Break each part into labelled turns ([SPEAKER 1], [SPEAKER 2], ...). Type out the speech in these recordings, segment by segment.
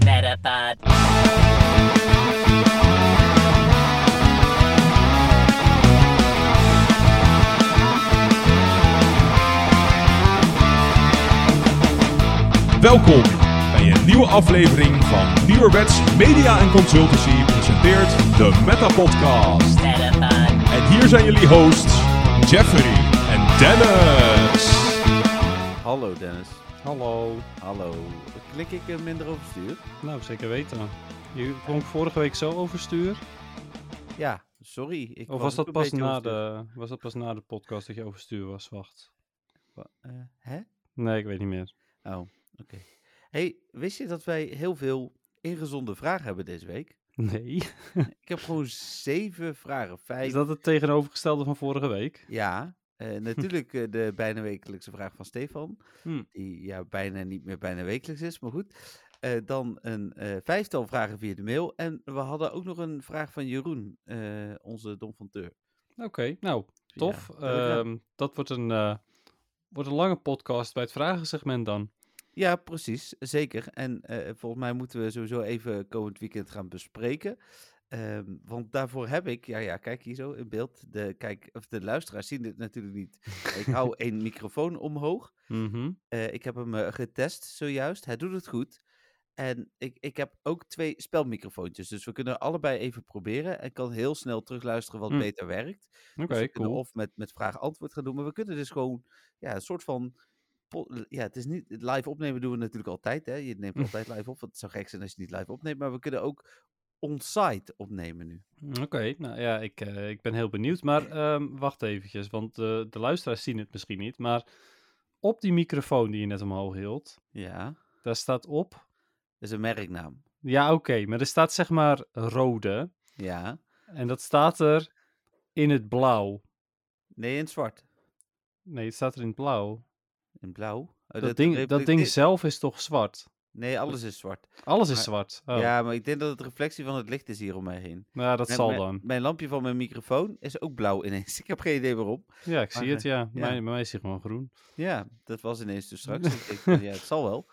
[SPEAKER 1] Platypod.
[SPEAKER 2] Welkom bij een nieuwe aflevering van Nieuwerwets Media en Consultancy presenteert de Meta Podcast.
[SPEAKER 1] Platypod.
[SPEAKER 2] En hier zijn jullie hosts Jeffrey en Dennis.
[SPEAKER 3] Hallo Dennis.
[SPEAKER 4] Hallo.
[SPEAKER 3] Hallo. Klik ik eh, minder overstuur?
[SPEAKER 4] Nou, zeker weten. Je klonk vorige week zo overstuur.
[SPEAKER 3] Ja, sorry. Ik
[SPEAKER 4] Of was
[SPEAKER 3] ook
[SPEAKER 4] dat,
[SPEAKER 3] een
[SPEAKER 4] pas
[SPEAKER 3] beetje
[SPEAKER 4] na
[SPEAKER 3] overstuur.
[SPEAKER 4] de, was dat pas na de podcast dat je overstuur was? Wacht.
[SPEAKER 3] Wa- eh, hè?
[SPEAKER 4] Nee, ik weet niet meer.
[SPEAKER 3] Oh, oké. hey, wist je dat wij heel veel ingezonde vragen hebben deze week?
[SPEAKER 4] Nee.
[SPEAKER 3] Ik heb gewoon zeven vragen. Vijf.
[SPEAKER 4] Is dat het tegenovergestelde van vorige week?
[SPEAKER 3] Ja. eh, natuurlijk eh, de bijna wekelijkse vraag van Stefan.
[SPEAKER 4] Hm.
[SPEAKER 3] Die ja, bijna niet meer bijna wekelijks is, maar goed. Eh, dan een eh, vijftal vragen via de mail. En we hadden ook nog een vraag van Jeroen, eh, onze Don van Teur.
[SPEAKER 4] Oké, nou, tof.
[SPEAKER 3] Ja, dat heb ik gedaan.
[SPEAKER 4] Ehm, dat wordt een, eh, wordt een lange podcast bij het vragensegment dan.
[SPEAKER 3] Ja, precies, zeker. En eh, volgens mij moeten we sowieso even komend weekend gaan bespreken. Ehm, want daarvoor heb ik, ja, ja, kijk hier zo in beeld. De, kijk, of de luisteraars zien dit natuurlijk niet. Ik hou één microfoon omhoog.
[SPEAKER 4] Mhm.
[SPEAKER 3] Eh, ik heb hem eh, getest zojuist. Hij doet het goed. En ik, ik heb ook twee spelmicrofoontjes. Dus we kunnen allebei even proberen. En kan heel snel terugluisteren wat
[SPEAKER 4] Hm.
[SPEAKER 3] beter werkt.
[SPEAKER 4] Oké,
[SPEAKER 3] Dus we kunnen
[SPEAKER 4] cool.
[SPEAKER 3] Of met, met vraag-antwoord gaan doen. Maar we kunnen dus gewoon ja, een soort van. po- Ja, het is niet. Live opnemen doen we natuurlijk altijd. Hè? Je neemt altijd live op. Want het zou gek zijn als je het niet live opneemt. Maar we kunnen ook on-site opnemen nu.
[SPEAKER 4] Oké, nou ja, ik, eh, ik ben heel benieuwd. Maar ehm, wacht eventjes, want eh, de luisteraars zien het misschien niet. Maar op die microfoon die je net omhoog hield,
[SPEAKER 3] Ja.
[SPEAKER 4] daar staat op
[SPEAKER 3] Dat is een merknaam.
[SPEAKER 4] Ja, oké, maar er staat zeg maar rode.
[SPEAKER 3] Ja.
[SPEAKER 4] En dat staat er in het blauw.
[SPEAKER 3] Nee, in het zwart.
[SPEAKER 4] Nee, het staat er in het blauw.
[SPEAKER 3] In blauw. Oh,
[SPEAKER 4] dat, ding, dat ding
[SPEAKER 3] reflecteert-
[SPEAKER 4] zelf is toch zwart?
[SPEAKER 3] Nee, alles is zwart.
[SPEAKER 4] Alles is
[SPEAKER 3] Maar-
[SPEAKER 4] zwart. Oh, ja,
[SPEAKER 3] Ja, maar ik denk dat het reflectie van het licht is hier om mij heen.
[SPEAKER 4] nou, dat
[SPEAKER 3] Mijn-
[SPEAKER 4] zal
[SPEAKER 3] mijn-
[SPEAKER 4] dan.
[SPEAKER 3] Mijn lampje van mijn microfoon is ook blauw ineens. Ik heb geen idee waarom.
[SPEAKER 4] Ja, ik zie
[SPEAKER 3] maar,
[SPEAKER 4] het, ja.
[SPEAKER 3] ja.
[SPEAKER 4] Mijn, bij mij is hij gewoon groen. Oké,
[SPEAKER 3] Ja, dat was ineens dus straks. Ik denk van, ja, het zal wel.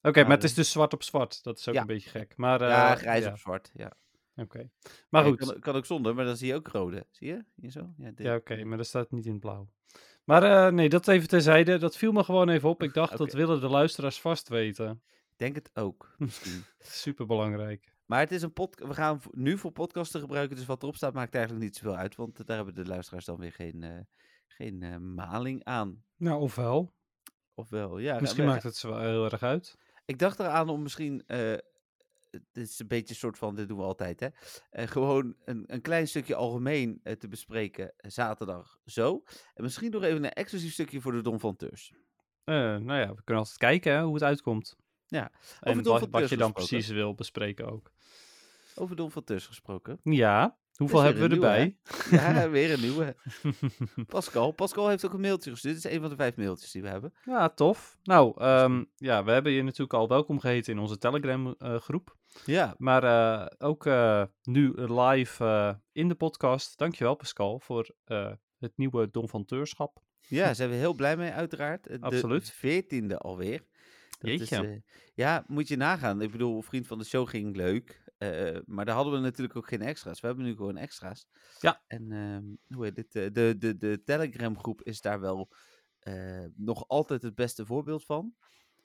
[SPEAKER 4] maar het
[SPEAKER 3] dat-
[SPEAKER 4] is dus zwart op zwart. Dat is ook
[SPEAKER 3] Ja.
[SPEAKER 4] een beetje gek. Maar,
[SPEAKER 3] ja,
[SPEAKER 4] eh,
[SPEAKER 3] grijs
[SPEAKER 4] ja,
[SPEAKER 3] op zwart. Ja.
[SPEAKER 4] Oké. Maar
[SPEAKER 3] Ja, je
[SPEAKER 4] goed.
[SPEAKER 3] Kan, kan ook zonder, maar dan zie je ook rode. Zie je? Hier zo? Ja, dit.
[SPEAKER 4] Ja, oké, maar dat staat niet in het blauw. Maar eh, nee, dat even terzijde. Dat viel me gewoon even op. Ik dacht, dat
[SPEAKER 3] Oké.
[SPEAKER 4] willen de luisteraars vast weten.
[SPEAKER 3] Ik Denk het ook, misschien.
[SPEAKER 4] Superbelangrijk.
[SPEAKER 3] maar het is een podcast. We gaan v- nu voor podcasten gebruiken, dus wat erop staat maakt eigenlijk niet zoveel uit. Want eh, daar hebben de luisteraars dan weer geen, eh, geen eh, maling aan.
[SPEAKER 4] Nou, ofwel.
[SPEAKER 3] Ofwel, ja. eh, ga-
[SPEAKER 4] Misschien
[SPEAKER 3] we-
[SPEAKER 4] maakt het ze wel heel erg uit.
[SPEAKER 3] Ik dacht eraan om misschien. eh dit is een beetje een soort van, dit doen we altijd, hè? eh, gewoon een, een klein stukje algemeen eh, te bespreken eh, zaterdag zo. En misschien nog even een exclusief stukje voor de Don van Teurs.
[SPEAKER 4] Eh, nou ja, we kunnen altijd kijken hè, hoe het uitkomt.
[SPEAKER 3] Ja,
[SPEAKER 4] En
[SPEAKER 3] het Dolphin
[SPEAKER 4] wat, wat je
[SPEAKER 3] Cursus
[SPEAKER 4] dan
[SPEAKER 3] gesproken.
[SPEAKER 4] precies wil bespreken ook.
[SPEAKER 3] Over Don van Teurs gesproken.
[SPEAKER 4] Ja, hoeveel
[SPEAKER 3] weer
[SPEAKER 4] hebben we
[SPEAKER 3] een nieuwe, hè?
[SPEAKER 4] erbij?
[SPEAKER 3] Ja, weer een nieuwe. Pascal. Pascal heeft ook een mailtje gestuurd. Dit is een van de vijf mailtjes die we hebben.
[SPEAKER 4] ja, tof. Nou, ehm, ja, we hebben je natuurlijk al welkom geheten in onze Telegram eh, groep.
[SPEAKER 3] Ja,
[SPEAKER 4] Maar eh, ook eh, nu live eh, in de podcast. Dankjewel Pascal voor eh, het nieuwe Don van Teurschap.
[SPEAKER 3] ja daar zijn we heel blij mee uiteraard. Eh, De
[SPEAKER 4] Hm. Absoluut.
[SPEAKER 3] veertiende alweer. Dat is,
[SPEAKER 4] Jeetje.
[SPEAKER 3] eh, ja, moet je nagaan. Ik bedoel, vriend van de show ging leuk. eh, maar daar hadden we natuurlijk ook geen extra's. We hebben nu gewoon extra's.
[SPEAKER 4] Ja.
[SPEAKER 3] En ehm, hoe heet het? eh, De, de, de Telegram groep is daar wel eh, nog altijd het beste voorbeeld van.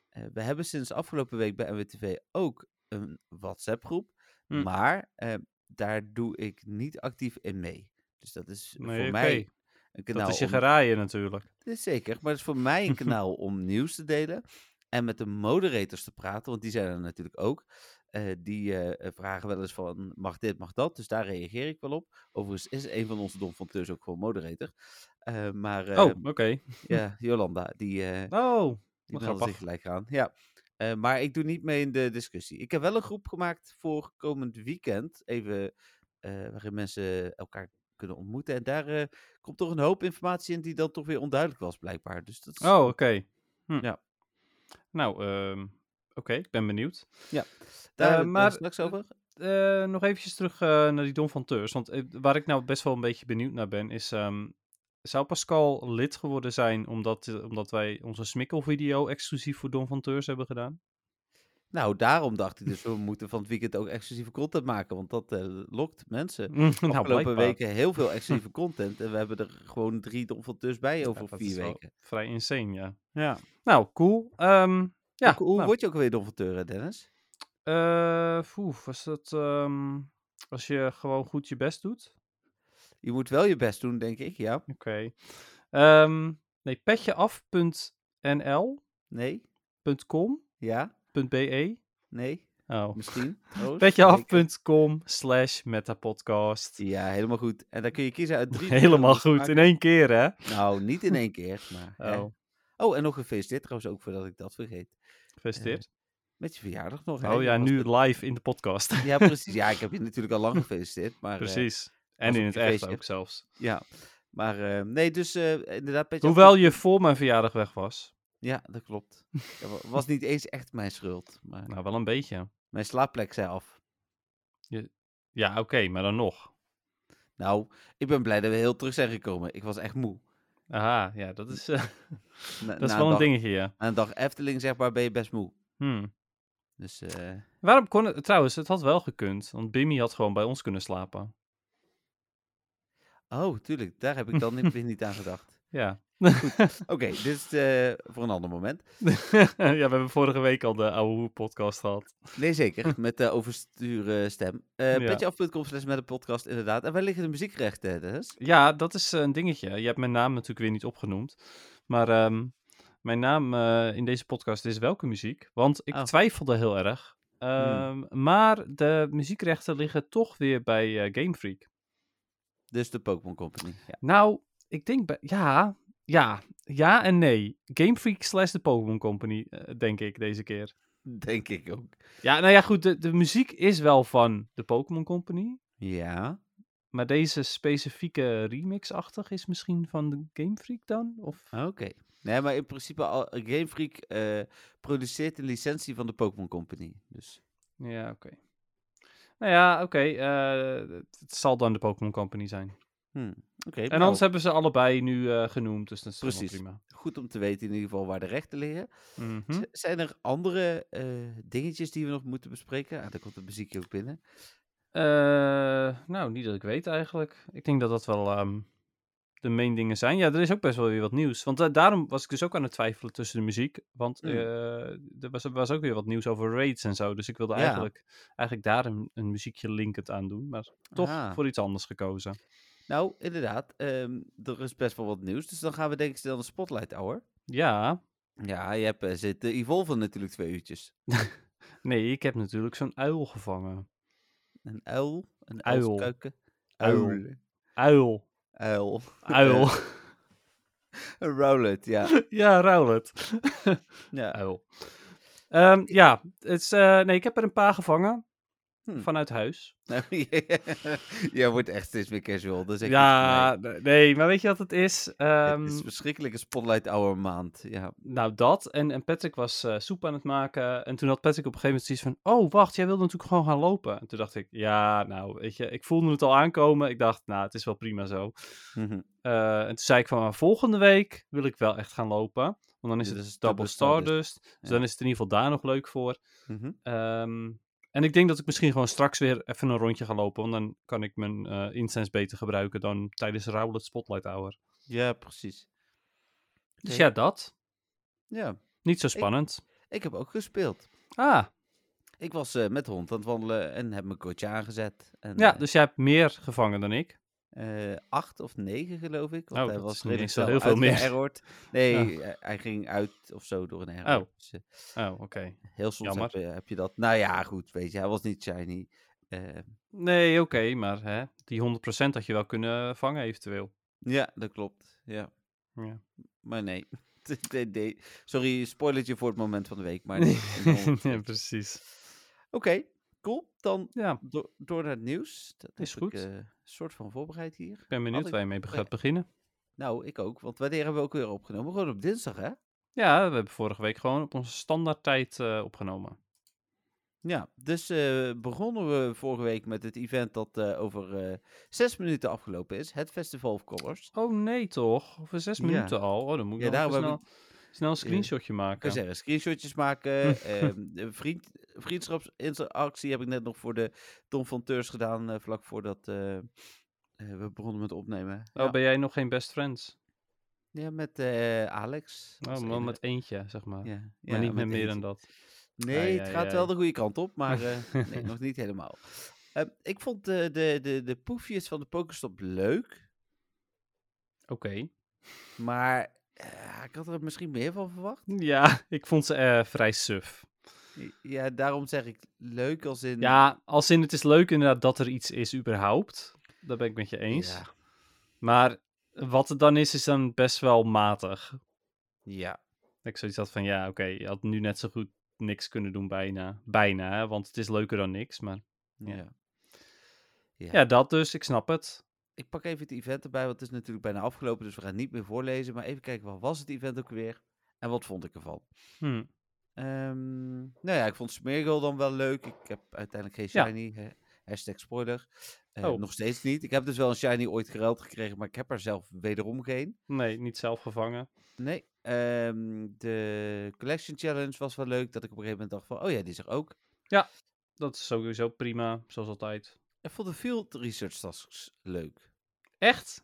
[SPEAKER 3] Eh, we hebben sinds afgelopen week bij NWTV ook een WhatsApp groep.
[SPEAKER 4] Hm.
[SPEAKER 3] Maar eh, daar doe ik niet actief in mee. Dus dat is
[SPEAKER 4] Nee,
[SPEAKER 3] voor
[SPEAKER 4] oké.
[SPEAKER 3] mij een kanaal.
[SPEAKER 4] Dat is je
[SPEAKER 3] om-
[SPEAKER 4] geraaien natuurlijk.
[SPEAKER 3] Dit is Eh, zeker, maar het is voor mij een kanaal om nieuws te delen. En met de moderators te praten, want die zijn er natuurlijk ook. Eh, die eh, vragen wel eens van, mag dit, mag dat? Dus daar reageer ik wel op. Overigens is een van onze Don van Teurs ook gewoon moderator. Eh, maar eh,
[SPEAKER 4] oh, oké.
[SPEAKER 3] ja, Jolanda, die, eh,
[SPEAKER 4] Oh,
[SPEAKER 3] die
[SPEAKER 4] Wat
[SPEAKER 3] meldt zich
[SPEAKER 4] grappig.
[SPEAKER 3] gelijk aan. Ja. Eh, maar ik doe niet mee in de discussie. Ik heb wel een groep gemaakt voor komend weekend. Even eh, waarin mensen elkaar kunnen ontmoeten. En daar eh, komt toch een hoop informatie in die dan toch weer onduidelijk was, blijkbaar. Dus dat is...
[SPEAKER 4] oh oké. Hm.
[SPEAKER 3] Ja.
[SPEAKER 4] Nou, ehm, oké, ik ben benieuwd. Eh,
[SPEAKER 3] daar hebben we
[SPEAKER 4] maar-
[SPEAKER 3] maar... straks over.
[SPEAKER 4] eh, nog eventjes terug eh, naar die Don van Teurs. Want eh, waar ik nou best wel een beetje benieuwd naar ben, is... ehm, zou Pascal lid geworden zijn omdat, eh, omdat wij onze smikkelvideo exclusief voor Don van Teurs hebben gedaan?
[SPEAKER 3] Nou, daarom dacht ik dus, we moeten van het weekend ook exclusieve content maken. Want dat eh, lokt mensen.
[SPEAKER 4] Mm, nou,
[SPEAKER 3] Afgelopen
[SPEAKER 4] blijkbaar.
[SPEAKER 3] weken heel veel exclusieve content. En we hebben er gewoon drie dus bij
[SPEAKER 4] Ja,
[SPEAKER 3] over
[SPEAKER 4] dat
[SPEAKER 3] vier
[SPEAKER 4] is wel
[SPEAKER 3] weken.
[SPEAKER 4] Vrij insane, ja. ja. Nou, cool. Ehm, ja,
[SPEAKER 3] hoe hoe
[SPEAKER 4] nou,
[SPEAKER 3] word je ook weer donfateur, hè, Dennis?
[SPEAKER 4] eh, poeh, was dat ehm, als je gewoon goed je best doet?
[SPEAKER 3] Je moet wel je best doen, denk ik. Ja,
[SPEAKER 4] Oké. Ehm, nee, petjeaf.nl
[SPEAKER 3] nee,
[SPEAKER 4] .com,
[SPEAKER 3] ja,
[SPEAKER 4] .be.
[SPEAKER 3] nee,
[SPEAKER 4] Oh.
[SPEAKER 3] misschien. Roos? Zeker.
[SPEAKER 4] Petjeaf.com slash metapodcast.
[SPEAKER 3] Ja, helemaal goed. En dan kun je kiezen uit drie.
[SPEAKER 4] Helemaal
[SPEAKER 3] verschillende
[SPEAKER 4] goed, in één keer hè?
[SPEAKER 3] smaken. Nou, niet in één keer. Maar, hè.
[SPEAKER 4] Oh,
[SPEAKER 3] oh, en nog gefeliciteerd trouwens ook voordat ik dat vergeet.
[SPEAKER 4] gefeliciteerd.
[SPEAKER 3] Met je verjaardag nog. hè?
[SPEAKER 4] oh
[SPEAKER 3] Je
[SPEAKER 4] ja,
[SPEAKER 3] was
[SPEAKER 4] nu
[SPEAKER 3] het-
[SPEAKER 4] live in de podcast.
[SPEAKER 3] Ja, precies. Ja, ik heb je natuurlijk al lang gefeliciteerd. Maar, eh,
[SPEAKER 4] Precies. En
[SPEAKER 3] was
[SPEAKER 4] in
[SPEAKER 3] op
[SPEAKER 4] het
[SPEAKER 3] je
[SPEAKER 4] echt
[SPEAKER 3] feestje.
[SPEAKER 4] ook zelfs.
[SPEAKER 3] ja, maar eh, nee, dus eh, inderdaad. Petje af-
[SPEAKER 4] Hoewel je voor mijn verjaardag weg was.
[SPEAKER 3] Ja, dat klopt. Ja, wa- was niet eens echt mijn schuld. Maar
[SPEAKER 4] Nou, wel een beetje.
[SPEAKER 3] mijn slaapplek zei af.
[SPEAKER 4] Ja, oké, maar dan nog.
[SPEAKER 3] Nou, ik ben blij dat we heel terug zijn gekomen. Ik was echt moe.
[SPEAKER 4] Aha, ja, dat is, eh,
[SPEAKER 3] Na-
[SPEAKER 4] dat
[SPEAKER 3] na
[SPEAKER 4] is wel een
[SPEAKER 3] dag-
[SPEAKER 4] dingetje, ja.
[SPEAKER 3] Na een dag Efteling, zeg maar, ben je best moe.
[SPEAKER 4] Hmm.
[SPEAKER 3] Dus eh,
[SPEAKER 4] Waarom kon het... Trouwens, het had wel gekund. Want Bimmy had gewoon bij ons kunnen slapen.
[SPEAKER 3] Oh, tuurlijk. Daar heb ik dan niet, weer niet aan gedacht.
[SPEAKER 4] Ja.
[SPEAKER 3] Oké, dit is eh, voor een ander moment.
[SPEAKER 4] ja, we hebben vorige week al de oude Hoer podcast gehad.
[SPEAKER 3] Nee, zeker. Met de oversturen stem. Uh,
[SPEAKER 4] Ja.
[SPEAKER 3] Petjeaf.com slash met de podcast, inderdaad. En waar liggen de muziekrechten, Dennis?
[SPEAKER 4] Ja, dat is eh, een dingetje. Je hebt mijn naam natuurlijk weer niet opgenoemd. Maar ehm, mijn naam eh, in deze podcast is welke muziek? Want ik
[SPEAKER 3] Oh.
[SPEAKER 4] twijfelde heel erg. Ehm, Maar de muziekrechten liggen toch weer bij eh, Game Freak.
[SPEAKER 3] Dus de Pokémon Company. Ja.
[SPEAKER 4] Nou, ik denk bij... Ja, ja, ja en nee. Game Freak slash de Pokémon Company, eh, denk ik, deze keer.
[SPEAKER 3] Denk ik ook.
[SPEAKER 4] Ja, nou ja, goed, de, de muziek is wel van de Pokémon Company.
[SPEAKER 3] Ja.
[SPEAKER 4] Maar deze specifieke remix-achtig is misschien van de Game Freak dan? Of...
[SPEAKER 3] Oké. Nee, maar in principe, al, Game Freak eh, produceert een licentie van de Pokémon Company. Dus
[SPEAKER 4] Ja, oké. Nou ja, oké. eh, het- het zal dan de Pokémon Company zijn.
[SPEAKER 3] hmm. oké.
[SPEAKER 4] En
[SPEAKER 3] nou,
[SPEAKER 4] anders hebben ze allebei nu eh, genoemd, dus dat is helemaal
[SPEAKER 3] Precies.
[SPEAKER 4] prima.
[SPEAKER 3] Goed om te weten in ieder geval waar de rechten liggen.
[SPEAKER 4] Mhm.
[SPEAKER 3] Z- Zijn er andere eh, dingetjes die we nog moeten bespreken? Ah, daar komt de muziekje ook binnen.
[SPEAKER 4] Eh, nou, niet dat ik weet eigenlijk. Ik denk dat dat wel ehm, de main dingen zijn. Ja, er is ook best wel weer wat nieuws. Want eh, daarom was ik dus ook aan het twijfelen tussen de muziek. Want
[SPEAKER 3] Mm.
[SPEAKER 4] eh, er was, was ook weer wat nieuws over raids en zo. Dus ik wilde
[SPEAKER 3] Ja.
[SPEAKER 4] eigenlijk, eigenlijk daar een, een muziekje linkend aan doen. Maar toch
[SPEAKER 3] Ah.
[SPEAKER 4] voor iets anders gekozen.
[SPEAKER 3] Nou, inderdaad. ehm, er is best wel wat nieuws. Dus dan gaan we denk ik snel de spotlight hour.
[SPEAKER 4] Ja,
[SPEAKER 3] Ja, je hebt eh, zitten evolven natuurlijk twee uurtjes.
[SPEAKER 4] nee, ik heb natuurlijk zo'n uil gevangen.
[SPEAKER 3] Een uil, een
[SPEAKER 4] Uil.
[SPEAKER 3] uilskuiken.
[SPEAKER 4] Uil.
[SPEAKER 3] Uil.
[SPEAKER 4] Uil,
[SPEAKER 3] Uil.
[SPEAKER 4] uil.
[SPEAKER 3] Een rowlet, ja.
[SPEAKER 4] ja, ruil het.
[SPEAKER 3] ja.
[SPEAKER 4] Uil. Ehm, ja, het is, eh, nee, ik heb er een paar gevangen.
[SPEAKER 3] Hmm.
[SPEAKER 4] Vanuit huis.
[SPEAKER 3] Nou, Jij wordt echt steeds meer casual. dus Dat is echt iets
[SPEAKER 4] Ja, nee, nee, maar weet je wat het is?
[SPEAKER 3] van mij.
[SPEAKER 4] Ehm,
[SPEAKER 3] Het is verschrikkelijke spotlight hour maand. Ja.
[SPEAKER 4] Nou, dat. En, en Patrick was eh, soep aan het maken. En toen had Patrick op een gegeven moment zoiets van... Oh, wacht, jij wilde natuurlijk gewoon gaan lopen. En toen dacht ik, ja, nou, weet je... Ik voelde het al aankomen. Ik dacht, nou, het is wel prima zo.
[SPEAKER 3] Mhm.
[SPEAKER 4] Eh, en toen zei ik van, maar volgende week wil ik wel echt gaan lopen. Want dan is
[SPEAKER 3] Ja,
[SPEAKER 4] het
[SPEAKER 3] dat is
[SPEAKER 4] Double
[SPEAKER 3] Double
[SPEAKER 4] Stardust.
[SPEAKER 3] Stardust.
[SPEAKER 4] Dus
[SPEAKER 3] Ja.
[SPEAKER 4] dan is het in ieder geval daar nog leuk voor.
[SPEAKER 3] Mhm.
[SPEAKER 4] Ehm, en ik denk dat ik misschien gewoon straks weer even een rondje ga lopen. Want dan kan ik mijn eh incense beter gebruiken dan tijdens Rowlet Spotlight Hour.
[SPEAKER 3] ja, precies.
[SPEAKER 4] Dus
[SPEAKER 3] Oké.
[SPEAKER 4] ja, dat.
[SPEAKER 3] Ja,
[SPEAKER 4] Niet zo spannend.
[SPEAKER 3] ik heb ook gespeeld.
[SPEAKER 4] Ah,
[SPEAKER 3] Ik was eh, met de hond aan het wandelen en heb mijn coach aangezet. En,
[SPEAKER 4] ja,
[SPEAKER 3] eh,
[SPEAKER 4] dus jij hebt meer gevangen dan ik.
[SPEAKER 3] eh, acht of negen, geloof ik. Want hij
[SPEAKER 4] Oh, dat is
[SPEAKER 3] was
[SPEAKER 4] niet
[SPEAKER 3] redelijk
[SPEAKER 4] eens zo
[SPEAKER 3] snel
[SPEAKER 4] heel veel meer.
[SPEAKER 3] uitgeërrord. Nee, hij- hij ging uit of zo door een error.
[SPEAKER 4] Oh.
[SPEAKER 3] Dus, eh,
[SPEAKER 4] Oh, oké.
[SPEAKER 3] heel soms
[SPEAKER 4] Jammer.
[SPEAKER 3] heb je, heb je dat. Nou ja, goed, weet je, hij was niet shiny. Eh,
[SPEAKER 4] Nee, oké, maar hè, die 100% had je wel kunnen eh, vangen eventueel.
[SPEAKER 3] ja, dat klopt. Ja.
[SPEAKER 4] Ja.
[SPEAKER 3] Maar nee. Nee, nee. Sorry, spoilertje voor het moment van de week. Maar nee.
[SPEAKER 4] ja, precies.
[SPEAKER 3] Oké, cool. Dan
[SPEAKER 4] Ja,
[SPEAKER 3] do- door naar het nieuws. Dat
[SPEAKER 4] Is
[SPEAKER 3] heb
[SPEAKER 4] goed.
[SPEAKER 3] Ik, eh, soort van voorbereid hier.
[SPEAKER 4] ik ben benieuwd
[SPEAKER 3] ik-
[SPEAKER 4] waar je mee be-
[SPEAKER 3] oh,
[SPEAKER 4] gaat
[SPEAKER 3] ja.
[SPEAKER 4] beginnen.
[SPEAKER 3] Nou, ik ook. Want wanneer hebben we ook weer opgenomen? Gewoon op dinsdag, hè?
[SPEAKER 4] Ja, we hebben vorige week gewoon op onze standaardtijd eh, opgenomen.
[SPEAKER 3] Ja, dus eh, begonnen we vorige week met het event dat eh, over eh, zes minuten afgelopen is. Het Festival of Colors.
[SPEAKER 4] Oh nee, toch? Over zes
[SPEAKER 3] Ja.
[SPEAKER 4] minuten al. Oh, dan moet ik
[SPEAKER 3] Ja,
[SPEAKER 4] nog even
[SPEAKER 3] daarom heb
[SPEAKER 4] snel...
[SPEAKER 3] ik
[SPEAKER 4] Snel een screenshotje
[SPEAKER 3] Ik
[SPEAKER 4] maken.
[SPEAKER 3] zou zeggen, screenshotjes maken. ehm, de vriend, vriendschapsinteractie heb ik net nog voor de Tom van Teurs gedaan. eh, vlak voordat eh, eh, we begonnen met opnemen.
[SPEAKER 4] Oh,
[SPEAKER 3] ja.
[SPEAKER 4] ben jij nog geen best friends?
[SPEAKER 3] Ja, met eh, Alex. Dat
[SPEAKER 4] Oh,
[SPEAKER 3] is
[SPEAKER 4] maar
[SPEAKER 3] één-
[SPEAKER 4] met eentje, zeg maar.
[SPEAKER 3] ja,
[SPEAKER 4] maar
[SPEAKER 3] ja,
[SPEAKER 4] niet met
[SPEAKER 3] met
[SPEAKER 4] meer
[SPEAKER 3] eentje.
[SPEAKER 4] dan dat.
[SPEAKER 3] Nee,
[SPEAKER 4] Ai,
[SPEAKER 3] het
[SPEAKER 4] ai,
[SPEAKER 3] gaat wel
[SPEAKER 4] ai.
[SPEAKER 3] de goede kant op, maar eh, nee, nog niet helemaal. Eh, ik vond eh, de, de, de poefjes van de Pokestop leuk,
[SPEAKER 4] Oké.
[SPEAKER 3] maar eh, ik had er misschien meer van verwacht.
[SPEAKER 4] Ja, ik vond ze eh, vrij suf.
[SPEAKER 3] Ja, daarom zeg ik leuk als in...
[SPEAKER 4] Ja, als in het is leuk inderdaad dat er iets is überhaupt. Daar ben ik met je eens.
[SPEAKER 3] Ja,
[SPEAKER 4] Maar wat het dan is, is dan best wel matig.
[SPEAKER 3] ja.
[SPEAKER 4] Dat ik zoiets had van, ja, oké, je had nu net zo goed niks kunnen doen bijna. Bijna, hè, want het is leuker dan niks. Maar Ja.
[SPEAKER 3] ja. Ja.
[SPEAKER 4] ja, dat dus, ik snap het.
[SPEAKER 3] Ik pak even het event erbij, want het is natuurlijk bijna afgelopen, dus we gaan het niet meer voorlezen. Maar even kijken, wat was het event ook weer en wat vond ik ervan?
[SPEAKER 4] Hm.
[SPEAKER 3] Ehm, nou ja, ik vond Smeargle dan wel leuk. Ik heb uiteindelijk geen
[SPEAKER 4] Ja.
[SPEAKER 3] shiny. hè. Hashtag spoiler. Eh,
[SPEAKER 4] Oh.
[SPEAKER 3] Nog steeds niet. Ik heb dus wel een shiny ooit geruild gekregen, maar ik heb er zelf wederom geen.
[SPEAKER 4] Nee, niet zelf gevangen.
[SPEAKER 3] Nee. Ehm, de Collection Challenge was wel leuk. Dat ik op een gegeven moment dacht van, oh ja, die is er ook.
[SPEAKER 4] Dat is sowieso prima, zoals altijd.
[SPEAKER 3] Ik vond de Field Research Tasks leuk.
[SPEAKER 4] Echt?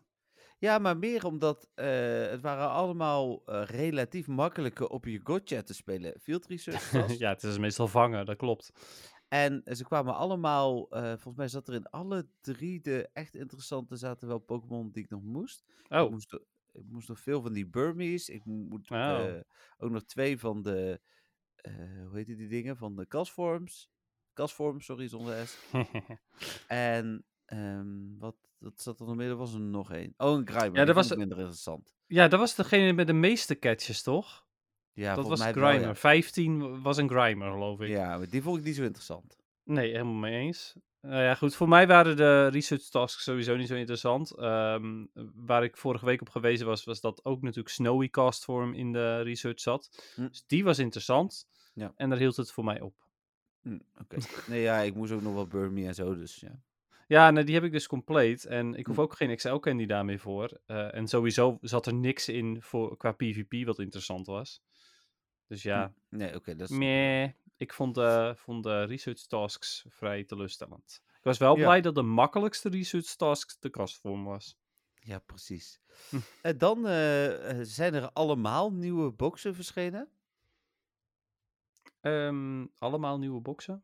[SPEAKER 3] Ja, maar meer omdat eh, het waren allemaal eh, relatief makkelijke op je gotcha te spelen Field Research Tasks.
[SPEAKER 4] ja, het is meestal vangen, dat klopt.
[SPEAKER 3] En eh, ze kwamen allemaal, eh, volgens mij zat er in alle drie de echt interessante zaten wel Pokémon die ik nog moest. Ik,
[SPEAKER 4] Oh,
[SPEAKER 3] moest ik moest nog veel van die Burmese. Ik moet
[SPEAKER 4] Oh.
[SPEAKER 3] eh, ook nog twee van de, eh, hoe heet die dingen, van de Casforms. Casforms, sorry, zonder S. En ehm, wat, wat zat er nog meer? Er was er nog één. Oh, een Grimer.
[SPEAKER 4] Ja, er
[SPEAKER 3] die
[SPEAKER 4] was
[SPEAKER 3] vond
[SPEAKER 4] e
[SPEAKER 3] ik
[SPEAKER 4] een-
[SPEAKER 3] minder interessant.
[SPEAKER 4] ja, dat was degene met de meeste catches, toch?
[SPEAKER 3] Ja,
[SPEAKER 4] dat
[SPEAKER 3] volgens
[SPEAKER 4] was
[SPEAKER 3] mij
[SPEAKER 4] een
[SPEAKER 3] wel, ja.
[SPEAKER 4] Grimer. 15 was een Grimer, geloof ik.
[SPEAKER 3] Ja, maar die vond ik niet zo interessant.
[SPEAKER 4] Nee, helemaal mee eens. Nou ja, goed. Voor mij waren de research tasks sowieso niet zo interessant. Ehm, waar ik vorige week op gewezen was, was dat ook natuurlijk Snowy Castform in de research zat.
[SPEAKER 3] Hm.
[SPEAKER 4] Dus die was interessant.
[SPEAKER 3] Ja.
[SPEAKER 4] En daar hield het voor mij op.
[SPEAKER 3] Hm, Oké. nee, ja, ik moest ook nog wat Burmese en zo, dus ja.
[SPEAKER 4] Ja, nou, die heb ik dus compleet. En ik hoef
[SPEAKER 3] Hm.
[SPEAKER 4] ook geen XL-candy daar meer voor. Eh, en sowieso zat er niks in voor, qua PvP wat interessant was. Dus ja,
[SPEAKER 3] Hm, Nee, oké, dat is...
[SPEAKER 4] meh. Ik vond de, vond de research tasks vrij teleurstellend. Ik was wel
[SPEAKER 3] Ja.
[SPEAKER 4] blij dat de makkelijkste research task de castform was.
[SPEAKER 3] Ja, precies.
[SPEAKER 4] Hm.
[SPEAKER 3] En dan eh, eh, zijn er allemaal nieuwe boxen verschenen.
[SPEAKER 4] Ehm, allemaal nieuwe boxen?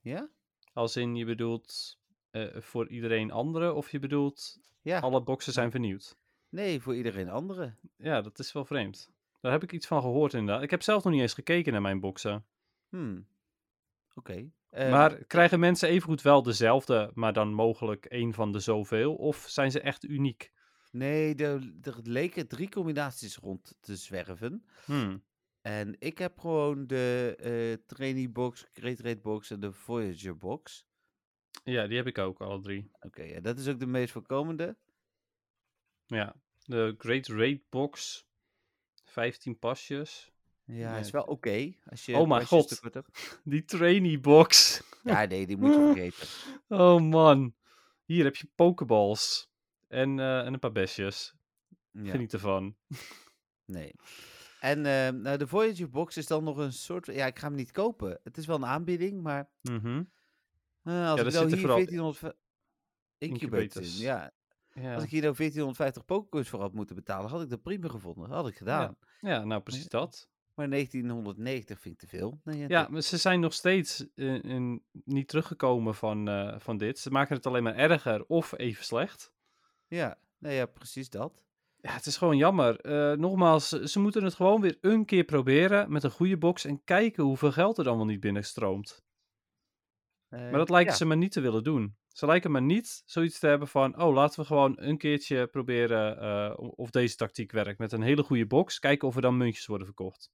[SPEAKER 3] Ja?
[SPEAKER 4] Als in je bedoelt eh, voor iedereen andere of je bedoelt
[SPEAKER 3] Ja.
[SPEAKER 4] alle boxen zijn vernieuwd?
[SPEAKER 3] Nee, voor iedereen andere.
[SPEAKER 4] Ja, dat is wel vreemd. Daar heb ik iets van gehoord inderdaad. Ik heb zelf nog niet eens gekeken naar mijn boxen.
[SPEAKER 3] Hmm. Oké. Eh,
[SPEAKER 4] maar krijgen mensen evengoed wel dezelfde, maar dan mogelijk één van de zoveel? Of zijn ze echt uniek?
[SPEAKER 3] Nee, er, er leken drie combinaties rond te zwerven.
[SPEAKER 4] Hmm.
[SPEAKER 3] En ik heb gewoon de eh trainee box, Great Raid box en de Voyager box.
[SPEAKER 4] Ja, die heb ik ook, alle drie.
[SPEAKER 3] Oké, ja, dat is ook de meest voorkomende.
[SPEAKER 4] Ja, de Great Raid Box. 15 pasjes.
[SPEAKER 3] Ja,
[SPEAKER 4] Nee,
[SPEAKER 3] is wel oké. als je
[SPEAKER 4] Oh mijn
[SPEAKER 3] pasjes
[SPEAKER 4] god.
[SPEAKER 3] tekort hebt.
[SPEAKER 4] Die trainee box.
[SPEAKER 3] Ja, nee, die moet je vergeten.
[SPEAKER 4] Oh man. Hier heb je pokeballs. En, eh, en een paar besjes.
[SPEAKER 3] Ja.
[SPEAKER 4] Geniet ervan.
[SPEAKER 3] Nee. En eh, nou, de Voyager Box is dan nog een soort... Ja, ik ga hem niet kopen. Het is wel een aanbieding, maar
[SPEAKER 4] Mhm.
[SPEAKER 3] eh, als ik nou
[SPEAKER 4] daar zitten
[SPEAKER 3] hier
[SPEAKER 4] vooral
[SPEAKER 3] 1400... Incubators.
[SPEAKER 4] incubators.
[SPEAKER 3] in, Ja.
[SPEAKER 4] Ja.
[SPEAKER 3] Als ik hier nou 1450 pokercoins voor had moeten betalen, had ik dat prima gevonden. Had ik gedaan.
[SPEAKER 4] ja, nou precies dat.
[SPEAKER 3] Maar 1990 vind ik te veel. Nee, ja,
[SPEAKER 4] Ja, maar ze zijn nog steeds eh, in- niet teruggekomen van, eh, van dit. Ze maken het alleen maar erger of even slecht.
[SPEAKER 3] Ja, nou ja, precies dat.
[SPEAKER 4] Ja, het is gewoon jammer. Eh, nogmaals, ze ze moeten het gewoon weer een keer proberen met een goede box en kijken hoeveel geld er dan wel niet binnenstroomt.
[SPEAKER 3] Eh,
[SPEAKER 4] Maar dat lijken ze maar niet te willen doen. Ze lijken maar niet zoiets te hebben van, oh, laten we gewoon een keertje proberen eh, o- of deze tactiek werkt met een hele goede box. Kijken of er dan muntjes worden verkocht.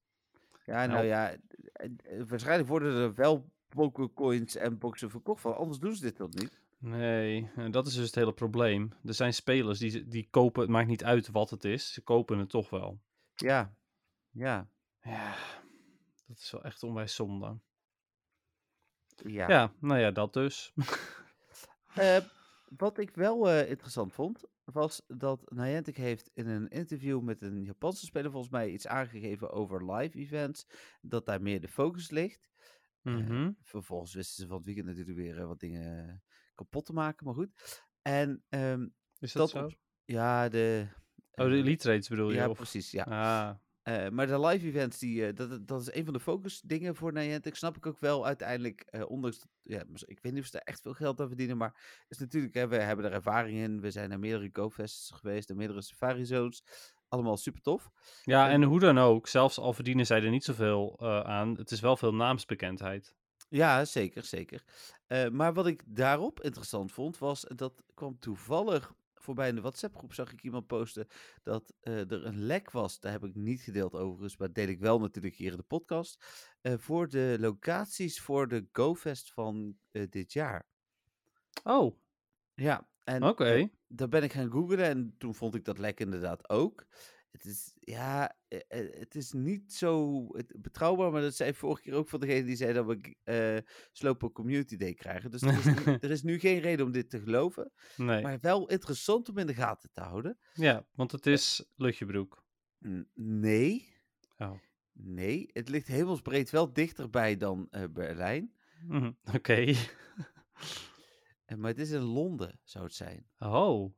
[SPEAKER 3] Ja, nou
[SPEAKER 4] Nou.
[SPEAKER 3] ja, eh, eh, waarschijnlijk worden er wel pokercoins en boxen verkocht van. Anders doen ze dit toch niet?
[SPEAKER 4] Nee, eh, dat is dus het hele probleem. Er zijn spelers die, ze- die kopen, het maakt niet uit wat het is, ze kopen het toch wel.
[SPEAKER 3] Ja, ja,
[SPEAKER 4] Ja, dat is wel echt onwijs zonde.
[SPEAKER 3] ja.
[SPEAKER 4] Ja, nou ja, dat dus.
[SPEAKER 3] Eh, Wat ik wel eh, interessant vond, was dat Niantic heeft in een interview met een Japanse speler volgens mij iets aangegeven over live events. Dat daar meer de focus ligt.
[SPEAKER 4] Mhm.
[SPEAKER 3] Vervolgens wisten ze van het weekend natuurlijk weer eh, wat dingen kapot te maken, maar goed. En ehm,
[SPEAKER 4] Is dat,
[SPEAKER 3] dat
[SPEAKER 4] zo?
[SPEAKER 3] ja, de...
[SPEAKER 4] Oh, de
[SPEAKER 3] eh,
[SPEAKER 4] elite rates bedoel je?
[SPEAKER 3] Ja,
[SPEAKER 4] of-
[SPEAKER 3] precies, ja.
[SPEAKER 4] Ah,
[SPEAKER 3] Eh, maar de live events, die, eh, dat, dat is een van de focusdingen voor Niantic. Snap ik ook wel uiteindelijk. eh, ondanks, dat- ja, mis- ik weet niet of ze daar echt veel geld aan verdienen. Maar is natuurlijk, hè, we hebben er ervaring in. We zijn naar meerdere GoFests geweest. Naar meerdere Safari Zones. Allemaal super tof.
[SPEAKER 4] ja,
[SPEAKER 3] Eh,
[SPEAKER 4] en hoe dan ook, zelfs al verdienen zij er niet zoveel eh, aan, het is wel veel naamsbekendheid.
[SPEAKER 3] Ja, zeker, zeker. Eh, maar wat ik daarop interessant vond, was en dat kwam toevallig voorbij in de WhatsApp-groep. Zag ik iemand posten dat eh, er een lek was. Daar heb ik niet gedeeld overigens, maar deel ik wel natuurlijk hier in de podcast. eh, voor de locaties voor de GoFest van eh, dit jaar.
[SPEAKER 4] Oh,
[SPEAKER 3] Ja, en
[SPEAKER 4] oké.
[SPEAKER 3] eh, daar ben ik gaan googlen en toen vond ik dat lek inderdaad ook. Het is, ja, eh, eh, het is niet zo het- betrouwbaar, maar dat zei vorige keer ook van degene die zei dat we eh Sloper Community Day krijgen. Dus er is, nu- er is nu geen reden om dit te geloven,
[SPEAKER 4] Nee.
[SPEAKER 3] maar wel interessant om in de gaten te houden.
[SPEAKER 4] Ja, want het is Lutjebroek.
[SPEAKER 3] N- Nee,
[SPEAKER 4] Oh.
[SPEAKER 3] nee, het ligt hemelsbreed wel dichterbij dan eh, Berlijn,
[SPEAKER 4] Mhm, Oké.
[SPEAKER 3] Eh, maar het is in Londen, zou het zijn.
[SPEAKER 4] Oh,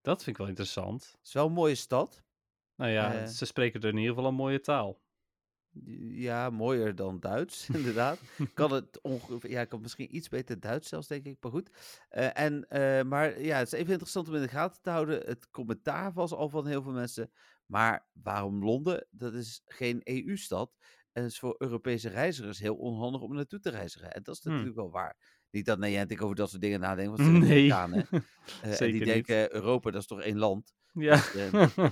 [SPEAKER 4] dat vind ik wel interessant.
[SPEAKER 3] Het is wel een mooie stad.
[SPEAKER 4] Nou ja,
[SPEAKER 3] Eh.
[SPEAKER 4] ze spreken er in ieder geval een mooie taal.
[SPEAKER 3] Ja, mooier dan Duits, inderdaad. kan het ongeveer, ja, kan misschien iets beter Duits zelfs, denk ik, maar goed. Eh, en, eh, maar ja, het is even interessant om in de gaten te houden. Het commentaar was al van heel veel mensen. Maar waarom Londen? Dat is geen EU-stad. En het is voor Europese reizigers heel onhandig om naartoe te reizigen. En dat is
[SPEAKER 4] Hmm.
[SPEAKER 3] natuurlijk wel waar. Niet dat Niantic over dat soort dingen nadenkt, want ze zijn Amerikanen. Eh, en
[SPEAKER 4] zeker
[SPEAKER 3] die
[SPEAKER 4] niet.
[SPEAKER 3] denken, Europa, dat is toch één land?
[SPEAKER 4] Ja.
[SPEAKER 3] Eh,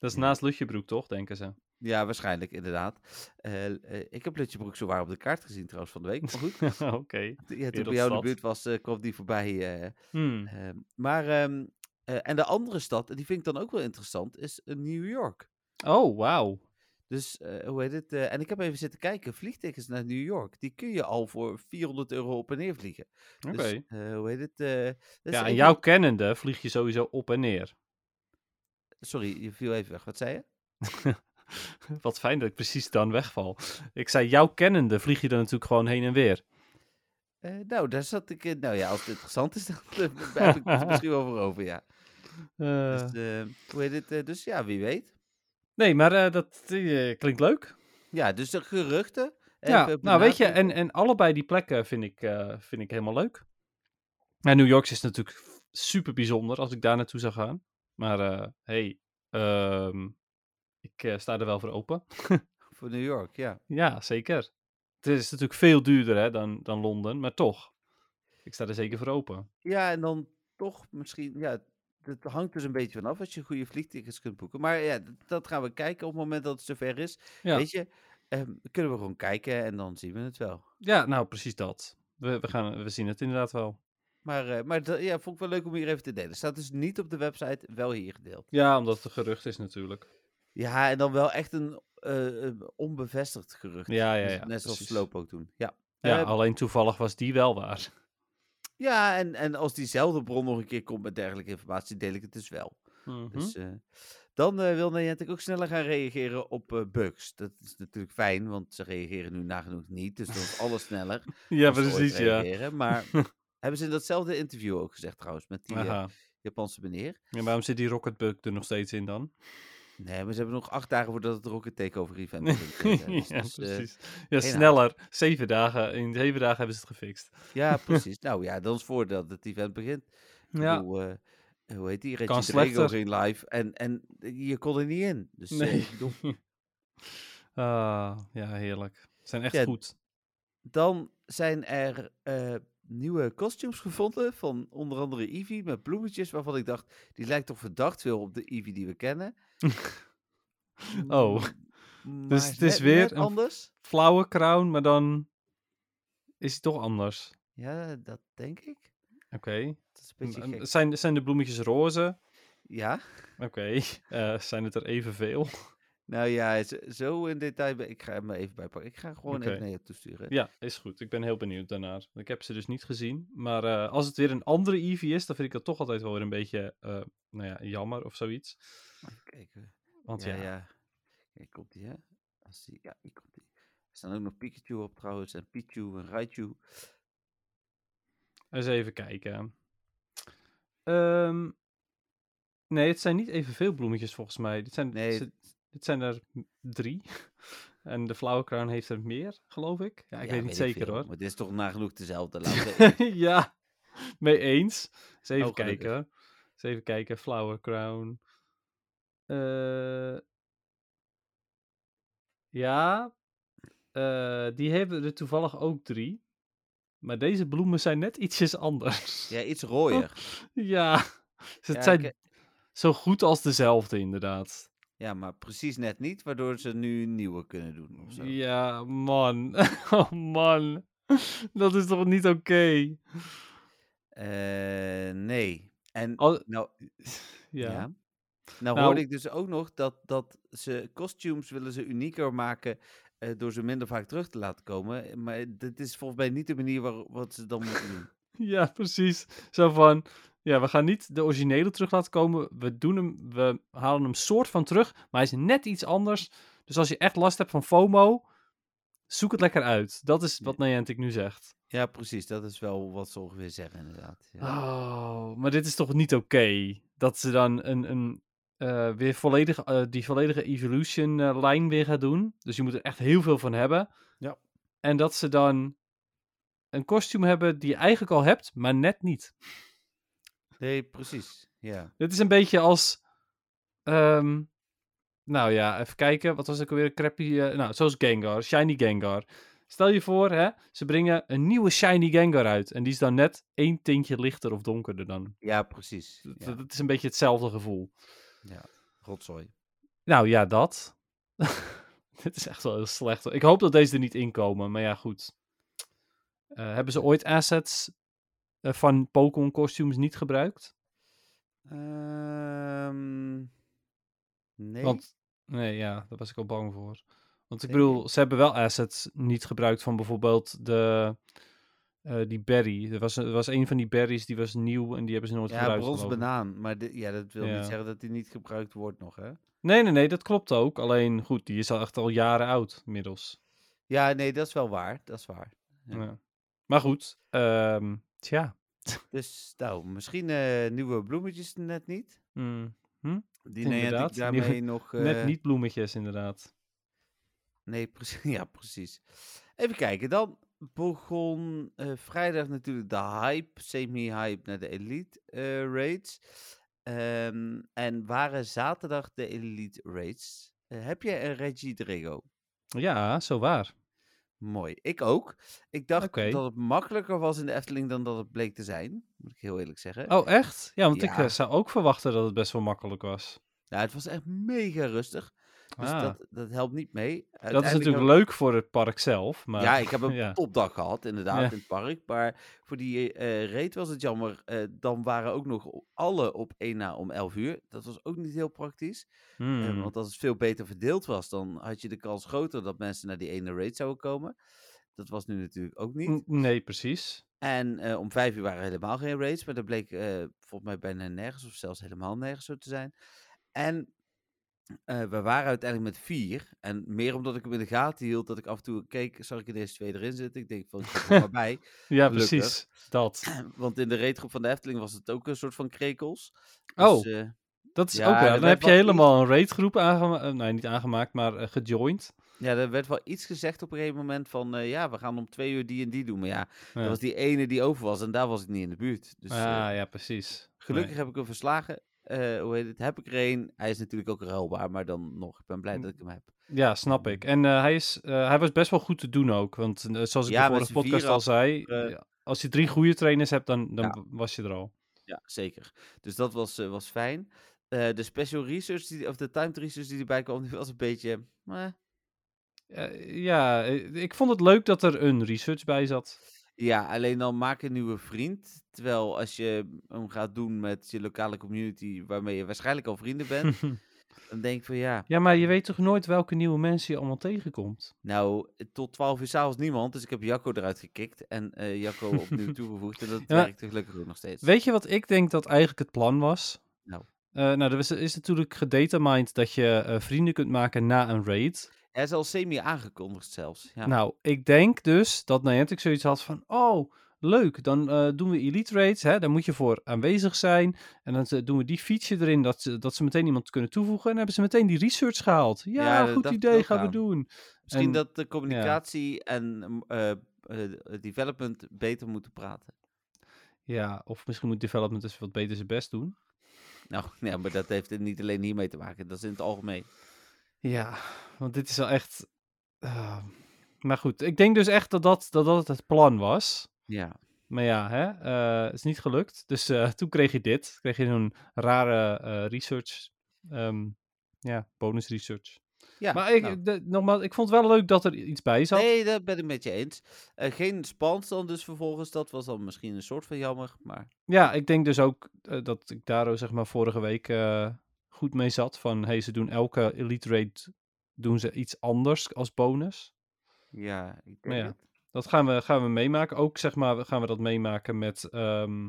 [SPEAKER 4] dat is naast Lutjebroek, toch, denken ze?
[SPEAKER 3] ja, waarschijnlijk, inderdaad. Eh, eh, ik heb Lutjebroek zowaar op de kaart gezien trouwens van de week, maar goed.
[SPEAKER 4] Oké.
[SPEAKER 3] Ja, toen bij jou in de
[SPEAKER 4] Wereldstad.
[SPEAKER 3] buurt was, eh, kwam die voorbij. eh,
[SPEAKER 4] Hmm.
[SPEAKER 3] ehm. maar, ehm, eh, en de andere stad, en die vind ik dan ook wel interessant, is eh, New York.
[SPEAKER 4] Oh, wauw.
[SPEAKER 3] Dus eh, hoe heet het? eh, en ik heb even zitten kijken, vliegtickets naar New York, die kun je al voor 400 euro op en neer vliegen.
[SPEAKER 4] Oké.
[SPEAKER 3] Dus, eh, hoe heet het? eh, dat is
[SPEAKER 4] ja,
[SPEAKER 3] een
[SPEAKER 4] en
[SPEAKER 3] van-
[SPEAKER 4] jouw kennende vlieg je sowieso op en neer.
[SPEAKER 3] Sorry, je viel even weg. Wat zei je?
[SPEAKER 4] Wat fijn dat ik precies dan wegval. Ik zei, jouw kennende vlieg je er natuurlijk gewoon heen en weer.
[SPEAKER 3] Eh, nou, daar zat ik. eh, nou ja, als het interessant is, dan eh, heb ik het misschien wel voor over. Ja.
[SPEAKER 4] Eh,
[SPEAKER 3] Dus, eh, hoe heet het? eh, dus ja, wie weet.
[SPEAKER 4] nee, maar eh, dat eh, klinkt leuk.
[SPEAKER 3] Ja, dus de geruchten.
[SPEAKER 4] Ja,
[SPEAKER 3] even
[SPEAKER 4] nou weet je,
[SPEAKER 3] benadrukken.
[SPEAKER 4] en, en allebei die plekken vind ik, eh, vind ik helemaal leuk. En New York is natuurlijk f- super bijzonder als ik daar naartoe zou gaan. Maar eh, hey, ehm, ik eh, sta er wel voor open.
[SPEAKER 3] Voor New York, ja.
[SPEAKER 4] Ja, zeker. Het is natuurlijk veel duurder hè, dan, dan Londen, maar toch. Ik sta er zeker voor open.
[SPEAKER 3] Ja, en dan toch misschien, ja, dat hangt dus een beetje vanaf als je goede vliegtickets kunt boeken. Maar ja, d- dat gaan we kijken op het moment dat het zover is.
[SPEAKER 4] Ja.
[SPEAKER 3] Weet je, ehm, kunnen we gewoon kijken en dan zien we het wel.
[SPEAKER 4] Ja, nou precies dat. We, we, gaan, we zien het inderdaad wel.
[SPEAKER 3] Maar, eh, maar dat- ja, vond ik wel leuk om hier even te delen. Staat dus niet op de website, wel hier gedeeld.
[SPEAKER 4] Ja, omdat het een gerucht is natuurlijk.
[SPEAKER 3] Ja, en dan wel echt een eh, eh, onbevestigd gerucht.
[SPEAKER 4] Ja, ja,
[SPEAKER 3] Net-
[SPEAKER 4] ja,
[SPEAKER 3] Dus Net zoals
[SPEAKER 4] precies.
[SPEAKER 3] Sloop ook toen. Ja.
[SPEAKER 4] Ja,
[SPEAKER 3] Eh,
[SPEAKER 4] alleen toevallig was die wel waar.
[SPEAKER 3] ja en, en als diezelfde bron nog een keer komt met dergelijke informatie, deel ik het dus wel.
[SPEAKER 4] Mhm.
[SPEAKER 3] Dus, eh, dan eh, wil Niantic ook sneller gaan reageren op eh, bugs. Dat is natuurlijk fijn, want ze reageren nu nagenoeg niet. Dus dan is alles sneller.
[SPEAKER 4] ja,
[SPEAKER 3] als ze ooit
[SPEAKER 4] precies, ja.
[SPEAKER 3] reageren. Maar hebben ze in datzelfde interview ook gezegd trouwens, met die eh,
[SPEAKER 4] Aha.
[SPEAKER 3] Japanse meneer.
[SPEAKER 4] En waarom zit die Rocketbug er nog steeds in dan?
[SPEAKER 3] Nee, maar ze hebben nog acht dagen voordat het Rocket Takeover event begint. eh, dus
[SPEAKER 4] ja,
[SPEAKER 3] dat is, eh,
[SPEAKER 4] precies. Ja,
[SPEAKER 3] geen
[SPEAKER 4] sneller. Zeven dagen. In zeven dagen hebben ze het gefixt.
[SPEAKER 3] ja, precies. Nou ja, dan is voordeel dat het event begint. Ik
[SPEAKER 4] Ja.
[SPEAKER 3] bedoel, eh, eh, hoe heet die?
[SPEAKER 4] Kan
[SPEAKER 3] Reggie Drago
[SPEAKER 4] slechter.
[SPEAKER 3] ging live en, en je kon er niet in. Dus eh,
[SPEAKER 4] Nee.
[SPEAKER 3] ik bedoel,
[SPEAKER 4] Ah, ja, heerlijk. Ze zijn echt
[SPEAKER 3] Ja,
[SPEAKER 4] goed.
[SPEAKER 3] Dan zijn er eh, nieuwe costumes gevonden van onder andere Eevee met bloemetjes, waarvan ik dacht, die lijkt toch verdacht veel op de Eevee die we kennen.
[SPEAKER 4] Oh.
[SPEAKER 3] M-
[SPEAKER 4] Dus
[SPEAKER 3] maar
[SPEAKER 4] het is
[SPEAKER 3] net-
[SPEAKER 4] weer
[SPEAKER 3] net
[SPEAKER 4] een-
[SPEAKER 3] anders.
[SPEAKER 4] Flauwe crown, maar dan is hij toch anders.
[SPEAKER 3] Ja, dat denk ik.
[SPEAKER 4] Oké.
[SPEAKER 3] Dat is een beetje
[SPEAKER 4] M- m-
[SPEAKER 3] gek.
[SPEAKER 4] Zijn, zijn de bloemetjes roze?
[SPEAKER 3] Ja,
[SPEAKER 4] Oké. Eh, zijn het er evenveel?
[SPEAKER 3] Nou ja, z- zo in detail. ben- Ik ga hem er even bij pakken. Ik ga gewoon
[SPEAKER 4] Oké.
[SPEAKER 3] even naar je toesturen.
[SPEAKER 4] Ja, is goed. Ik ben heel benieuwd daarnaar. Ik heb ze dus niet gezien. Maar eh, als het weer een andere Eevee is, dan vind ik dat toch altijd wel weer een beetje eh, nou ja, jammer of zoiets.
[SPEAKER 3] Kijken.
[SPEAKER 4] Want
[SPEAKER 3] ja,
[SPEAKER 4] ja,
[SPEAKER 3] ja. Kijk, komt die, hè? Als die, ja, hier komt die. Er staan ook nog Pikachu op trouwens. En Pichu en Raichu.
[SPEAKER 4] eens even kijken. Ehm, nee, het zijn niet evenveel bloemetjes volgens mij. Dit zijn,
[SPEAKER 3] Nee,
[SPEAKER 4] ze- dit zijn er m- drie. en de flauwekruin heeft er meer, geloof ik. Ja, ik weet niet zeker
[SPEAKER 3] veel,
[SPEAKER 4] hoor.
[SPEAKER 3] Maar dit is toch nagenoeg dezelfde. laten we eerlijk-
[SPEAKER 4] ja, mee eens. Eens even
[SPEAKER 3] Oh, gelukkig.
[SPEAKER 4] kijken. Eens even kijken. Flower Crown. Eh, ja, eh, die hebben er toevallig ook drie. Maar deze bloemen zijn net ietsjes anders.
[SPEAKER 3] ja, iets
[SPEAKER 4] Oh.
[SPEAKER 3] rooier.
[SPEAKER 4] ja, dus het
[SPEAKER 3] Ja,
[SPEAKER 4] zijn
[SPEAKER 3] ik-
[SPEAKER 4] zo goed als dezelfde inderdaad.
[SPEAKER 3] Ja, maar precies net niet. Waardoor ze nu een nieuwe kunnen doen. Of zo.
[SPEAKER 4] Ja, man. oh man. Dat is toch niet oké?
[SPEAKER 3] Eh, nee. En
[SPEAKER 4] Al-
[SPEAKER 3] nou,
[SPEAKER 4] Ja.
[SPEAKER 3] Ja. Nou,
[SPEAKER 4] Nou-
[SPEAKER 3] hoorde ik dus ook nog dat, dat ze costumes willen ze unieker maken eh, door ze minder vaak terug te laten komen. Eh, Maar dit is volgens mij niet de manier waar, wat ze dan moeten doen.
[SPEAKER 4] Ja, precies. Zo van, ja, we gaan niet de originele terug laten komen. We doen hem, we halen hem soort van terug, maar hij is net iets anders. Dus als je echt last hebt van FOMO, zoek het lekker uit. Dat is wat Niantic nu zegt.
[SPEAKER 3] Ja, precies. Dat is wel wat ze ongeveer zeggen, inderdaad. Ja.
[SPEAKER 4] Oh, maar dit is toch niet oké? Dat ze dan een, een, eh, weer volledig, eh, die volledige Evolution-lijn weer gaat doen. Dus je moet er echt heel veel van hebben.
[SPEAKER 3] Ja.
[SPEAKER 4] En dat ze dan een kostuum hebben die je eigenlijk al hebt, maar net niet.
[SPEAKER 3] Nee, precies. Ja.
[SPEAKER 4] Dit is een beetje als. ehm, nou ja, even kijken. Wat was het ook alweer? Crappy. eh, nou, zoals Gengar. Shiny Gengar. Stel je voor, hè, ze brengen een nieuwe Shiny Gengar uit. En die is dan net één tintje lichter of donkerder dan.
[SPEAKER 3] ja, precies.
[SPEAKER 4] Dat,
[SPEAKER 3] Ja.
[SPEAKER 4] dat is een beetje hetzelfde gevoel.
[SPEAKER 3] Rotzooi.
[SPEAKER 4] Nou ja, dat. Dit is echt wel heel slecht. hoor. Ik hoop dat deze er niet in komen. Maar ja, goed. Eh, hebben ze ooit assets eh, van Pokémon costumes niet gebruikt?
[SPEAKER 3] Ehm, nee.
[SPEAKER 4] Want, nee, ja, daar was ik al bang voor. Want ik
[SPEAKER 3] Nee.
[SPEAKER 4] bedoel, ze hebben wel assets niet gebruikt van bijvoorbeeld de, eh, die berry. Er was, er was een van die berries, die was nieuw en die hebben ze nooit
[SPEAKER 3] ja,
[SPEAKER 4] gebruikt.
[SPEAKER 3] brons
[SPEAKER 4] geloof ik.
[SPEAKER 3] banaan. Maar dit- ja, dat wil
[SPEAKER 4] Ja.
[SPEAKER 3] niet zeggen dat die niet gebruikt wordt nog, hè?
[SPEAKER 4] Nee, nee, nee, dat klopt ook. Alleen, goed, die is al echt al jaren oud inmiddels.
[SPEAKER 3] Ja, nee, dat is wel waar. Dat is waar. Ja.
[SPEAKER 4] Ja. Maar goed, ehm, tja.
[SPEAKER 3] Dus, nou, misschien eh, nieuwe bloemetjes net niet.
[SPEAKER 4] Mm,
[SPEAKER 3] Die neemt ik
[SPEAKER 4] Inderdaad,
[SPEAKER 3] daarmee
[SPEAKER 4] nieuwe-
[SPEAKER 3] nog... eh,
[SPEAKER 4] Net niet bloemetjes, inderdaad.
[SPEAKER 3] Nee, precies. Ja, precies. Even kijken, dan begon eh, vrijdag natuurlijk de hype, semi-hype naar de Elite eh, Raids. Ehm, en waren zaterdag de Elite Raids. Eh, heb je een Reggie Drago?
[SPEAKER 4] Ja, zo waar.
[SPEAKER 3] Mooi. Ik ook. Ik dacht
[SPEAKER 4] Oké.
[SPEAKER 3] dat het makkelijker was in de Efteling dan dat het bleek te zijn. Moet ik heel eerlijk zeggen.
[SPEAKER 4] Oh, echt? Ja, want ik
[SPEAKER 3] Ja.
[SPEAKER 4] eh, zou ook verwachten dat het best wel makkelijk was.
[SPEAKER 3] Nou, het was echt mega rustig. Dus
[SPEAKER 4] Ah.
[SPEAKER 3] dat, dat helpt niet mee.
[SPEAKER 4] Dat is
[SPEAKER 3] Uiteindelijk
[SPEAKER 4] natuurlijk
[SPEAKER 3] hebben-
[SPEAKER 4] leuk voor het park zelf, maar...
[SPEAKER 3] Ja, ik heb een
[SPEAKER 4] ja.
[SPEAKER 3] topdag gehad, inderdaad,
[SPEAKER 4] Ja.
[SPEAKER 3] in het park. Maar voor die eh reet was het jammer. eh, dan waren ook nog o- alle op één na om 11 uur. Dat was ook niet heel praktisch. eh,
[SPEAKER 4] Hmm.
[SPEAKER 3] want als het veel beter verdeeld was, dan had je de kans groter dat mensen naar die ene raid zouden komen. Dat was nu natuurlijk ook niet.
[SPEAKER 4] N- Nee, precies.
[SPEAKER 3] En eh, om vijf uur waren er helemaal geen raids. Maar dat bleek eh, volgens mij bijna nergens of zelfs helemaal nergens zo te zijn. En eh, we waren uiteindelijk met vier. En meer omdat ik hem in de gaten hield, dat ik af en toe keek, zag ik er deze twee erin zitten. Ik denk van, ik zit er maar bij.
[SPEAKER 4] Ja,
[SPEAKER 3] Gelukkig.
[SPEAKER 4] precies. Dat.
[SPEAKER 3] Want in de raidgroep van de Efteling was het ook een soort van krekels.
[SPEAKER 4] Oh,
[SPEAKER 3] Dus, eh,
[SPEAKER 4] Dat is
[SPEAKER 3] ja,
[SPEAKER 4] ook
[SPEAKER 3] er
[SPEAKER 4] wel. Dan
[SPEAKER 3] werd
[SPEAKER 4] heb je
[SPEAKER 3] wat
[SPEAKER 4] helemaal een raidgroep aangemaakt. eh, nee, niet aangemaakt, maar eh, gejoind.
[SPEAKER 3] ja, er werd wel iets gezegd op een gegeven moment van, eh, ja, we gaan om twee uur die en die doen. Maar ja,
[SPEAKER 4] Ja.
[SPEAKER 3] dat was die ene die over was en daar was ik niet in de buurt. Dus eh,
[SPEAKER 4] ah, ja, precies.
[SPEAKER 3] Gelukkig heb ik hem verslagen. Eh, hoe heet het? Heb ik er een. Hij is natuurlijk ook ruilbaar, maar dan nog. Ik ben blij
[SPEAKER 4] Mm.
[SPEAKER 3] dat ik hem heb.
[SPEAKER 4] Nee. Ja, snap ik. En eh, hij, is, eh, hij was best wel goed te doen ook. Want eh, zoals ik
[SPEAKER 3] Ja, met
[SPEAKER 4] de vorige
[SPEAKER 3] z'n
[SPEAKER 4] podcast
[SPEAKER 3] vieren
[SPEAKER 4] al zei,
[SPEAKER 3] eh,
[SPEAKER 4] ja, als je drie goede trainers hebt, dan, dan
[SPEAKER 3] Ja.
[SPEAKER 4] w- was je er al.
[SPEAKER 3] Ja, zeker. Dus dat was, eh, was fijn. Eh, de special research, die, of de timed research die erbij kwam, die was een beetje... meh.
[SPEAKER 4] Eh, ja, eh, ik vond het leuk dat er een research bij zat.
[SPEAKER 3] Ja, alleen dan maak een nieuwe vriend. Terwijl als je hem gaat doen met je lokale community, waarmee je waarschijnlijk al vrienden bent, Dan denk ik van ja,
[SPEAKER 4] Ja, maar je weet toch nooit welke nieuwe mensen je allemaal tegenkomt?
[SPEAKER 3] nou, tot 12 uur s'avonds niemand. Dus ik heb Jacco eruit gekikt en eh, Jacco opnieuw toegevoegd. En dat
[SPEAKER 4] Ja.
[SPEAKER 3] werkte gelukkig ook nog steeds.
[SPEAKER 4] Weet je wat ik denk dat eigenlijk het plan was?
[SPEAKER 3] Nou.
[SPEAKER 4] Eh, nou, er is, is natuurlijk gedatamined dat je eh, vrienden kunt maken na een raid.
[SPEAKER 3] Hij is al semi aangekondigd zelfs. Ja.
[SPEAKER 4] Nou, ik denk dus dat Niantic zoiets had van... Oh, leuk, dan eh, doen we elite raids. Hè? Daar moet je voor aanwezig zijn. En dan eh, doen we die feature erin dat ze, dat ze meteen iemand kunnen toevoegen. En dan hebben ze meteen die research gehaald. Ja,
[SPEAKER 3] Ja, dat
[SPEAKER 4] goed
[SPEAKER 3] dacht ik
[SPEAKER 4] idee,
[SPEAKER 3] ook
[SPEAKER 4] gaan we
[SPEAKER 3] aan.
[SPEAKER 4] doen.
[SPEAKER 3] Misschien
[SPEAKER 4] en-
[SPEAKER 3] dat de communicatie en eh, eh, eh, development beter moeten praten.
[SPEAKER 4] Ja, of misschien moet development eens wat beter zijn best doen.
[SPEAKER 3] Nou, ja, maar dat heeft het niet alleen hiermee te maken. Dat is in het algemeen.
[SPEAKER 4] Ja, want dit is wel echt... ah. maar goed, ik denk dus echt dat dat, dat, dat het plan was.
[SPEAKER 3] Ja.
[SPEAKER 4] Maar ja, hè, eh, het is niet gelukt. Dus eh, toen kreeg je dit. Kreeg je zo'n rare eh, research. ehm, ja, bonus research.
[SPEAKER 3] ja
[SPEAKER 4] maar ik,
[SPEAKER 3] nou.
[SPEAKER 4] de- nogmaals, ik vond het wel leuk dat er iets bij zat.
[SPEAKER 3] Nee, dat ben ik met je eens. Eh, geen spans dan dus vervolgens. Dat was dan misschien een soort van jammer. Maar
[SPEAKER 4] Ja, ik denk dus ook eh, dat ik daar ook, zeg maar vorige week eh, goed mee zat. Van, hey, ze doen elke elite raid doen ze iets anders als bonus.
[SPEAKER 3] ja, ik
[SPEAKER 4] Maar
[SPEAKER 3] denk
[SPEAKER 4] ja.
[SPEAKER 3] het.
[SPEAKER 4] Dat gaan we, gaan we meemaken. Ook zeg maar, we- gaan we dat meemaken met ehm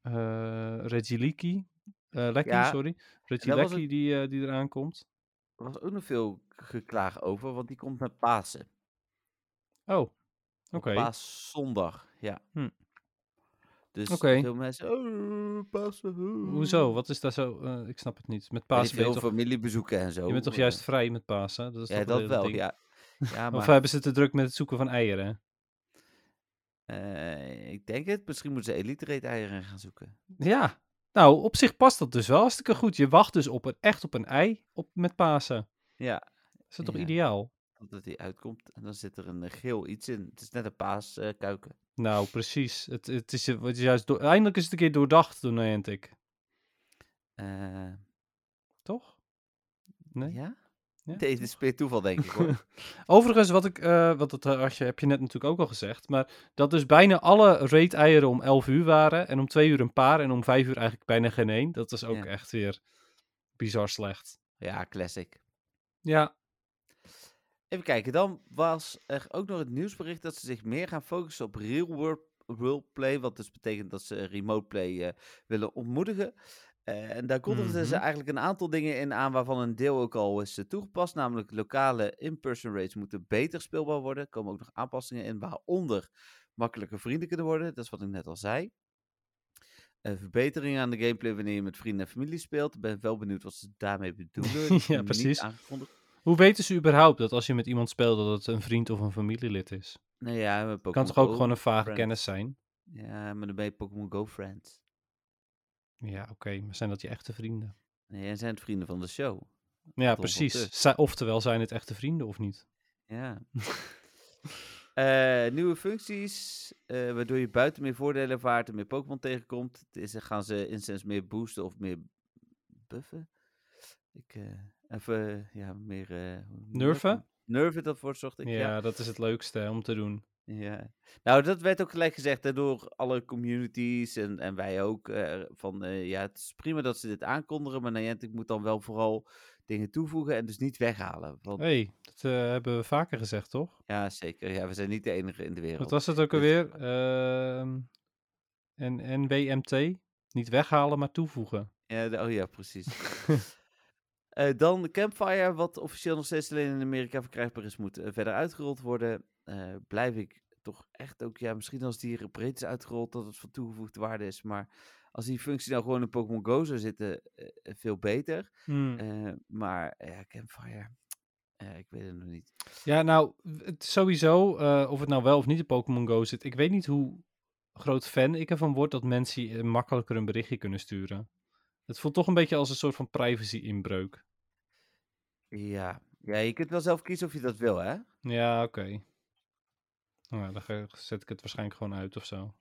[SPEAKER 4] eh Regiliki. Eh, Lekki,
[SPEAKER 3] Ja,
[SPEAKER 4] sorry.
[SPEAKER 3] was
[SPEAKER 4] Regiliki
[SPEAKER 3] het-
[SPEAKER 4] die, eh, die eraan komt.
[SPEAKER 3] Er was ook nog veel geklaag over, want die komt met Pasen.
[SPEAKER 4] Oh, oké.
[SPEAKER 3] Op Paaszondag, ja.
[SPEAKER 4] Hm.
[SPEAKER 3] Dus
[SPEAKER 4] Oké.
[SPEAKER 3] veel mensen... Oh, Pasen. oh."
[SPEAKER 4] Hoezo? Wat is daar zo? eh, ik snap het niet. Met
[SPEAKER 3] Weet ik
[SPEAKER 4] Pasen ben je
[SPEAKER 3] veel
[SPEAKER 4] toch,
[SPEAKER 3] familiebezoeken en zo.
[SPEAKER 4] je bent toch
[SPEAKER 3] maar-
[SPEAKER 4] juist vrij met Pasen? Dat is
[SPEAKER 3] Ja,
[SPEAKER 4] toch
[SPEAKER 3] dat
[SPEAKER 4] hele
[SPEAKER 3] wel,
[SPEAKER 4] ding?
[SPEAKER 3] ja. Ja,
[SPEAKER 4] Of
[SPEAKER 3] maar
[SPEAKER 4] hebben ze te druk met het zoeken van eieren?
[SPEAKER 3] eh, ik denk het. Misschien moeten ze Elite Raid eieren gaan zoeken.
[SPEAKER 4] Ja. Nou, op zich past dat dus wel hartstikke goed. Je wacht dus op een, echt op een ei op, met Pasen.
[SPEAKER 3] Ja,
[SPEAKER 4] Is dat toch
[SPEAKER 3] Ja.
[SPEAKER 4] ideaal?
[SPEAKER 3] dat die uitkomt en dan zit er een eh, geel iets in. Het is net een paaskuiken. kuiken.
[SPEAKER 4] Nou, precies. Het, het, is, het is juist door- Eindelijk is het een keer doordacht door Niantic.
[SPEAKER 3] Eh,
[SPEAKER 4] Toch? Nee?
[SPEAKER 3] Ja?
[SPEAKER 4] Ja,
[SPEAKER 3] Dit is meer toeval, denk ik hoor.
[SPEAKER 4] Overigens, wat ik, eh wat dat had je, heb je net natuurlijk ook al gezegd, maar dat dus bijna alle raid-eieren om 11 uur waren en om 2 uur een paar en om 5 uur eigenlijk bijna geen één. Dat is ook
[SPEAKER 3] Ja.
[SPEAKER 4] echt weer bizar slecht.
[SPEAKER 3] ja, classic.
[SPEAKER 4] Ja,
[SPEAKER 3] Even kijken, dan was er ook nog het nieuwsbericht dat ze zich meer gaan focussen op real world, world play. Wat dus betekent dat ze remote play eh, willen ontmoedigen. Eh, en daar kondigden ze
[SPEAKER 4] Mhm.
[SPEAKER 3] eigenlijk een aantal dingen in aan waarvan een deel ook al is eh, toegepast. Namelijk lokale in-person raids moeten beter speelbaar worden. Er komen ook nog aanpassingen in waaronder makkelijker vrienden kunnen worden. Dat is wat ik net al zei. Eh, verbeteringen aan de gameplay wanneer je met vrienden en familie speelt. Ik ben wel benieuwd wat ze daarmee bedoelen. Dat is
[SPEAKER 4] Ja,
[SPEAKER 3] nog niet
[SPEAKER 4] precies.
[SPEAKER 3] aangekondigd.
[SPEAKER 4] hoe weten ze überhaupt dat als je met iemand speelt dat het een vriend of een familielid is?
[SPEAKER 3] Nou ja, met
[SPEAKER 4] kan
[SPEAKER 3] Pokémon
[SPEAKER 4] toch ook
[SPEAKER 3] Go.
[SPEAKER 4] gewoon een vage
[SPEAKER 3] friend.
[SPEAKER 4] kennis zijn?
[SPEAKER 3] Ja, maar dan ben je Pokémon Go friends.
[SPEAKER 4] Ja, oké, maar zijn dat je echte vrienden?
[SPEAKER 3] Nee, en zijn het vrienden van de show.
[SPEAKER 4] Ja,
[SPEAKER 3] Tot op
[SPEAKER 4] precies.
[SPEAKER 3] dus.
[SPEAKER 4] Zij- oftewel, zijn het echte vrienden of niet?
[SPEAKER 3] Ja. Eh, nieuwe functies, eh, waardoor je buiten meer voordelen ervaart en meer Pokémon tegenkomt. Het Is, eh, gaan ze instance meer boosten of meer buffen? Ik, eh, even, ja, meer... eh, hoe noem je dat?
[SPEAKER 4] Nerven?
[SPEAKER 3] Nerven, dat woord zocht ik,
[SPEAKER 4] ja,
[SPEAKER 3] ja.
[SPEAKER 4] dat is het leukste hè, om te doen.
[SPEAKER 3] Ja. Nou, dat werd ook gelijk gezegd hè, door alle communities en, en wij ook. eh, van eh, ja, het is prima dat ze dit aankondigen, maar Niantic moet dan wel vooral dingen toevoegen en dus niet weghalen. Want,
[SPEAKER 4] Hé, hey, dat eh, hebben we vaker gezegd, toch?
[SPEAKER 3] Ja, zeker. Ja, we zijn niet de enige in de wereld.
[SPEAKER 4] Wat was het ook
[SPEAKER 3] Dus-
[SPEAKER 4] alweer? Ehm en NWMT? Niet weghalen, maar toevoegen.
[SPEAKER 3] Ja, de- oh ja, precies. Eh, dan Campfire, wat officieel nog steeds alleen in Amerika verkrijgbaar is, moet eh, verder uitgerold worden. Eh, blijf ik toch echt ook, ja, misschien als die hier breed is uitgerold, dat het van toegevoegde waarde is. Maar als die functie nou gewoon in Pokémon Go zou zitten, eh, eh, veel beter.
[SPEAKER 4] Hmm.
[SPEAKER 3] Eh, maar ja, Campfire. eh, ik weet het nog niet.
[SPEAKER 4] Ja, nou, het, sowieso, eh, of het nou wel of niet in Pokémon Go zit. Ik weet niet hoe groot fan ik ervan word dat mensen eh, makkelijker een berichtje kunnen sturen. Het voelt toch een beetje als een soort van privacy-inbreuk.
[SPEAKER 3] Ja. ja, je kunt wel zelf kiezen of je dat wil, hè?
[SPEAKER 4] Ja, oké. Nou, ja, dan ga- zet ik het waarschijnlijk gewoon uit of zo.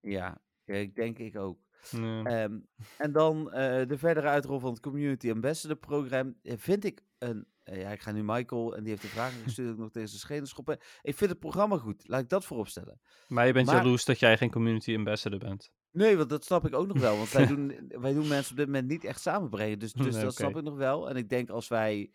[SPEAKER 3] Ja, ja ik denk ik ook.
[SPEAKER 4] Ja.
[SPEAKER 3] Ehm, en dan eh, de verdere uitrol van het Community Ambassador Program. eh, Vind ik een... eh, ja, ik ga nu Michael, en die heeft de vragen gestuurd, ook nog tegen zijn schenen schoppen. Ik vind het programma goed, laat ik dat vooropstellen.
[SPEAKER 4] Maar je bent
[SPEAKER 3] Maar-
[SPEAKER 4] jaloers dat jij geen community ambassador bent.
[SPEAKER 3] Nee, want dat snap ik ook nog wel. Want wij doen, wij doen mensen op dit moment niet echt samenbrengen. Dus, dus
[SPEAKER 4] Nee,
[SPEAKER 3] dat
[SPEAKER 4] oké.
[SPEAKER 3] snap ik nog wel. En ik denk als wij,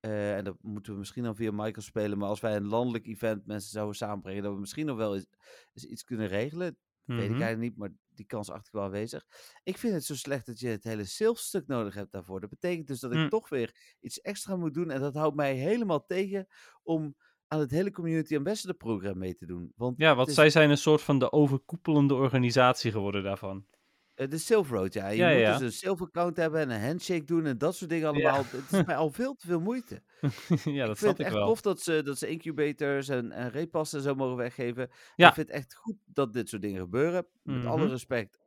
[SPEAKER 3] eh, en dat moeten we misschien dan via Michael spelen, maar als wij een landelijk event mensen zouden samenbrengen, dat we misschien nog wel eens, eens iets kunnen regelen. Weet ik
[SPEAKER 4] Mhm.
[SPEAKER 3] eigenlijk niet, maar die kans acht ik wel aanwezig. Ik vind het zo slecht dat je het hele salesstuk nodig hebt daarvoor. Dat betekent dus dat ik
[SPEAKER 4] Mm.
[SPEAKER 3] toch weer iets extra moet doen. En dat houdt mij helemaal tegen om aan het hele Community Ambassador programma mee te doen. Want
[SPEAKER 4] Ja, want
[SPEAKER 3] is-
[SPEAKER 4] zij zijn een soort van de overkoepelende organisatie geworden daarvan.
[SPEAKER 3] Eh, de Silver Road, ja. Je
[SPEAKER 4] Ja,
[SPEAKER 3] moet
[SPEAKER 4] ja.
[SPEAKER 3] dus een Silver account hebben en een handshake doen en dat soort dingen allemaal. Het is mij al veel te veel moeite.
[SPEAKER 4] ja, dat
[SPEAKER 3] ik vind
[SPEAKER 4] snap
[SPEAKER 3] het
[SPEAKER 4] ik
[SPEAKER 3] echt
[SPEAKER 4] wel.
[SPEAKER 3] tof dat ze, dat ze incubators en, en repassen en zo mogen weggeven.
[SPEAKER 4] Ja.
[SPEAKER 3] Ik vind het echt goed dat dit soort dingen gebeuren. Met alle
[SPEAKER 4] Mhm.
[SPEAKER 3] respect.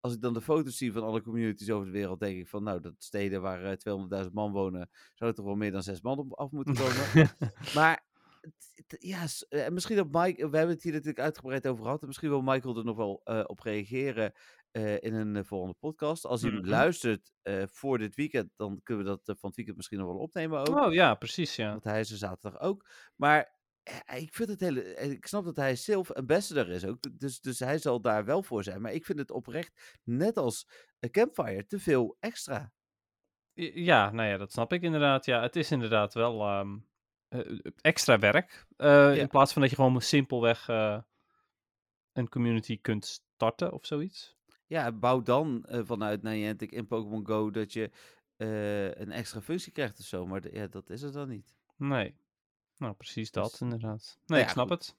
[SPEAKER 3] Als ik dan de foto's zie van alle communities over de wereld, denk ik van nou, dat steden waar eh, 200.000 man wonen, zou er toch wel meer dan zes man op af moeten komen. Maar het- het- ja, s- eh, misschien dat Mike, we hebben het hier natuurlijk uitgebreid over gehad. En misschien wil Michael er nog wel eh, op reageren eh, in een eh, volgende podcast. Als hij hem
[SPEAKER 4] Mhm.
[SPEAKER 3] luistert eh, voor dit weekend, dan kunnen we dat eh, van het weekend misschien nog wel opnemen ook.
[SPEAKER 4] oh ja, precies, ja.
[SPEAKER 3] Want hij is er zaterdag ook. Maar eh, ik vind het hele. eh, Ik snap dat hij zelf ambassador is ook. d- Dus, dus hij zal daar wel voor zijn. Maar ik vind het oprecht, net als eh, Campfire, te veel extra.
[SPEAKER 4] I- Ja, nou ja, dat snap ik inderdaad. Ja, het is inderdaad wel ehm, eh, extra werk. eh,
[SPEAKER 3] Ja.
[SPEAKER 4] In plaats van dat je gewoon simpelweg eh, een community kunt starten of zoiets.
[SPEAKER 3] Ja, bouw dan eh, vanuit Niantic in Pokémon Go dat je eh, een extra functie krijgt of zo. Maar d- ja, dat is er dan niet.
[SPEAKER 4] Nee. Nou, precies
[SPEAKER 3] Dus-
[SPEAKER 4] dat inderdaad. Nee,
[SPEAKER 3] Nou
[SPEAKER 4] ik
[SPEAKER 3] ja,
[SPEAKER 4] snap
[SPEAKER 3] goed.
[SPEAKER 4] het.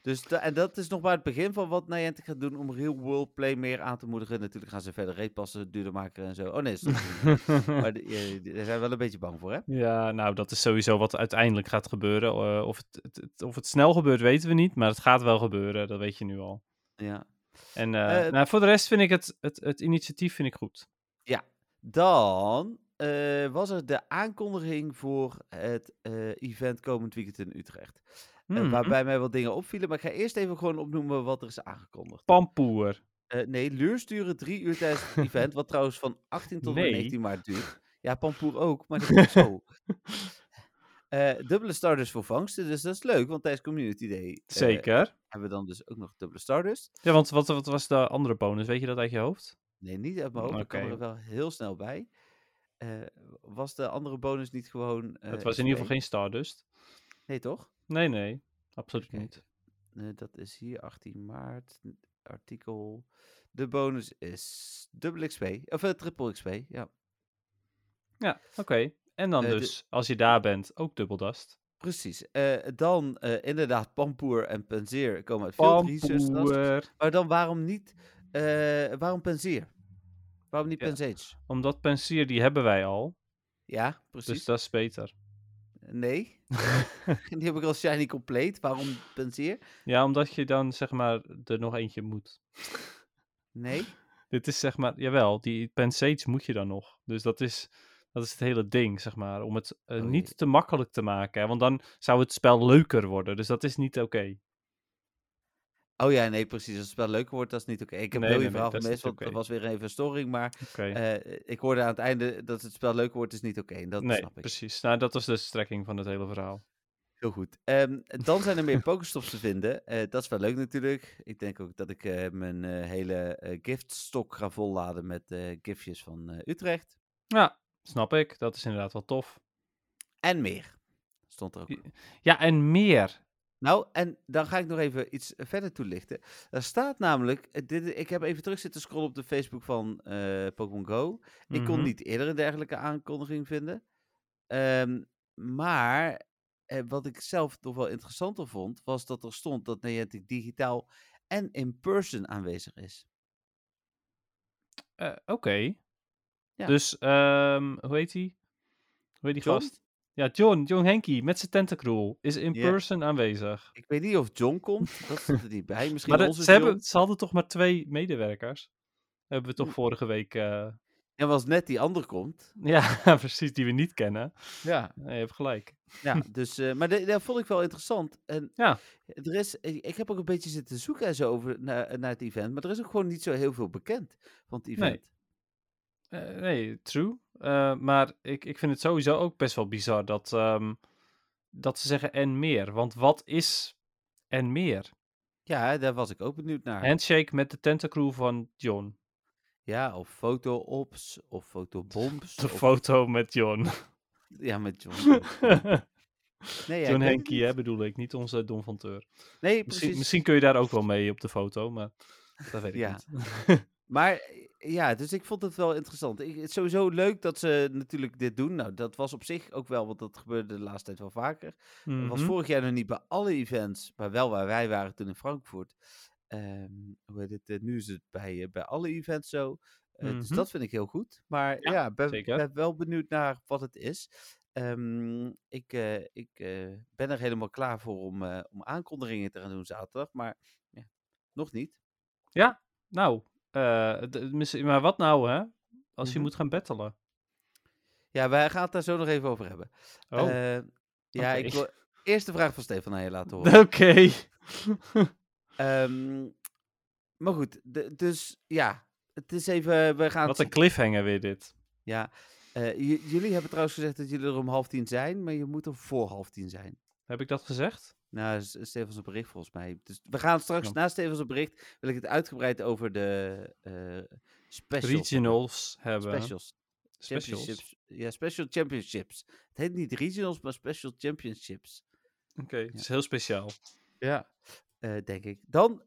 [SPEAKER 3] Dus da- en dat is nog maar het begin van wat Niantic gaat doen om real world play meer aan te moedigen. Natuurlijk gaan ze verder reetpassen, duurder maken en zo. Oh nee, dat is nog niet. maar die- eh, die- daar zijn we wel een beetje bang voor, hè?
[SPEAKER 4] Ja, nou, dat is sowieso wat uiteindelijk gaat gebeuren. Eh, of, het, het- het- of het snel gebeurt, weten we niet. Maar het gaat wel gebeuren, dat weet je nu al.
[SPEAKER 3] Ja.
[SPEAKER 4] En eh,
[SPEAKER 3] Eh,
[SPEAKER 4] nou, voor de rest vind ik het, het, het initiatief vind ik goed.
[SPEAKER 3] Dan eh, was er de aankondiging voor het eh, event komend weekend in Utrecht. Eh,
[SPEAKER 4] Hmm,
[SPEAKER 3] waarbij mij wat dingen opvielen. Maar ik ga eerst even gewoon opnoemen wat er is aangekondigd.
[SPEAKER 4] Pampoer.
[SPEAKER 3] Eh, nee, luursturen drie uur tijdens het event. Wat trouwens van 18 tot en met
[SPEAKER 4] Nee.
[SPEAKER 3] 19 maart duurt. Ja, Pampoer ook, maar dat is zo. Eh, dubbele starters voor vangsten, dus dat is leuk, want tijdens Community Day eh,
[SPEAKER 4] Zeker.
[SPEAKER 3] hebben we dan dus ook nog dubbele starters.
[SPEAKER 4] Ja, want wat, wat was de andere bonus? Weet je dat uit je hoofd?
[SPEAKER 3] Nee, niet uit mijn hoofd, ik kwam
[SPEAKER 4] Oké.
[SPEAKER 3] er wel heel snel bij. Eh, was de andere bonus niet gewoon... eh,
[SPEAKER 4] het was in ieder geval
[SPEAKER 3] twee?
[SPEAKER 4] geen Stardust.
[SPEAKER 3] Nee, toch?
[SPEAKER 4] Nee, nee. Absoluut
[SPEAKER 3] Oké.
[SPEAKER 4] niet.
[SPEAKER 3] Nee, dat is hier 18 maart, n- artikel. De bonus is dubbel XP, of eh, triple XP, ja.
[SPEAKER 4] Ja, oké. En dan
[SPEAKER 3] Eh, de-
[SPEAKER 4] dus, als je daar bent, ook dubbeldust.
[SPEAKER 3] Precies. Eh, dan eh, inderdaad, Pampoer en Penzeer komen uit Field Research. Trust.
[SPEAKER 4] Pampoer.
[SPEAKER 3] Maar dan waarom niet, eh, waarom Penzeer? Waarom niet
[SPEAKER 4] Ja.
[SPEAKER 3] Pensage?
[SPEAKER 4] Omdat pensier, die hebben wij al.
[SPEAKER 3] Ja, precies.
[SPEAKER 4] Dus dat is beter.
[SPEAKER 3] Nee, die heb ik als shiny compleet. Waarom Penzeer?
[SPEAKER 4] ja, omdat je dan zeg maar er nog eentje moet.
[SPEAKER 3] Nee.
[SPEAKER 4] Dit is zeg maar, jawel, die pensates moet je dan nog. Dus dat is, dat is het hele ding, zeg maar. Om het eh,
[SPEAKER 3] Oh jee.
[SPEAKER 4] niet te makkelijk te maken. Hè? Want dan zou het spel leuker worden. Dus dat is niet oké.
[SPEAKER 3] Oh ja, nee, precies. Als het spel leuker wordt, dat is niet oké. Ik heb
[SPEAKER 4] Nee,
[SPEAKER 3] heel
[SPEAKER 4] nee,
[SPEAKER 3] je
[SPEAKER 4] nee,
[SPEAKER 3] verhaal
[SPEAKER 4] dat is
[SPEAKER 3] gemist,
[SPEAKER 4] niet
[SPEAKER 3] want er
[SPEAKER 4] oké.
[SPEAKER 3] was weer even een storing. Maar
[SPEAKER 4] Oké.
[SPEAKER 3] eh, ik hoorde aan het einde dat het spel leuker wordt, is niet oké. en Dat
[SPEAKER 4] nee,
[SPEAKER 3] snap ik.
[SPEAKER 4] precies. Nou, dat was de strekking van het hele verhaal.
[SPEAKER 3] Heel goed. Ehm, dan zijn er meer Pokestops te vinden. Eh, dat is wel leuk natuurlijk. Ik denk ook dat ik eh, mijn eh, hele eh, giftstok ga volladen met eh giftjes van eh, Utrecht.
[SPEAKER 4] Ja, snap ik. Dat is inderdaad wel tof.
[SPEAKER 3] En meer. Stond er ook.
[SPEAKER 4] Ja. Ja, en meer.
[SPEAKER 3] Nou, en dan ga ik nog even iets verder toelichten. Er staat namelijk, eh, dit, ik heb even terug zitten scrollen op de Facebook van eh, Pokémon Go. Ik kon
[SPEAKER 4] Mhm.
[SPEAKER 3] niet eerder een dergelijke aankondiging vinden. Ehm, maar eh, wat ik zelf nog wel interessanter vond, was dat er stond dat Niantic digitaal en in-person aanwezig is.
[SPEAKER 4] Eh, Oké.
[SPEAKER 3] Ja.
[SPEAKER 4] Dus, ehm, hoe heet die? Hoe heet die
[SPEAKER 3] John?
[SPEAKER 4] gast? Ja, John, John Henky met zijn tentacruel is in
[SPEAKER 3] Ja.
[SPEAKER 4] person aanwezig.
[SPEAKER 3] Ik weet niet of John komt, dat stond er niet bij. Misschien
[SPEAKER 4] Maar dat-
[SPEAKER 3] onze
[SPEAKER 4] ze, hebben,
[SPEAKER 3] John.
[SPEAKER 4] ze hadden toch maar twee medewerkers? Hebben we toch vorige week... eh,
[SPEAKER 3] En was net die ander komt.
[SPEAKER 4] ja, precies, die we niet kennen.
[SPEAKER 3] Ja,
[SPEAKER 4] Nee, je hebt gelijk.
[SPEAKER 3] Ja, dus, eh, maar de- dat vond ik wel interessant. En
[SPEAKER 4] Ja.
[SPEAKER 3] er is, eh, ik ik heb ook een beetje zitten zoeken en zo over naar, naar het event, maar er is ook gewoon niet zo heel veel bekend van het event.
[SPEAKER 4] Eh, nee, true. Eh, maar ik, ik vind het sowieso ook best wel bizar dat, ehm, dat ze zeggen en meer. Want wat is en meer?
[SPEAKER 3] Ja, daar was ik ook benieuwd naar.
[SPEAKER 4] Handshake met de tentacrew van John.
[SPEAKER 3] Ja, of foto-ops, of fotobombs.
[SPEAKER 4] De
[SPEAKER 3] of-
[SPEAKER 4] foto met John.
[SPEAKER 3] Ja, met John. Nee, ja, ik weet
[SPEAKER 4] John
[SPEAKER 3] het
[SPEAKER 4] Henkie, hè,
[SPEAKER 3] niet.
[SPEAKER 4] bedoel ik. Niet onze Don van Teur.
[SPEAKER 3] Nee,
[SPEAKER 4] Misschien,
[SPEAKER 3] precies.
[SPEAKER 4] misschien kun je daar ook wel mee op de foto, maar dat weet ik
[SPEAKER 3] Ja.
[SPEAKER 4] niet.
[SPEAKER 3] Maar eh, ja, dus ik vond het wel interessant. Ik, het is sowieso leuk dat ze natuurlijk dit doen. Nou, dat was op zich ook wel, want dat gebeurde de laatste tijd wel vaker. Dat was
[SPEAKER 4] Mhm.
[SPEAKER 3] vorig jaar nog niet bij alle events, maar wel waar wij waren toen in Frankfurt. Ehm, hoe heet het? eh, Nu is het bij, eh, bij alle events zo. Eh, Dus
[SPEAKER 4] Mhm.
[SPEAKER 3] dat vind ik heel goed. Maar ja, ben,
[SPEAKER 4] zeker.
[SPEAKER 3] ben wel benieuwd naar wat het is. Ehm, ik eh, ik eh, ben er helemaal klaar voor om, eh, om aankondigingen te gaan doen zaterdag. Maar ja, nog niet.
[SPEAKER 4] Nou, eh, d- misschien- maar wat nou, hè? Als je
[SPEAKER 3] Mhm.
[SPEAKER 4] moet gaan battelen.
[SPEAKER 3] Ja, wij gaan het daar zo nog even over hebben.
[SPEAKER 4] Oh,
[SPEAKER 3] Eh, ja,
[SPEAKER 4] oké.
[SPEAKER 3] ik wil eerst de vraag van Stefan aan je laten horen.
[SPEAKER 4] oké.
[SPEAKER 3] Ehm, maar goed, de- dus ja, het is even, we gaan...
[SPEAKER 4] Wat
[SPEAKER 3] het-
[SPEAKER 4] een cliffhanger weer dit.
[SPEAKER 3] Ja, eh, j- jullie hebben trouwens gezegd dat jullie er om half tien zijn, maar je moet er voor half tien zijn.
[SPEAKER 4] Heb ik dat gezegd?
[SPEAKER 3] Nou, S- Stefans bericht volgens mij. Dus we gaan straks,
[SPEAKER 4] Ja.
[SPEAKER 3] na Stefans bericht, wil ik het uitgebreid over de eh specials.
[SPEAKER 4] Regionals hebben.
[SPEAKER 3] Specials.
[SPEAKER 4] Specials.
[SPEAKER 3] Championships. Ja, special championships. Het heet niet regionals, maar special championships.
[SPEAKER 4] Oké, het is heel speciaal.
[SPEAKER 3] Ja. denk ik. Dan,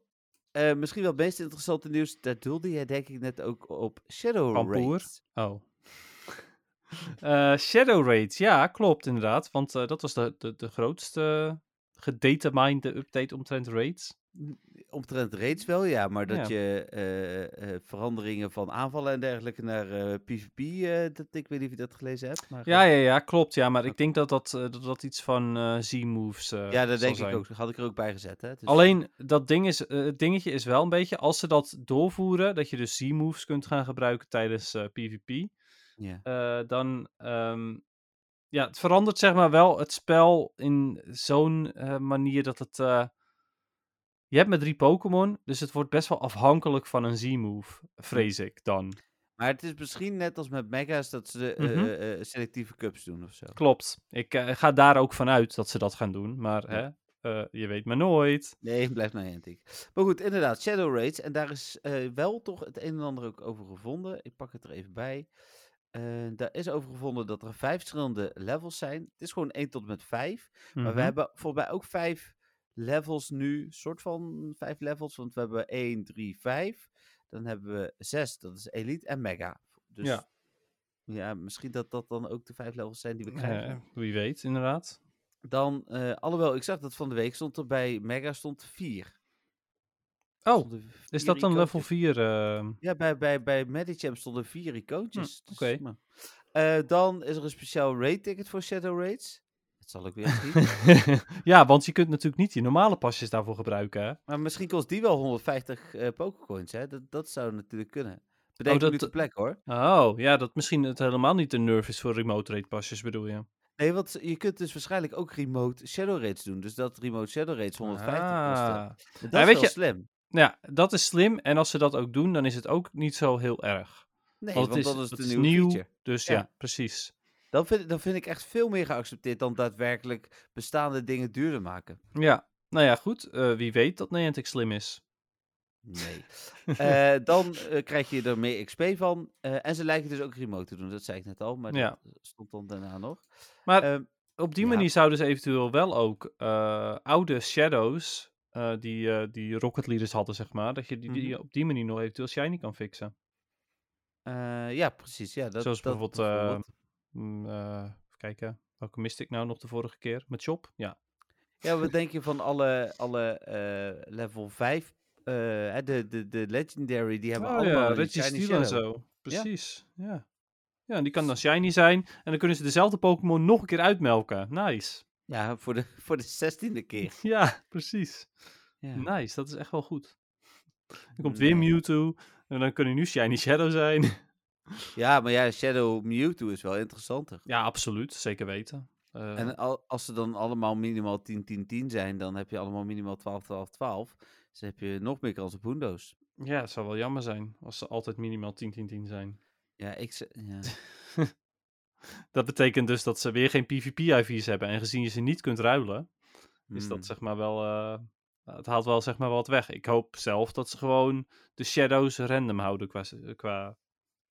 [SPEAKER 3] eh, misschien wel het meest interessante nieuws. Daar doelde jij denk ik net ook op Shadow
[SPEAKER 4] Kampoer.
[SPEAKER 3] Raids.
[SPEAKER 4] Oh. Eh, Shadow Raid, ja, klopt inderdaad. Want eh, dat was de, de, de grootste gedeterminde update omtrent raids.
[SPEAKER 3] Omtrent raids wel, ja. Maar dat je eh, eh, veranderingen van aanvallen en dergelijke naar eh, PvP... eh, dat, ik weet niet of je dat gelezen hebt. Maar,
[SPEAKER 4] Ja,
[SPEAKER 3] eh,
[SPEAKER 4] ja, ja, klopt. Ja, maar ik denk dat dat, eh, dat, dat iets van eh Z-moves eh,
[SPEAKER 3] ja, dat
[SPEAKER 4] zal
[SPEAKER 3] denk
[SPEAKER 4] zijn.
[SPEAKER 3] ik ook. Dat had ik er ook bij gezet. Hè? Dus-
[SPEAKER 4] Alleen dat ding is, eh, het dingetje is wel een beetje, als ze dat doorvoeren, dat je dus Z-moves kunt gaan gebruiken tijdens eh, PvP,
[SPEAKER 3] Ja.
[SPEAKER 4] eh, dan ehm, ja, het verandert zeg maar wel het spel in zo'n eh, manier dat het. eh, je hebt maar drie Pokémon, dus het wordt best wel afhankelijk van een Z-move, vrees ik dan.
[SPEAKER 3] Maar het is misschien net als met mega's dat ze eh,
[SPEAKER 4] Mhm.
[SPEAKER 3] eh, selectieve cups doen of zo.
[SPEAKER 4] Klopt. Ik eh, ga daar ook vanuit dat ze dat gaan doen, maar
[SPEAKER 3] Ja.
[SPEAKER 4] hè, eh, je weet maar nooit.
[SPEAKER 3] Nee, het blijft Niantic. Maar goed, inderdaad, Shadow Raids. En daar is eh, wel toch het een en ander ook over gevonden. Ik pak het er even bij. Eh, daar is over gevonden dat er vijf verschillende levels zijn. Het is gewoon 1 tot en met 5. Maar we
[SPEAKER 4] Mhm.
[SPEAKER 3] hebben volgens mij ook vijf levels nu. soort van vijf levels. Want we hebben 1, 3, 5. Dan hebben we 6, dat is Elite en Mega. Dus ja.
[SPEAKER 4] Ja.
[SPEAKER 3] misschien dat dat dan ook de vijf levels zijn die we krijgen.
[SPEAKER 4] Eh, wie weet, inderdaad.
[SPEAKER 3] Dan, eh, alhoewel, ik zag dat van de week stond er bij Mega stond 4.
[SPEAKER 4] Oh,
[SPEAKER 3] Stonden v-
[SPEAKER 4] is
[SPEAKER 3] vier
[SPEAKER 4] dat dan level
[SPEAKER 3] icoontjes.
[SPEAKER 4] 4? ehm?
[SPEAKER 3] Ja, bij, bij, bij Medichamp stonden vier icoontjes. Dus,
[SPEAKER 4] Hm, oké.
[SPEAKER 3] nou. Eh, dan is er een speciaal raid ticket voor Shadow Raids. Dat zal ik weer zien.
[SPEAKER 4] ja, want je kunt natuurlijk niet je normale pasjes daarvoor gebruiken. Hè?
[SPEAKER 3] maar misschien kost die wel 150 eh Pokécoins, hè? Dat, dat zou natuurlijk kunnen. Bedenk
[SPEAKER 4] Oh, dat- eh,
[SPEAKER 3] nu de plek, hoor.
[SPEAKER 4] Oh, ja, dat misschien het helemaal niet de nerf is voor remote rate pasjes, bedoel je?
[SPEAKER 3] Nee, want je kunt dus waarschijnlijk ook remote Shadow Raids doen. Dus dat remote Shadow Raids 150 kosten.
[SPEAKER 4] Ah.
[SPEAKER 3] Dat
[SPEAKER 4] Nou,
[SPEAKER 3] is
[SPEAKER 4] weet
[SPEAKER 3] wel
[SPEAKER 4] je-
[SPEAKER 3] slim.
[SPEAKER 4] Ja, dat is slim. En als ze dat ook doen, dan is het ook niet zo heel erg.
[SPEAKER 3] Nee,
[SPEAKER 4] Want
[SPEAKER 3] want,
[SPEAKER 4] het is,
[SPEAKER 3] dat is
[SPEAKER 4] het
[SPEAKER 3] de
[SPEAKER 4] is
[SPEAKER 3] nieuwe
[SPEAKER 4] nieuw,
[SPEAKER 3] feature.
[SPEAKER 4] dus ja,
[SPEAKER 3] Ja.
[SPEAKER 4] precies.
[SPEAKER 3] Dan vind, dan vind ik echt veel meer geaccepteerd dan daadwerkelijk bestaande dingen duurder maken.
[SPEAKER 4] Ja, nou ja, goed. eh, wie weet dat Niantic slim is.
[SPEAKER 3] Nee. Eh, dan eh, krijg je er meer XP van. eh, en ze lijken dus ook remote te doen. Dat zei ik net al, maar
[SPEAKER 4] Ja.
[SPEAKER 3] dat stond dan daarna nog.
[SPEAKER 4] Maar
[SPEAKER 3] Ehm,
[SPEAKER 4] Op die
[SPEAKER 3] Ja.
[SPEAKER 4] manier zouden ze eventueel wel ook eh, oude shadows, eh, die, eh, die Rocket Leaders hadden, zeg maar, dat je die, die op die manier nog eventueel shiny kan fixen.
[SPEAKER 3] eh, ja, precies. Ja, dat,
[SPEAKER 4] Zoals
[SPEAKER 3] dat
[SPEAKER 4] bijvoorbeeld, eh, Mm, eh, even kijken, welke miste ik nou nog de vorige keer? Met Chop? Ja,
[SPEAKER 3] Ja, wat denk je van alle, alle eh, level 5? eh, hè, de, de, de Legendary, die hebben
[SPEAKER 4] Oh
[SPEAKER 3] allemaal
[SPEAKER 4] ja,
[SPEAKER 3] een
[SPEAKER 4] Reggie
[SPEAKER 3] shiny
[SPEAKER 4] Steel en
[SPEAKER 3] shadow.
[SPEAKER 4] zo. Precies, ja. ja. en die kan dan shiny zijn. En dan kunnen ze dezelfde Pokémon nog een keer uitmelken. Nice.
[SPEAKER 3] Ja, voor de, voor de zestiende keer.
[SPEAKER 4] Ja, precies.
[SPEAKER 3] Ja.
[SPEAKER 4] Nice, dat is echt wel goed. Dan komt
[SPEAKER 3] Ja.
[SPEAKER 4] weer Mewtwo. En dan kunnen nu shiny Shadow zijn.
[SPEAKER 3] ja, maar ja, Shadow Mewtwo is wel interessanter.
[SPEAKER 4] ja, absoluut. Zeker weten. Eh,
[SPEAKER 3] En al, als ze dan allemaal minimaal 10-10-10 zijn, dan heb je allemaal minimaal 12-12-12. Dus dan heb je nog meer kans op Hundo's.
[SPEAKER 4] ja, het zou wel jammer zijn als ze altijd minimaal 10-10-10 zijn.
[SPEAKER 3] Ja, ik... z- Ja.
[SPEAKER 4] Dat betekent dus dat ze weer geen PvP-IV's hebben. En gezien je ze niet kunt ruilen, is
[SPEAKER 3] Mm.
[SPEAKER 4] dat zeg maar wel... eh, het haalt wel zeg maar wat weg. Ik hoop zelf dat ze gewoon de shadows random houden qua, qua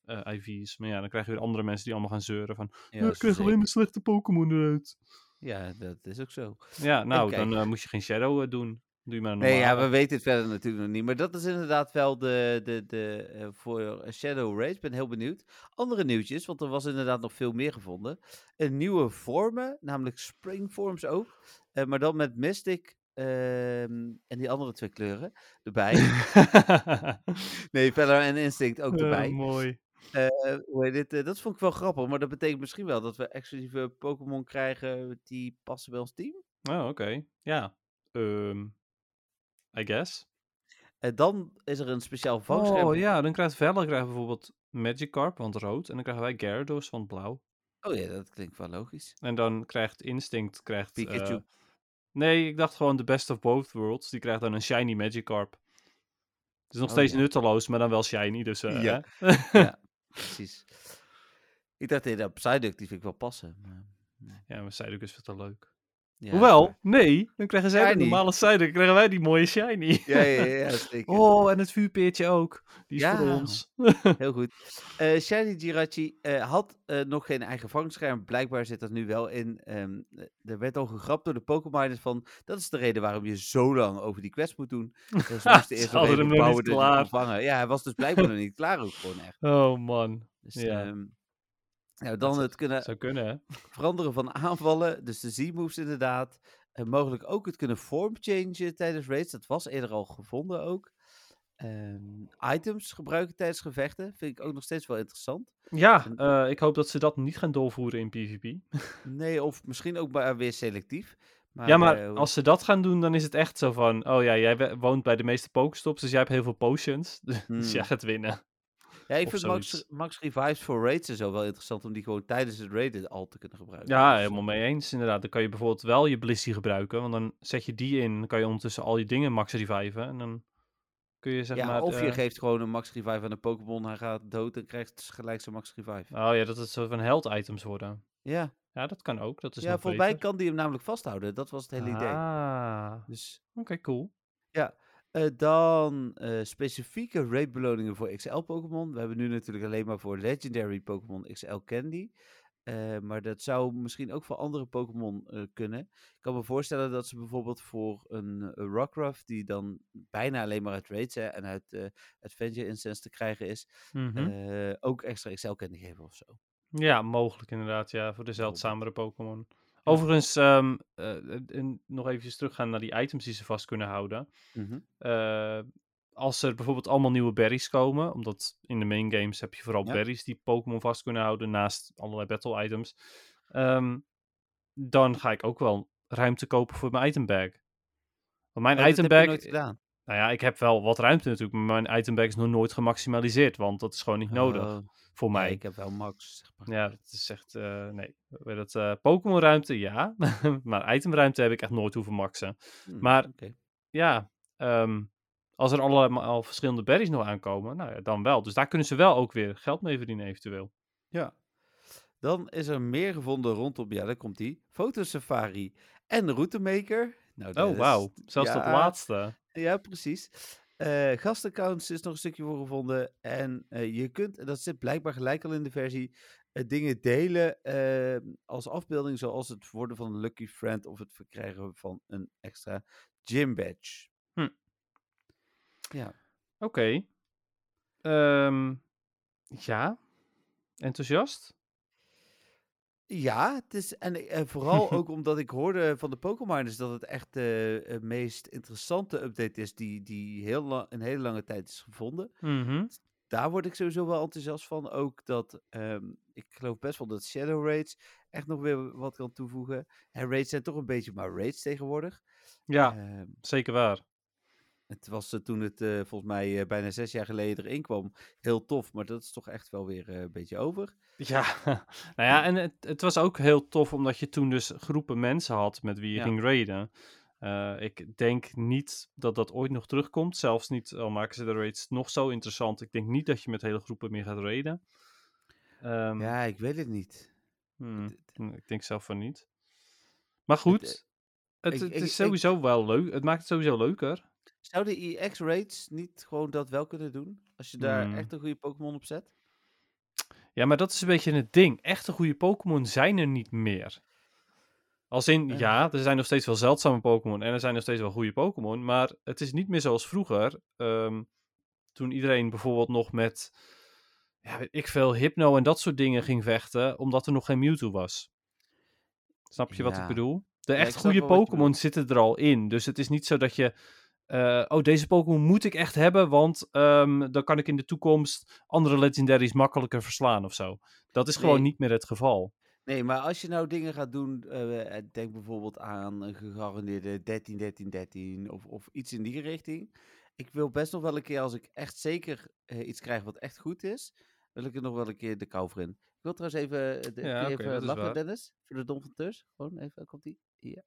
[SPEAKER 4] eh, IV's. Maar ja, dan krijg je weer andere mensen die allemaal gaan zeuren van...
[SPEAKER 3] Ja,
[SPEAKER 4] "Ja,
[SPEAKER 3] dat
[SPEAKER 4] ik
[SPEAKER 3] is
[SPEAKER 4] krijg alleen
[SPEAKER 3] zeker-
[SPEAKER 4] maar slechte Pokémon eruit.
[SPEAKER 3] ja, dat is ook zo.
[SPEAKER 4] Ja, nou, dan
[SPEAKER 3] kijken.
[SPEAKER 4] eh, moest je geen shadow eh, doen. Doe je maar een
[SPEAKER 3] Nee, ja,
[SPEAKER 4] normale.
[SPEAKER 3] we weten het verder natuurlijk nog niet. Maar dat is inderdaad wel de, de, de eh, voor Shadow Race. Ik ben heel benieuwd. Andere nieuwtjes, want er was inderdaad nog veel meer gevonden. Eh, nieuwe vormen, namelijk springforms ook. Eh, maar dan met Mystic ehm, en die andere twee kleuren erbij. nee, Valor en Instinct ook
[SPEAKER 4] Eh,
[SPEAKER 3] erbij.
[SPEAKER 4] mooi.
[SPEAKER 3] Eh, hoe heet dit? Eh, dat vond ik wel grappig, maar dat betekent misschien wel dat we exclusieve Pokémon krijgen die passen bij ons team.
[SPEAKER 4] Oh, oké. Ja. Ehm, I guess.
[SPEAKER 3] En dan is er een speciaal vouwscherm.
[SPEAKER 4] Oh ja, dan krijgt Vella krijgt bijvoorbeeld Magikarp, want rood. En dan krijgen wij Gyarados, want blauw.
[SPEAKER 3] oh ja, dat klinkt wel logisch.
[SPEAKER 4] En dan krijgt Instinct... Krijgt,
[SPEAKER 3] Pikachu.
[SPEAKER 4] eh, nee, ik dacht gewoon de best of both worlds. Die krijgt dan een shiny Magikarp. Het is nog
[SPEAKER 3] Oh,
[SPEAKER 4] steeds
[SPEAKER 3] ja.
[SPEAKER 4] nutteloos, maar dan wel shiny. Dus, eh,
[SPEAKER 3] Ja.
[SPEAKER 4] hè.
[SPEAKER 3] Precies. Ik dacht, hey, dat Psyduck, die vind ik wel passen. maar-
[SPEAKER 4] ja, maar Psyduck is veel te leuk.
[SPEAKER 3] Ja,
[SPEAKER 4] Hoewel,
[SPEAKER 3] maar-
[SPEAKER 4] nee. Dan krijgen zij de
[SPEAKER 3] Shiny.
[SPEAKER 4] normale Psyduck. dan krijgen wij die mooie shiny.
[SPEAKER 3] Ja, ja, ja, ja, zeker.
[SPEAKER 4] Oh, en het vuurpeertje ook. Die is
[SPEAKER 3] Ja.
[SPEAKER 4] voor ons.
[SPEAKER 3] Heel goed. Eh Shiny Jirachi eh, had eh, nog geen eigen vangscherm. Blijkbaar zit dat nu wel in. ehm, eh, er werd al gegrapt door de Pokémoners van... Dat is de reden waarom je zo lang over die quest moet doen. Dat is
[SPEAKER 4] Ze
[SPEAKER 3] moest eerst nog
[SPEAKER 4] hadden hem
[SPEAKER 3] even
[SPEAKER 4] nog niet
[SPEAKER 3] bouwen dat je hem kon
[SPEAKER 4] klaar.
[SPEAKER 3] vangen. Ja, hij was dus blijkbaar nog niet klaar ook gewoon echt.
[SPEAKER 4] Oh man,
[SPEAKER 3] Dus,
[SPEAKER 4] Ja.
[SPEAKER 3] ehm, nou, dan
[SPEAKER 4] zou-
[SPEAKER 3] het kunnen
[SPEAKER 4] zou kunnen hè?
[SPEAKER 3] veranderen van aanvallen. Dus de Z-moves inderdaad. En mogelijk ook het kunnen formchangen tijdens raids. Dat was eerder al gevonden ook. Ehm, items gebruiken tijdens gevechten. Vind ik ook nog steeds wel interessant.
[SPEAKER 4] Ja,
[SPEAKER 3] En-
[SPEAKER 4] eh, ik hoop dat ze dat niet gaan doorvoeren in PvP.
[SPEAKER 3] Nee, of misschien ook maar weer selectief. Maar,
[SPEAKER 4] ja,
[SPEAKER 3] eh,
[SPEAKER 4] maar
[SPEAKER 3] hoe-
[SPEAKER 4] als ze dat gaan doen, dan is het echt zo van... Oh ja, jij we- woont bij de meeste pokestops, dus jij hebt heel veel potions. Dus jij
[SPEAKER 3] Hmm.
[SPEAKER 4] gaat winnen.
[SPEAKER 3] ja, ik
[SPEAKER 4] of
[SPEAKER 3] vind max,
[SPEAKER 4] zoiets.
[SPEAKER 3] max Revives voor raids en zo wel interessant. Om die gewoon tijdens het raiden al te kunnen gebruiken.
[SPEAKER 4] Ja,
[SPEAKER 3] Dus,
[SPEAKER 4] helemaal mee eens inderdaad. Dan kan je bijvoorbeeld wel je Blissey gebruiken. Want dan zet je die in, dan kan je ondertussen al je dingen max reviven. En dan kun je zeg
[SPEAKER 3] ja,
[SPEAKER 4] maar...
[SPEAKER 3] of je
[SPEAKER 4] eh,
[SPEAKER 3] geeft gewoon een max revive aan een Pokémon. Hij gaat dood en krijgt gelijk zijn max revive.
[SPEAKER 4] Oh ja, dat het zo van held items worden.
[SPEAKER 3] Ja,
[SPEAKER 4] Ja, dat kan ook. Dat is
[SPEAKER 3] ja
[SPEAKER 4] nog
[SPEAKER 3] volgens mij
[SPEAKER 4] beter.
[SPEAKER 3] kan die hem namelijk vasthouden. Dat was het hele idee.
[SPEAKER 4] Ah, oké,
[SPEAKER 3] Dus
[SPEAKER 4] cool.
[SPEAKER 3] Eh, dan eh, specifieke raid beloningen voor XL Pokémon. We hebben nu natuurlijk alleen maar voor Legendary Pokémon XL Candy. Eh, maar dat zou misschien ook voor andere Pokémon eh, kunnen. Ik kan me voorstellen dat ze bijvoorbeeld voor een eh, Rockruff, die dan bijna alleen maar uit raids hè, en uit eh Adventure Incense te krijgen is,
[SPEAKER 4] Mhm.
[SPEAKER 3] eh, ook extra XL Candy geven of zo.
[SPEAKER 4] Ja, mogelijk inderdaad, ja, voor de
[SPEAKER 3] Bijvoorbeeld.
[SPEAKER 4] zeldzamere Pokémon. Overigens, ehm, eh, en nog eventjes teruggaan naar die items die ze vast kunnen houden. Eh, als er bijvoorbeeld allemaal nieuwe berries komen, omdat in de main games heb je vooral
[SPEAKER 3] Ja.
[SPEAKER 4] berries die Pokémon vast kunnen houden, naast allerlei battle items, ehm, dan ga ik ook wel ruimte kopen voor mijn itembag. Want mijn
[SPEAKER 3] Oh, dat heb je
[SPEAKER 4] itembag,
[SPEAKER 3] nooit gedaan.
[SPEAKER 4] nou ja, ik heb wel wat ruimte natuurlijk, maar mijn itembag is nog nooit gemaximaliseerd, want dat is gewoon niet eh, nodig
[SPEAKER 3] Oh,
[SPEAKER 4] voor
[SPEAKER 3] ja,
[SPEAKER 4] mij.
[SPEAKER 3] ik heb wel Max. Zeg maar.
[SPEAKER 4] Ja, dat is echt, eh, nee. Bij dat eh, Pokémon-ruimte, ja. maar itemruimte heb ik echt nooit hoeven maxen.
[SPEAKER 3] Hmm,
[SPEAKER 4] maar-
[SPEAKER 3] oké.
[SPEAKER 4] Ja, ehm, als er allemaal verschillende berries nog aankomen, nou ja, dan wel. Dus daar kunnen ze wel ook weer geld mee verdienen eventueel. Oh,
[SPEAKER 3] Ja. Dan is er meer gevonden rondom, ja, daar komt die. Fotosafari en Routemaker. Nou, dat
[SPEAKER 4] Oh,
[SPEAKER 3] is-
[SPEAKER 4] wauw. Zelfs dat
[SPEAKER 3] ja,
[SPEAKER 4] laatste.
[SPEAKER 3] Ja, precies. Eh, gastaccounts is nog een stukje voor gevonden. En eh, je kunt, en dat zit blijkbaar gelijk al in de versie, eh, dingen delen eh, als afbeelding, zoals het worden van een lucky friend of het verkrijgen van een extra gym badge.
[SPEAKER 4] Hm.
[SPEAKER 3] Ja,
[SPEAKER 4] Oké. Ehm, ja. Enthousiast?
[SPEAKER 3] Ja, het is, en eh, vooral ook omdat ik hoorde van de Pokémoners dat het echt de eh, meest interessante update is die, die heel la- een hele lange tijd is gevonden.
[SPEAKER 4] Mhm.
[SPEAKER 3] Daar word ik sowieso wel enthousiast van. Ook dat, ehm, ik geloof best wel dat Shadow Raids echt nog weer wat kan toevoegen. En Raids zijn toch een beetje maar Raids tegenwoordig.
[SPEAKER 4] Ja,
[SPEAKER 3] Ehm,
[SPEAKER 4] zeker waar.
[SPEAKER 3] het was eh, toen het eh, volgens mij eh, bijna zes jaar geleden erin kwam heel tof, maar dat is toch echt wel weer eh, een beetje over.
[SPEAKER 4] Ja, nou ja, en het, het was ook heel tof omdat je toen dus groepen mensen had met wie je
[SPEAKER 3] Ja.
[SPEAKER 4] ging raiden. Eh, ik denk niet dat dat ooit nog terugkomt. Zelfs niet al maken ze de raids nog zo interessant. Ik denk niet dat je met hele groepen meer gaat raiden. Ehm,
[SPEAKER 3] Ja, ik weet het niet.
[SPEAKER 4] hmm,
[SPEAKER 3] Het-
[SPEAKER 4] hmm, ik denk zelf van niet. Maar goed, het,
[SPEAKER 3] eh, ik-
[SPEAKER 4] het
[SPEAKER 3] ik- ik-
[SPEAKER 4] is sowieso wel leuk. Het maakt het sowieso leuker.
[SPEAKER 3] Zou de EX-raids niet gewoon dat wel kunnen doen? Als je daar
[SPEAKER 4] Hmm.
[SPEAKER 3] echt een goede Pokémon op zet?
[SPEAKER 4] Ja, maar dat is een beetje het ding. Echte goede Pokémon zijn er niet meer. Als in,
[SPEAKER 3] Eh.
[SPEAKER 4] ja, er zijn nog steeds wel zeldzame Pokémon en er zijn nog steeds wel goede Pokémon, maar het is niet meer zoals vroeger. ehm, toen iedereen bijvoorbeeld nog met, ja, weet ik veel, Hypno en dat soort dingen ging vechten, omdat er nog geen Mewtwo was. Snap je wat ik
[SPEAKER 3] Ja.
[SPEAKER 4] bedoel? De
[SPEAKER 3] Ja, ik
[SPEAKER 4] echt
[SPEAKER 3] snap
[SPEAKER 4] goede
[SPEAKER 3] wel wat je
[SPEAKER 4] Pokémon zitten er al in, dus het is niet zo dat je, eh, oh, deze Pokémon moet ik echt hebben, want ehm, dan kan ik in de toekomst andere legendaries makkelijker verslaan of zo. Dat is gewoon
[SPEAKER 3] Nee.
[SPEAKER 4] niet meer het geval.
[SPEAKER 3] Nee, maar als je nou dingen gaat doen, eh, eh, denk bijvoorbeeld aan een gegarandeerde 13, 13, 13 of, of iets in die richting. Ik wil best nog wel een keer, als ik echt zeker eh, iets krijg wat echt goed is, wil ik er nog wel een keer de kou voor in. Ik wil trouwens even, eh, de, kun je
[SPEAKER 4] Ja, oké, dat
[SPEAKER 3] even
[SPEAKER 4] is
[SPEAKER 3] lachen,
[SPEAKER 4] waar.
[SPEAKER 3] Dennis, voor de Dom van Teurs. Gewoon even, komt die? Ja.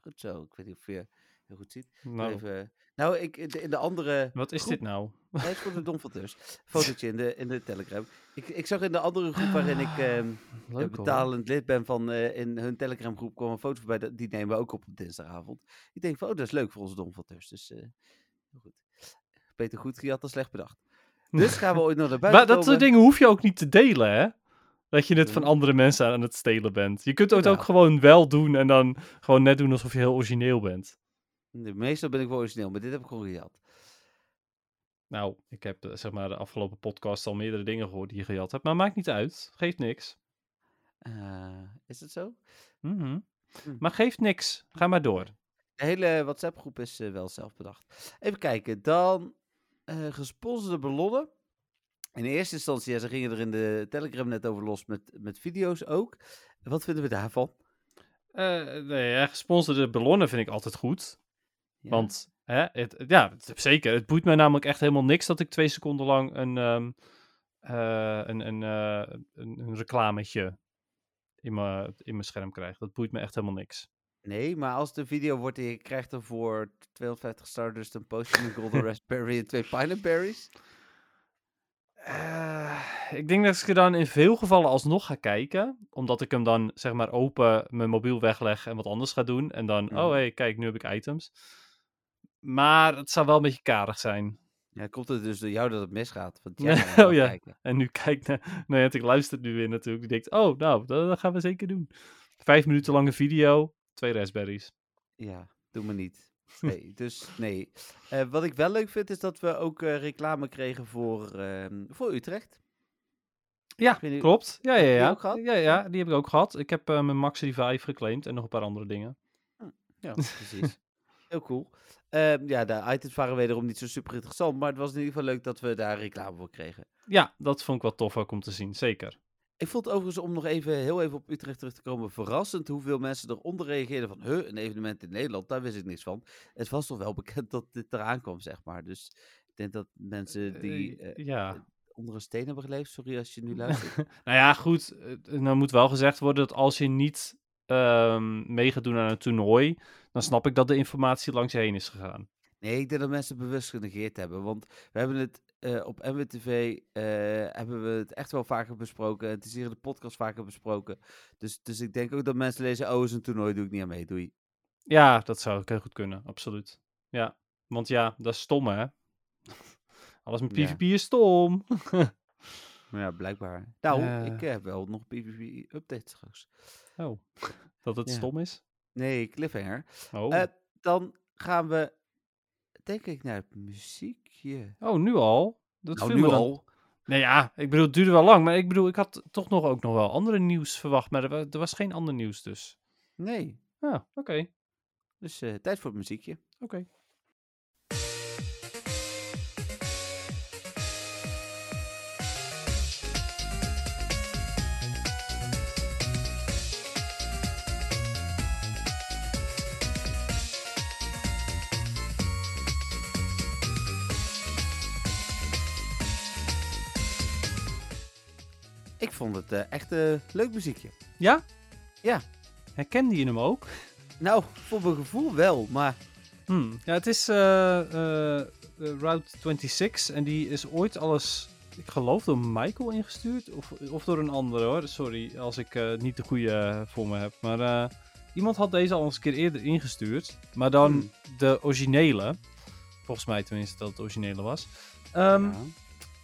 [SPEAKER 3] Goed zo, ik weet niet of je heel goed ziet. Ik wil
[SPEAKER 4] Nou,
[SPEAKER 3] Even, nou, ik, in de- in de andere
[SPEAKER 4] wat is
[SPEAKER 3] groep-
[SPEAKER 4] dit nou?
[SPEAKER 3] Nee, het is voor de Dom van Teurs. Fotootje in de, in de Telegram. Ik, ik zag in de andere groep waarin ik... ehm, eh,
[SPEAKER 4] Ah, Leuk hoor.
[SPEAKER 3] betalend lid ben van eh, in hun telegramgroep kwam een foto voorbij. dat- Die nemen we ook op op dinsdagavond. Ik denk van, oh, dat is leuk voor onze domvatters. Dus eh, heel goed. Beter goed gejat dan slecht bedacht. Dus gaan we ooit nog naar buiten
[SPEAKER 4] Maar dat soort
[SPEAKER 3] komen.
[SPEAKER 4] dingen hoef je ook niet te delen, hè? Dat je het van
[SPEAKER 3] Ja.
[SPEAKER 4] andere mensen aan het stelen bent. Je kunt het ook
[SPEAKER 3] Jawel.
[SPEAKER 4] gewoon wel doen en dan gewoon net doen alsof je heel origineel bent.
[SPEAKER 3] Nee, Meestal ben ik wel origineel, maar dit heb ik gewoon gejat.
[SPEAKER 4] Nou, ik heb eh, zeg maar de afgelopen podcast al meerdere dingen gehoord die je gejat hebt. Maar maakt niet uit. Geeft niks.
[SPEAKER 3] Eh, is dat zo?
[SPEAKER 4] Mhm.
[SPEAKER 3] Hm.
[SPEAKER 4] Maar geeft niks. Ga maar door.
[SPEAKER 3] De hele WhatsApp groep is eh, wel zelf bedacht. Even kijken, dan eh, gesponsorde ballonnen. In eerste instantie, ja, ze gingen er in de Telegram net over los met, met video's ook. Wat vinden we daarvan?
[SPEAKER 4] Eh, nee, ja, gesponsorde ballonnen vind ik altijd goed.
[SPEAKER 3] Ja.
[SPEAKER 4] Want, hè, het, het- ja, het- zeker. Het boeit mij namelijk echt helemaal niks dat ik twee seconden lang een, ehm, eh, een, een, eh, een, een reclametje in mijn in mijn scherm krijg. Dat boeit me echt helemaal niks.
[SPEAKER 3] Nee, maar als de video wordt en je krijgt er voor 250 Stardust een potion, een golden raspberry en twee pineberries.
[SPEAKER 4] Eh, ik denk dat ik er dan in veel gevallen alsnog ga kijken. Omdat ik hem dan, zeg maar, open, mijn mobiel wegleg en wat anders ga doen. En dan,
[SPEAKER 3] Mhm.
[SPEAKER 4] oh hé, hey, kijk, nu heb ik items. Maar het zou wel een beetje karig zijn.
[SPEAKER 3] Ja, komt het dus door jou dat het misgaat? Want
[SPEAKER 4] Ja,
[SPEAKER 3] jij gaat wel
[SPEAKER 4] oh ja.
[SPEAKER 3] kijken.
[SPEAKER 4] En nu kijk naar. Nou ja, ik luister nu weer natuurlijk. Die denkt, oh, nou, dat, dat gaan we zeker doen. Vijf minuten lange video, twee raspberries.
[SPEAKER 3] Ja, doe me niet. Nee, dus nee. Eh, wat ik wel leuk vind is dat we ook eh, reclame kregen voor, ehm, voor Utrecht.
[SPEAKER 4] Ja,
[SPEAKER 3] weet niet-
[SPEAKER 4] klopt. Ja, ja,
[SPEAKER 3] heb je die
[SPEAKER 4] ja.
[SPEAKER 3] ook gehad?
[SPEAKER 4] Ja, ja, die heb ik ook gehad. Ik heb eh, mijn Max Revive geclaimd en nog een paar andere dingen.
[SPEAKER 3] Ja, precies. Heel cool. Ehm, ja, de items waren wederom niet zo super interessant, maar het was in ieder geval leuk dat we daar reclame voor kregen.
[SPEAKER 4] Ja, dat vond ik wel tof ook om te zien, zeker.
[SPEAKER 3] Ik vond het overigens, om nog even heel even op Utrecht terug te komen, verrassend hoeveel mensen eronder reageerden van, huh, een evenement in Nederland, daar wist ik niks van. Het was toch wel bekend dat dit eraan kwam, zeg maar. Dus ik denk dat mensen die
[SPEAKER 4] Eh,
[SPEAKER 3] eh,
[SPEAKER 4] ja.
[SPEAKER 3] onder een steen hebben geleefd, sorry als je nu luistert.
[SPEAKER 4] Nou ja, goed. eh, Nou moet wel gezegd worden dat als je niet ehm, mee gaat doen aan een toernooi, dan snap ik dat de informatie langs je heen is gegaan.
[SPEAKER 3] Nee, ik denk dat mensen het bewust genegeerd hebben. Want we hebben het eh, op MWTV eh, hebben we het echt wel vaker besproken. Het is hier in de podcast vaker besproken. Dus, dus ik denk ook dat mensen lezen, oh, is een toernooi, doe ik niet aan mee, doei.
[SPEAKER 4] Ja, dat zou ook heel goed kunnen, absoluut. Ja, want ja, dat is stom, hè? Alles met
[SPEAKER 3] Ja.
[SPEAKER 4] PvP is stom.
[SPEAKER 3] Maar ja, blijkbaar. Nou,
[SPEAKER 4] Eh.
[SPEAKER 3] ik eh, heb wel nog PvP-updates straks.
[SPEAKER 4] Oh, dat het
[SPEAKER 3] Ja.
[SPEAKER 4] stom is?
[SPEAKER 3] Nee, cliffhanger.
[SPEAKER 4] Oh.
[SPEAKER 3] Eh, dan gaan we, denk ik, naar het muziekje.
[SPEAKER 4] oh, nu al? Dat
[SPEAKER 3] nou,
[SPEAKER 4] viel
[SPEAKER 3] nu
[SPEAKER 4] me dan-
[SPEAKER 3] al.
[SPEAKER 4] Nee, ja, ik bedoel, het duurde wel lang. Maar ik bedoel, ik had toch nog ook nog wel andere nieuws verwacht. Maar er, wa- er was geen ander nieuws dus.
[SPEAKER 3] Nee.
[SPEAKER 4] Ja, oké.
[SPEAKER 3] Dus eh, tijd voor het muziekje.
[SPEAKER 4] Oké.
[SPEAKER 3] Ik vond het eh, echt een leuk muziekje.
[SPEAKER 4] Ja?
[SPEAKER 3] Ja.
[SPEAKER 4] Herkende je hem ook?
[SPEAKER 3] Nou, voor mijn gevoel wel, maar
[SPEAKER 4] Hmm. Ja, het is eh, eh, eh, Route 26 en die is ooit alles ik geloof door Michael ingestuurd. Of, of door een andere hoor. Sorry als ik eh, niet de goede voor me heb. Maar eh, iemand had deze al eens een keer eerder ingestuurd. Maar dan
[SPEAKER 3] Hmm.
[SPEAKER 4] de originele. Volgens mij tenminste dat het originele was. Ehm,
[SPEAKER 3] Ja.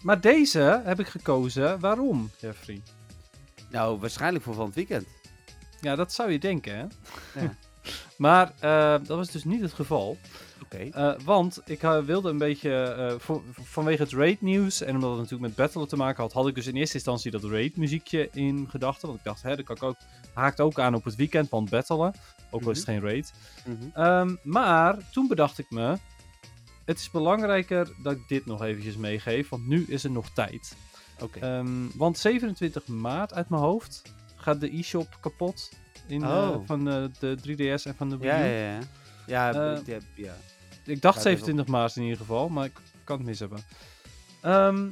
[SPEAKER 4] Maar deze heb ik gekozen. Waarom, Jeffrey?
[SPEAKER 3] Nou, waarschijnlijk voor van het weekend.
[SPEAKER 4] Ja, dat zou je denken, hè?
[SPEAKER 3] Ja.
[SPEAKER 4] maar eh, dat was dus niet het geval.
[SPEAKER 3] Oké.
[SPEAKER 4] Eh, want ik eh, wilde een beetje, eh, voor- vanwege het raid nieuws en omdat het natuurlijk met Battler te maken had, had ik dus in eerste instantie dat raid muziekje in gedachten. Want ik dacht, hè, dat kan ik ook, haakt ook aan op het weekend van Battlen. Ook al is het geen raid.
[SPEAKER 3] Mhm.
[SPEAKER 4] Ehm, maar toen bedacht ik me, het is belangrijker dat ik dit nog eventjes meegeef, want nu is er nog tijd.
[SPEAKER 3] Oké.
[SPEAKER 4] Ehm, want 27 maart uit mijn hoofd gaat de e-shop kapot in, eh,
[SPEAKER 3] Oh.
[SPEAKER 4] van eh, de 3DS en van de Wii
[SPEAKER 3] Ja,
[SPEAKER 4] U.
[SPEAKER 3] ja, ja. Ja,
[SPEAKER 4] Eh,
[SPEAKER 3] ja, ja.
[SPEAKER 4] Ik dacht
[SPEAKER 3] Gaat even op.
[SPEAKER 4] 27 maart in ieder geval, maar ik kan het mis hebben. Ehm,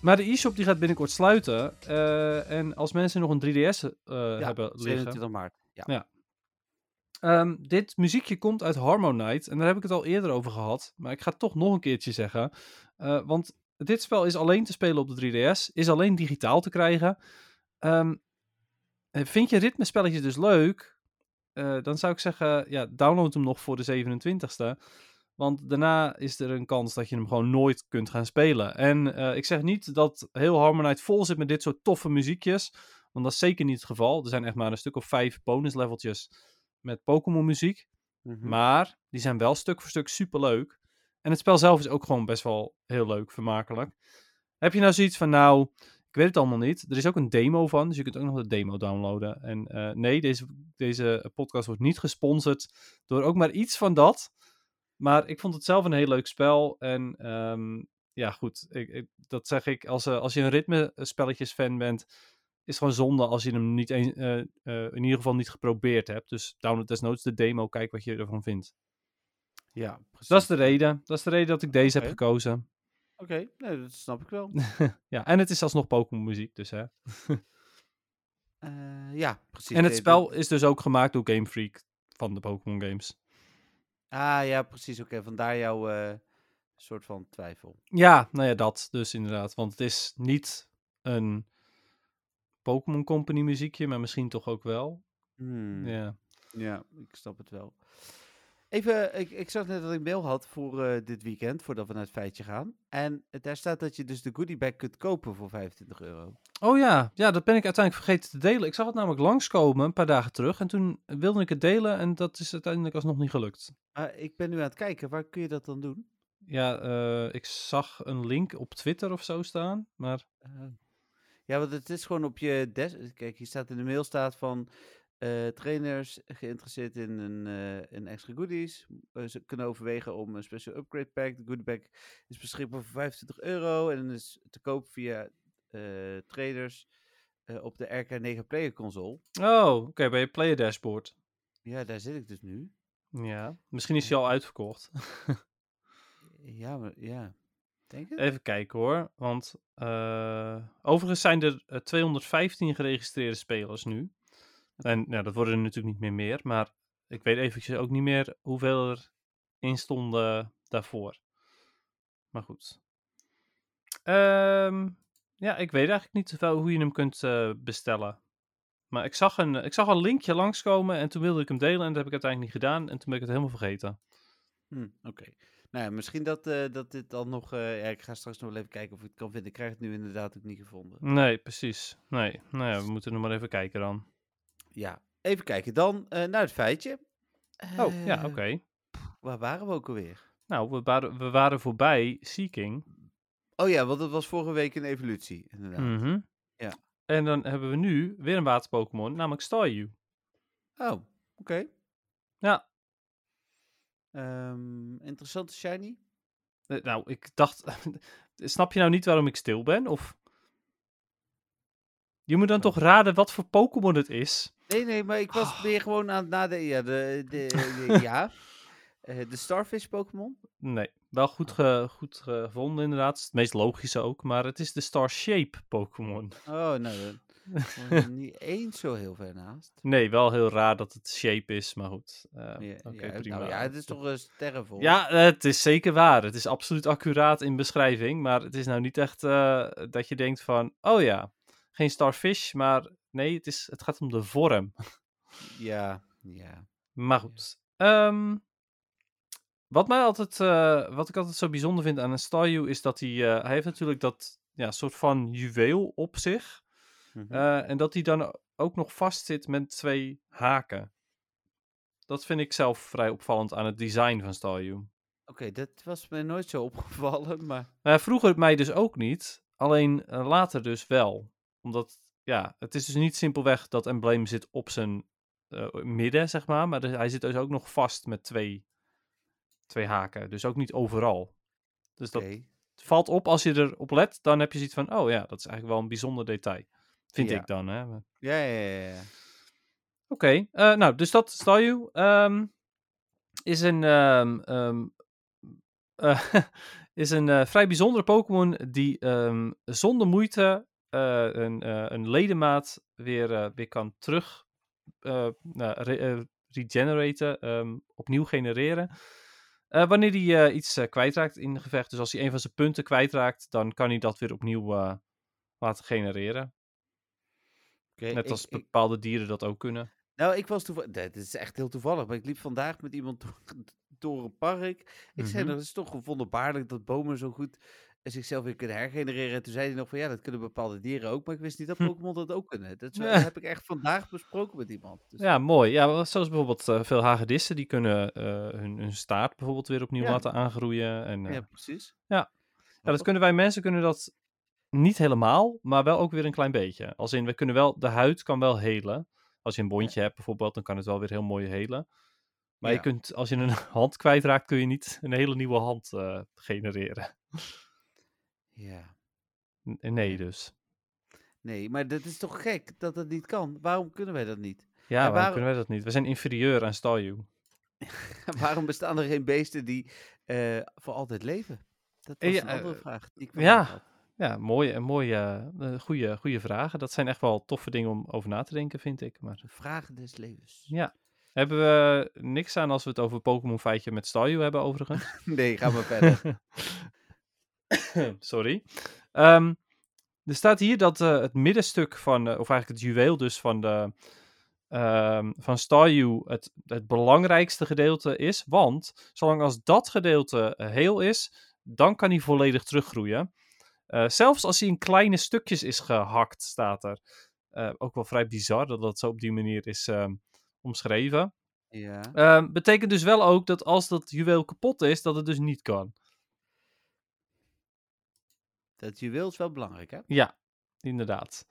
[SPEAKER 4] maar de e-shop die gaat binnenkort sluiten. eh, en als mensen nog een 3DS eh,
[SPEAKER 3] Ja,
[SPEAKER 4] hebben liggen.
[SPEAKER 3] 27 maart. Ja.
[SPEAKER 4] Ehm, dit muziekje komt uit Harmonite. En daar heb ik het al eerder over gehad. Maar ik ga het toch nog een keertje zeggen. Eh, want dit spel is alleen te spelen op de 3DS. Is alleen digitaal te krijgen. Ehm, eh, vind je ritmespelletjes dus leuk? Eh, dan zou ik zeggen, ja, download hem nog voor de 27ste. Want daarna is er een kans dat je hem gewoon nooit kunt gaan spelen. En eh, ik zeg niet dat heel Harmonite vol zit met dit soort toffe muziekjes. Want dat is zeker niet het geval. Er zijn echt maar een stuk of vijf bonus leveltjes met Pokémon muziek.
[SPEAKER 3] Mhm.
[SPEAKER 4] Maar die zijn wel stuk voor stuk superleuk. En het spel zelf is ook gewoon best wel heel leuk, vermakelijk. Heb je nou zoiets van, nou, ik weet het allemaal niet. Er is ook een demo van, dus je kunt ook nog de demo downloaden. En eh, nee, deze, deze podcast wordt niet gesponsord door ook maar iets van dat. Maar ik vond het zelf een heel leuk spel. En ehm, ja, goed, ik, ik- dat zeg ik. Als, eh, als je een ritmespelletjes-fan bent, is het gewoon zonde als je hem niet eens, eh, eh, in ieder geval niet geprobeerd hebt. Dus download desnoods de demo, kijk wat je ervan vindt.
[SPEAKER 3] Ja,
[SPEAKER 4] Dus
[SPEAKER 3] precies.
[SPEAKER 4] dat is de reden. Dat is de reden dat ik deze heb
[SPEAKER 3] Oké.
[SPEAKER 4] gekozen.
[SPEAKER 3] Oké, nee, dat snap ik wel.
[SPEAKER 4] Ja, en het is alsnog Pokémon muziek, dus hè.
[SPEAKER 3] Eh, ja, precies.
[SPEAKER 4] En
[SPEAKER 3] nee,
[SPEAKER 4] het
[SPEAKER 3] dat-
[SPEAKER 4] spel is dus ook gemaakt door Game Freak van de Pokémon games.
[SPEAKER 3] Ah, ja, precies. Oké, vandaar jouw eh, soort van twijfel.
[SPEAKER 4] Ja, nou ja, dat dus inderdaad. Want het is niet een Pokémon Company muziekje, maar misschien toch ook wel.
[SPEAKER 3] Hmm.
[SPEAKER 4] Ja.
[SPEAKER 3] Ja, ik snap het wel. Even, ik, ik zag net dat ik mail had voor eh, dit weekend, voordat we naar het feitje gaan. En eh, daar staat dat je dus de goodie bag kunt kopen voor 25 euro.
[SPEAKER 4] Oh ja, ja, dat ben ik uiteindelijk vergeten te delen. Ik zag het namelijk langskomen een paar dagen terug en toen wilde ik het delen en dat is uiteindelijk alsnog niet gelukt.
[SPEAKER 3] Maar Eh, ik ben nu aan het kijken, waar kun je dat dan doen?
[SPEAKER 4] Ja, eh, ik zag een link op Twitter of zo staan. Maar
[SPEAKER 3] Eh, ja, want het is gewoon op je desk. Kijk, hier staat in de mail staat van eh, trainers geïnteresseerd in een eh, in extra goodies. eh, ze kunnen overwegen om een special upgrade pack. De goodie pack is beschikbaar voor 25 euro en is te koop via eh, trainers eh, op de RK9 Player console.
[SPEAKER 4] oh, oké, bij je player dashboard.
[SPEAKER 3] Ja, daar zit ik dus nu.
[SPEAKER 4] Ja, misschien is hij al uitverkocht.
[SPEAKER 3] Ja, maar, ja. Denk het?
[SPEAKER 4] Even kijken hoor, want eh, overigens zijn er eh, 215 geregistreerde spelers nu. En nou, dat worden er natuurlijk niet meer meer, maar ik weet eventjes ook niet meer hoeveel er in stonden daarvoor. Maar goed. Ehm, ja, ik weet eigenlijk niet wel hoe je hem kunt eh, bestellen. Maar ik zag, een, ik zag een linkje langskomen en toen wilde ik hem delen en dat heb ik uiteindelijk niet gedaan en toen ben ik het helemaal vergeten.
[SPEAKER 3] Hm, Oké. Nou ja, misschien dat, eh, dat dit dan nog... eh, ja, ik ga straks nog wel even kijken of ik het kan vinden. Ik krijg het nu inderdaad ook niet gevonden.
[SPEAKER 4] Nee, precies. Nee, nou ja, we moeten nog maar even kijken dan.
[SPEAKER 3] Ja, even kijken dan eh, naar het feitje.
[SPEAKER 4] Oh, ja,
[SPEAKER 3] Eh,
[SPEAKER 4] oké.
[SPEAKER 3] Waar waren we ook alweer?
[SPEAKER 4] Nou, we waren, we waren voorbij Seeking.
[SPEAKER 3] Oh ja, want het was vorige week een evolutie, inderdaad.
[SPEAKER 4] Mhm.
[SPEAKER 3] Ja.
[SPEAKER 4] En dan hebben we nu weer een waterpokémon, namelijk Staryu.
[SPEAKER 3] Oh, oké.
[SPEAKER 4] Ja.
[SPEAKER 3] Ehm, interessante shiny.
[SPEAKER 4] Eh, Nou, ik dacht... Snap je nou niet waarom ik stil ben? Of... Je moet dan
[SPEAKER 3] Waarom?
[SPEAKER 4] toch raden wat voor Pokémon het is?
[SPEAKER 3] Nee, nee, maar ik was
[SPEAKER 4] Oh.
[SPEAKER 3] weer gewoon aan het nadenken. Ja, de, de, de- ja. Eh, de Starfish Pokémon.
[SPEAKER 4] Nee, wel goed,
[SPEAKER 3] Oh.
[SPEAKER 4] ge- goed gevonden inderdaad. Het is het meest logische ook. Maar het is de Star Shape Pokémon.
[SPEAKER 3] Oh, nou, dan Maar niet eens zo heel ver naast.
[SPEAKER 4] Nee, wel heel raar dat het shape is, maar goed. Eh,
[SPEAKER 3] Ja,
[SPEAKER 4] Oké,
[SPEAKER 3] ja,
[SPEAKER 4] prima.
[SPEAKER 3] nou ja, het is toch een sterrenvol.
[SPEAKER 4] Ja, het is zeker waar. Het is absoluut accuraat in beschrijving. Maar het is nou niet echt eh, dat je denkt van... Oh ja, geen starfish, maar... Nee, het, is, het gaat om de vorm.
[SPEAKER 3] Ja, ja.
[SPEAKER 4] Maar goed. Ehm, wat, mij altijd, eh, wat ik altijd zo bijzonder vind aan een Staryu... is dat hij... eh, hij heeft natuurlijk dat ja, soort van juweel op zich.
[SPEAKER 3] Mhm.
[SPEAKER 4] Eh, en dat hij dan ook nog vastzit met twee haken. Dat vind ik zelf vrij opvallend aan het design van Staryu.
[SPEAKER 3] Oké, dat was mij nooit zo opgevallen, maar...
[SPEAKER 4] Nou, vroeger mij dus ook niet. Alleen eh, later dus wel. Omdat, ja, het is dus niet simpelweg dat embleem zit op zijn eh, midden, zeg maar. Maar er- hij zit dus ook nog vast met twee, twee haken. Dus ook niet overal. Dus dat
[SPEAKER 3] oké.
[SPEAKER 4] valt op als je erop let. Dan heb je zoiets van, oh ja, dat is eigenlijk wel een bijzonder detail. Vind
[SPEAKER 3] Ja.
[SPEAKER 4] ik dan, hè. Maar-
[SPEAKER 3] Ja, ja, ja, ja.
[SPEAKER 4] Oké, eh, nou, dus dat Staryu ehm is een, ehm, ehm, eh, is een eh, vrij bijzondere Pokémon die ehm, zonder moeite eh, een, eh, een ledemaat weer, eh, weer kan terug eh, nou, re- eh, regeneraten, ehm, opnieuw genereren. Eh, wanneer hij eh, iets eh, kwijtraakt in een gevecht, dus als hij een van zijn punten kwijtraakt, dan kan hij dat weer opnieuw eh, laten genereren.
[SPEAKER 3] Oké,
[SPEAKER 4] Net
[SPEAKER 3] Eh, ik-
[SPEAKER 4] als
[SPEAKER 3] ik-
[SPEAKER 4] bepaalde dieren dat ook kunnen.
[SPEAKER 3] Nou, ik was toevallig. Dit is echt heel toevallig. Maar ik liep vandaag met iemand door, door een park. Ik zei
[SPEAKER 4] Mhm.
[SPEAKER 3] nog, het is toch wonderbaarlijk dat bomen zo goed eh, zichzelf weer kunnen hergenereren. En toen zei hij nog van ja, dat kunnen bepaalde dieren ook. Maar ik wist niet dat
[SPEAKER 4] Hm.
[SPEAKER 3] Pokémon dat ook kunnen. Dat, is wel-
[SPEAKER 4] Ja.
[SPEAKER 3] dat heb ik echt vandaag besproken met iemand. Dus,
[SPEAKER 4] Ja, mooi. Ja, wel zoals bijvoorbeeld eh, veel hagedissen, die kunnen eh, hun, hun staart bijvoorbeeld weer opnieuw
[SPEAKER 3] Ja.
[SPEAKER 4] laten aangroeien. En, eh,
[SPEAKER 3] ja,
[SPEAKER 4] ja.
[SPEAKER 3] precies.
[SPEAKER 4] Ja. dat
[SPEAKER 3] Grappig.
[SPEAKER 4] kunnen wij mensen kunnen dat niet helemaal, maar wel ook weer een klein beetje. Als in, we kunnen wel, de huid kan wel helen. Als je een bondje hebt bijvoorbeeld, dan kan het wel weer heel mooi helen. Maar je
[SPEAKER 3] Ja.
[SPEAKER 4] kunt, als je een hand kwijtraakt, kun je niet een hele nieuwe hand eh, genereren.
[SPEAKER 3] Ja.
[SPEAKER 4] N- Nee, dus.
[SPEAKER 3] Nee, maar dat is toch gek dat dat niet kan? Waarom kunnen wij dat niet?
[SPEAKER 4] Ja, waarom
[SPEAKER 3] waarom-
[SPEAKER 4] kunnen wij dat niet? We zijn inferieur aan Staryu.
[SPEAKER 3] waarom bestaan er geen beesten die eh, voor altijd leven? Dat
[SPEAKER 4] Eh,
[SPEAKER 3] was
[SPEAKER 4] ja,
[SPEAKER 3] een andere
[SPEAKER 4] eh,
[SPEAKER 3] vraag. Die ik
[SPEAKER 4] ja.
[SPEAKER 3] vandaag had.
[SPEAKER 4] Ja, mooie, mooie eh, goede, goede vragen. Dat zijn echt wel toffe dingen om over na te denken, vind ik. Maar
[SPEAKER 3] De vragen des levens.
[SPEAKER 4] ja. Hebben we niks aan als we het over Pokémon feitje met Staryu hebben, overigens?
[SPEAKER 3] Nee, ga maar verder.
[SPEAKER 4] Sorry. Ehm, er staat hier dat eh, het middenstuk van, eh, of eigenlijk het juweel dus van, de, ehm, van Staryu het, het belangrijkste gedeelte is. Want zolang als dat gedeelte eh, heel is, dan kan hij volledig teruggroeien. Eh, zelfs als hij in kleine stukjes is gehakt, staat er. Eh, ook wel vrij bizar dat dat zo op die manier is ehm, omschreven.
[SPEAKER 3] Ja.
[SPEAKER 4] Ehm, betekent dus wel ook dat als dat juweel kapot is, dat het dus niet kan.
[SPEAKER 3] Dat juweel is wel belangrijk, hè?
[SPEAKER 4] Ja, inderdaad.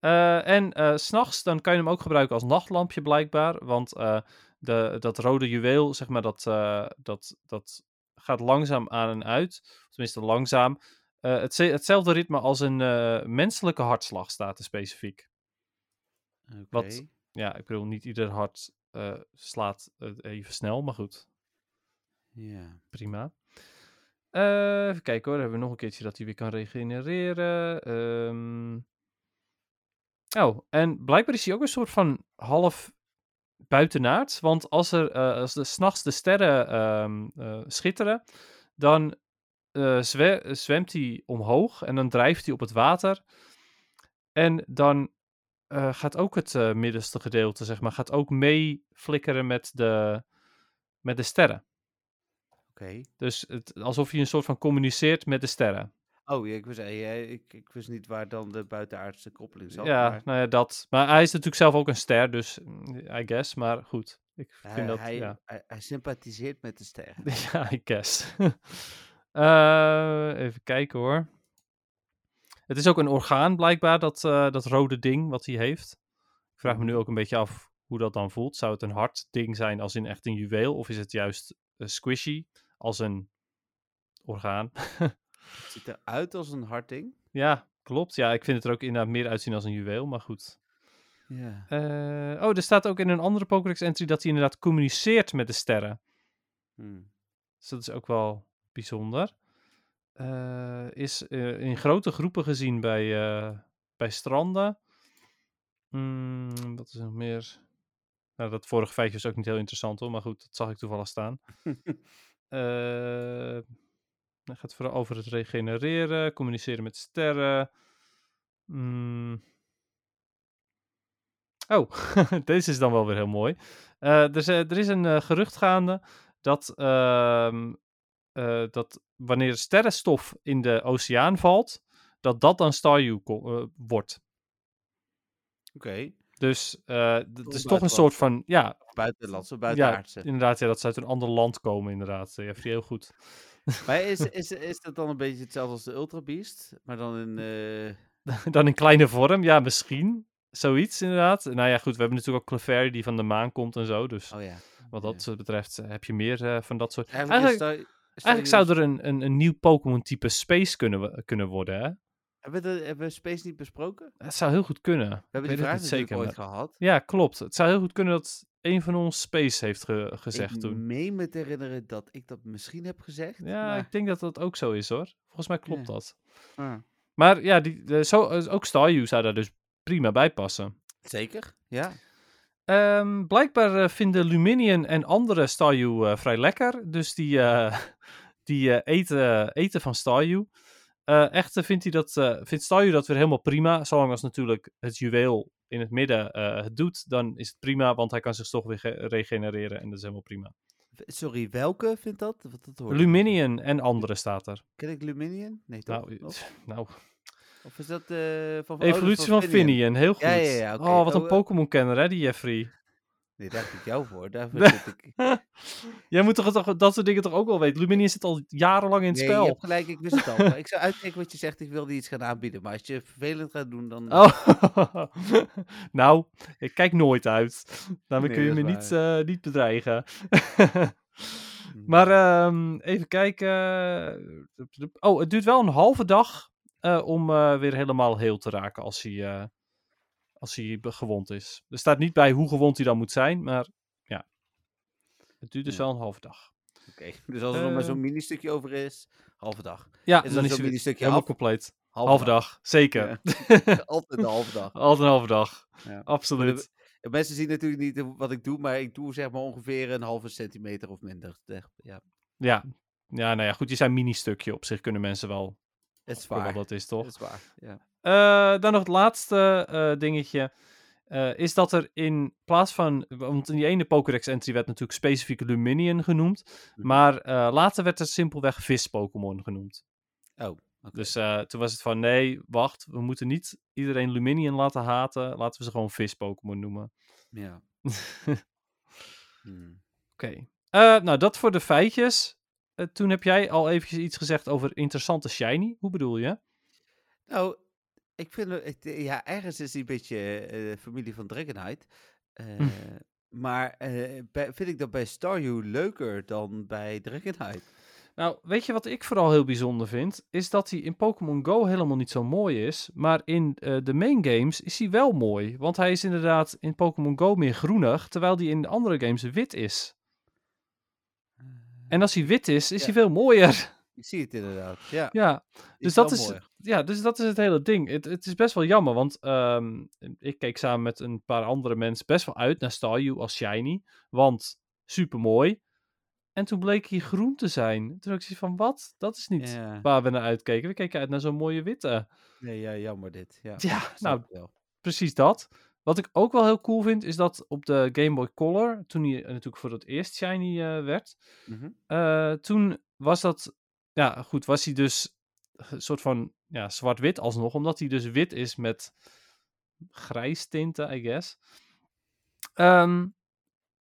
[SPEAKER 4] Eh, en eh, s s'nachts dan kan je hem ook gebruiken als nachtlampje blijkbaar. Want eh, de, dat rode juweel, zeg maar, dat, eh, dat, dat gaat langzaam aan en uit. Tenminste, langzaam. Eh, het, hetzelfde ritme als een eh, menselijke hartslag staat er specifiek. Wat-
[SPEAKER 3] Oké.
[SPEAKER 4] Ja, ik bedoel, niet ieder hart eh, slaat eh, even snel, maar goed.
[SPEAKER 3] Ja.
[SPEAKER 4] prima. Eh, even kijken hoor, hebben we nog een keertje dat hij weer kan regenereren. Ehm. Oh, en blijkbaar is hij ook een soort van half buitenaard. Want als er eh, als de, s'nachts de sterren ehm, eh, schitteren, dan eh, zwe- eh, zwemt hij omhoog en dan drijft hij op het water. En dan eh, gaat ook het eh, middenste gedeelte, zeg maar, gaat ook mee flikkeren met de, met de sterren.
[SPEAKER 3] Oké.
[SPEAKER 4] Dus het, alsof je een soort van communiceert met de sterren.
[SPEAKER 3] Oh, ja, ik, wist, eh, ja, ik, ik wist niet waar dan de buitenaardse koppeling zat.
[SPEAKER 4] ja,
[SPEAKER 3] maar
[SPEAKER 4] nou ja, dat. Maar hij is natuurlijk zelf ook een ster, dus mm, I guess. Maar goed, ik vind
[SPEAKER 3] hij,
[SPEAKER 4] dat,
[SPEAKER 3] Eh, hij,
[SPEAKER 4] ja.
[SPEAKER 3] hij, hij sympathiseert met de sterren.
[SPEAKER 4] ja, I guess. Eh, even kijken hoor. Het is ook een orgaan blijkbaar, dat, eh, dat rode ding wat hij heeft. Ik vraag me nu ook een beetje af hoe dat dan voelt. Zou het een hard ding zijn als in echt een juweel? Of is het juist eh, squishy als een orgaan?
[SPEAKER 3] Het ziet eruit als een harting.
[SPEAKER 4] Ja, klopt. Ja, ik vind het er ook inderdaad meer uitzien als een juweel, maar goed.
[SPEAKER 3] Ja.
[SPEAKER 4] Eh, oh, er staat ook in een andere Pokédex entry dat hij inderdaad communiceert met de sterren.
[SPEAKER 3] Hmm.
[SPEAKER 4] Dus dat is ook wel bijzonder. Eh, is eh, in grote groepen gezien bij, eh, bij stranden. Mm, wat is er nog meer? Nou, dat vorige feitje is ook niet heel interessant hoor, maar goed, dat zag ik toevallig staan. Eh, dan gaat het vooral over het regenereren, communiceren met sterren. Mm. Oh, deze is dan wel weer heel mooi. Eh, dus, eh, er is een eh, gerucht gaande dat, ehm, eh, dat wanneer sterrenstof in de oceaan valt, dat dat dan Staryu ko- eh, wordt.
[SPEAKER 3] Oké.
[SPEAKER 4] Dus eh, d- het is toch een
[SPEAKER 3] buitenland.
[SPEAKER 4] soort van, ja,
[SPEAKER 3] Buitenlandse, buitenaardse.
[SPEAKER 4] ja, inderdaad, ja, dat ze uit een ander land komen, inderdaad. Je hebt die heel goed.
[SPEAKER 3] Maar is, is, is dat dan een beetje hetzelfde als de Ultra Beast? Maar dan in... eh,
[SPEAKER 4] Dan in kleine vorm, ja, misschien. Zoiets, inderdaad. Nou ja, goed, we hebben natuurlijk ook Clefairy die van de maan komt en zo. Dus
[SPEAKER 3] Oh ja.
[SPEAKER 4] wat dat eh, betreft eh, heb je meer eh, van dat soort...
[SPEAKER 3] Eigenlijk,
[SPEAKER 4] Eigenlijk-
[SPEAKER 3] is Star-
[SPEAKER 4] Eigenlijk
[SPEAKER 3] Staryu-
[SPEAKER 4] zou er een, een, een nieuw Pokémon-type Space kunnen, we- kunnen worden, hè?
[SPEAKER 3] Hebben we, de- hebben we Space niet besproken? We
[SPEAKER 4] Dat zou heel goed kunnen. We
[SPEAKER 3] hebben die vraag natuurlijk ooit gehad.
[SPEAKER 4] Ja, klopt. Het zou heel goed kunnen dat een van ons Space heeft ge- gezegd
[SPEAKER 3] ik
[SPEAKER 4] toen.
[SPEAKER 3] meen me te herinneren dat ik dat misschien heb gezegd.
[SPEAKER 4] Ja,
[SPEAKER 3] maar-
[SPEAKER 4] ik denk dat dat ook zo is, hoor. Volgens mij klopt
[SPEAKER 3] Ja.
[SPEAKER 4] dat.
[SPEAKER 3] Ah.
[SPEAKER 4] Maar ja, die, de- zo, eh, ook Staryu zou daar dus prima bij passen.
[SPEAKER 3] Zeker? Ja.
[SPEAKER 4] Ehm, blijkbaar eh, vinden Luminion en andere Staryu eh, vrij lekker. Dus die, eh, die eh, eten, eten van Staryu. Eh echter vindt, hij dat, eh, vindt Staryu dat weer helemaal prima. Zolang als natuurlijk het juweel in het midden eh, het doet, dan is het prima. Want hij kan zich toch weer ge- regenereren en dat is helemaal prima.
[SPEAKER 3] W- Sorry, welke vindt dat? Wat dat hoort?
[SPEAKER 4] Luminion en andere staat er.
[SPEAKER 3] Ken ik Luminion? Nee, toch?
[SPEAKER 4] Nou,
[SPEAKER 3] Of-
[SPEAKER 4] pff, nou
[SPEAKER 3] Of is dat eh van... oh, dat is
[SPEAKER 4] evolutie van Finian, heel goed.
[SPEAKER 3] Ja, ja, ja, oké.
[SPEAKER 4] Oh, wat een
[SPEAKER 3] Oh, eh.
[SPEAKER 4] Pokémon-kenner hè, die Jeffrey.
[SPEAKER 3] Nee, daar heb ik jou voor. Daarvoor
[SPEAKER 4] Nee.
[SPEAKER 3] zit ik...
[SPEAKER 4] Jij moet toch, toch dat soort dingen toch ook wel weten? Luminion zit al jarenlang in het
[SPEAKER 3] Nee,
[SPEAKER 4] spel.
[SPEAKER 3] je hebt gelijk, ik wist het al. Maar ik zou uitkijken wat je zegt, ik wilde iets gaan aanbieden. Maar als je vervelend gaat doen, dan...
[SPEAKER 4] Oh, nou, ik kijk nooit uit. Daarmee
[SPEAKER 3] Nee,
[SPEAKER 4] kun je
[SPEAKER 3] dat
[SPEAKER 4] me
[SPEAKER 3] is
[SPEAKER 4] niet, eh, niet bedreigen. maar ehm, even kijken. Oh, het duurt wel een halve dag eh, om eh, weer helemaal heel te raken als hij, eh, als hij be- gewond is. Er staat niet bij hoe gewond hij dan moet zijn, maar ja. Het duurt dus
[SPEAKER 3] Ja.
[SPEAKER 4] wel een halve dag.
[SPEAKER 3] Oké, dus als er nog maar
[SPEAKER 4] Eh.
[SPEAKER 3] zo'n mini-stukje over is, halve dag.
[SPEAKER 4] Ja,
[SPEAKER 3] dus Is er
[SPEAKER 4] dan
[SPEAKER 3] zo'n
[SPEAKER 4] is hij weer
[SPEAKER 3] mini-stukje
[SPEAKER 4] helemaal
[SPEAKER 3] af?
[SPEAKER 4] compleet.
[SPEAKER 3] Halve,
[SPEAKER 4] Halve dag, zeker.
[SPEAKER 3] Ja. Altijd een halve dag.
[SPEAKER 4] Altijd een halve dag.
[SPEAKER 3] Ja.
[SPEAKER 4] Absoluut.
[SPEAKER 3] En Mensen zien natuurlijk niet eh, wat ik doe, maar ik doe zeg maar ongeveer een halve centimeter of minder. Echt, Ja,
[SPEAKER 4] Ja. ja, nou ja, goed. Je zijn mini-stukje op zich kunnen mensen wel.
[SPEAKER 3] het is
[SPEAKER 4] voor wat
[SPEAKER 3] waar.
[SPEAKER 4] dat is toch?
[SPEAKER 3] Het is waar, ja.
[SPEAKER 4] Eh, dan nog het laatste eh, dingetje. eh, is dat er in plaats van. Want in die ene Pokédex-entry werd natuurlijk specifiek Luminion genoemd.
[SPEAKER 3] Mhm.
[SPEAKER 4] Maar eh, later werd er simpelweg vis-Pokémon genoemd.
[SPEAKER 3] Oké.
[SPEAKER 4] Dus eh, toen was het van: nee, wacht, we moeten niet iedereen Luminion laten haten. Laten we ze gewoon vis-Pokémon noemen.
[SPEAKER 3] Ja.
[SPEAKER 4] Oké.
[SPEAKER 3] Hmm.
[SPEAKER 4] Eh, nou, dat voor de feitjes. Eh, toen heb jij al eventjes iets gezegd over interessante shiny. Hoe bedoel je?
[SPEAKER 3] Nou, ik vind het- het, eh, ja, ergens is die een beetje eh, familie van Dragonite.
[SPEAKER 4] Hm.
[SPEAKER 3] Eh, Maar eh, bij- vind ik dat bij Staryu leuker dan bij Dragonite.
[SPEAKER 4] Nou, weet je wat ik vooral heel bijzonder vind? Is dat hij in Pokémon Go helemaal niet zo mooi is. Maar in eh, de main games is hij wel mooi. Want hij is inderdaad in Pokémon Go meer groenig. Terwijl hij in de andere games wit is. En als hij wit is, is
[SPEAKER 3] Eh, Ja.
[SPEAKER 4] hij veel mooier.
[SPEAKER 3] Ik zie het inderdaad. Ja,
[SPEAKER 4] ja.
[SPEAKER 3] is
[SPEAKER 4] dat
[SPEAKER 3] wel
[SPEAKER 4] is-
[SPEAKER 3] mooi.
[SPEAKER 4] ja, dus dat is het hele ding. Het, het is best wel jammer, want ehm, ik keek samen met een paar andere mensen best wel uit naar Staryu als shiny. Want supermooi. En toen bleek hij groen te zijn. Toen dacht ik zoiets van, wat? Dat is niet
[SPEAKER 3] Ja.
[SPEAKER 4] waar we naar uitkeken. We keken uit naar zo'n mooie witte.
[SPEAKER 3] Nee, ja, jammer dit. Ja,
[SPEAKER 4] Ja,
[SPEAKER 3] ik snap
[SPEAKER 4] nou,
[SPEAKER 3] het wel.
[SPEAKER 4] precies dat. Wat ik ook wel heel cool vind, is dat op de Game Boy Color, toen hij eh, natuurlijk voor het eerst shiny eh, werd,
[SPEAKER 3] Mhm.
[SPEAKER 4] eh, toen was dat, ja goed, was hij dus een soort van ja, zwart-wit alsnog, omdat hij dus wit is met grijs tinten, I guess. Ehm,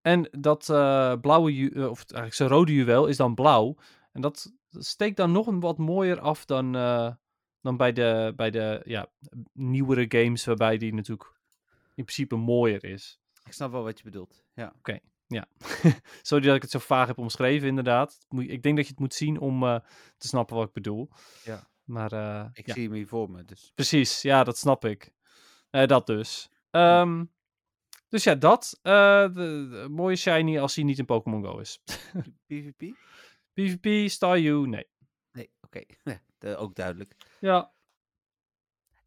[SPEAKER 4] en dat eh, blauwe, ju- eh, of eigenlijk zijn rode juweel is dan blauw. En dat steekt dan nog een wat mooier af dan, eh, dan bij de, bij de ja, nieuwere games, waarbij die natuurlijk in principe mooier is.
[SPEAKER 3] Ik snap wel wat je bedoelt. Ja.
[SPEAKER 4] Sorry dat ik het zo vaag heb omschreven, inderdaad. Moet je- Ik denk dat je het moet zien om eh, te snappen wat ik bedoel.
[SPEAKER 3] Ja.
[SPEAKER 4] Maar eh,
[SPEAKER 3] Ik
[SPEAKER 4] ja,
[SPEAKER 3] zie hem hier voor me, dus.
[SPEAKER 4] precies. Ja, dat snap ik. Eh, dat dus. Ehm, dus ja, dat. Eh, de, de- mooie shiny als hij niet in Pokémon Go is.
[SPEAKER 3] PvP?
[SPEAKER 4] PvP, Staryu, nee.
[SPEAKER 3] Nee, oké. Ja, de- ook duidelijk.
[SPEAKER 4] Ja,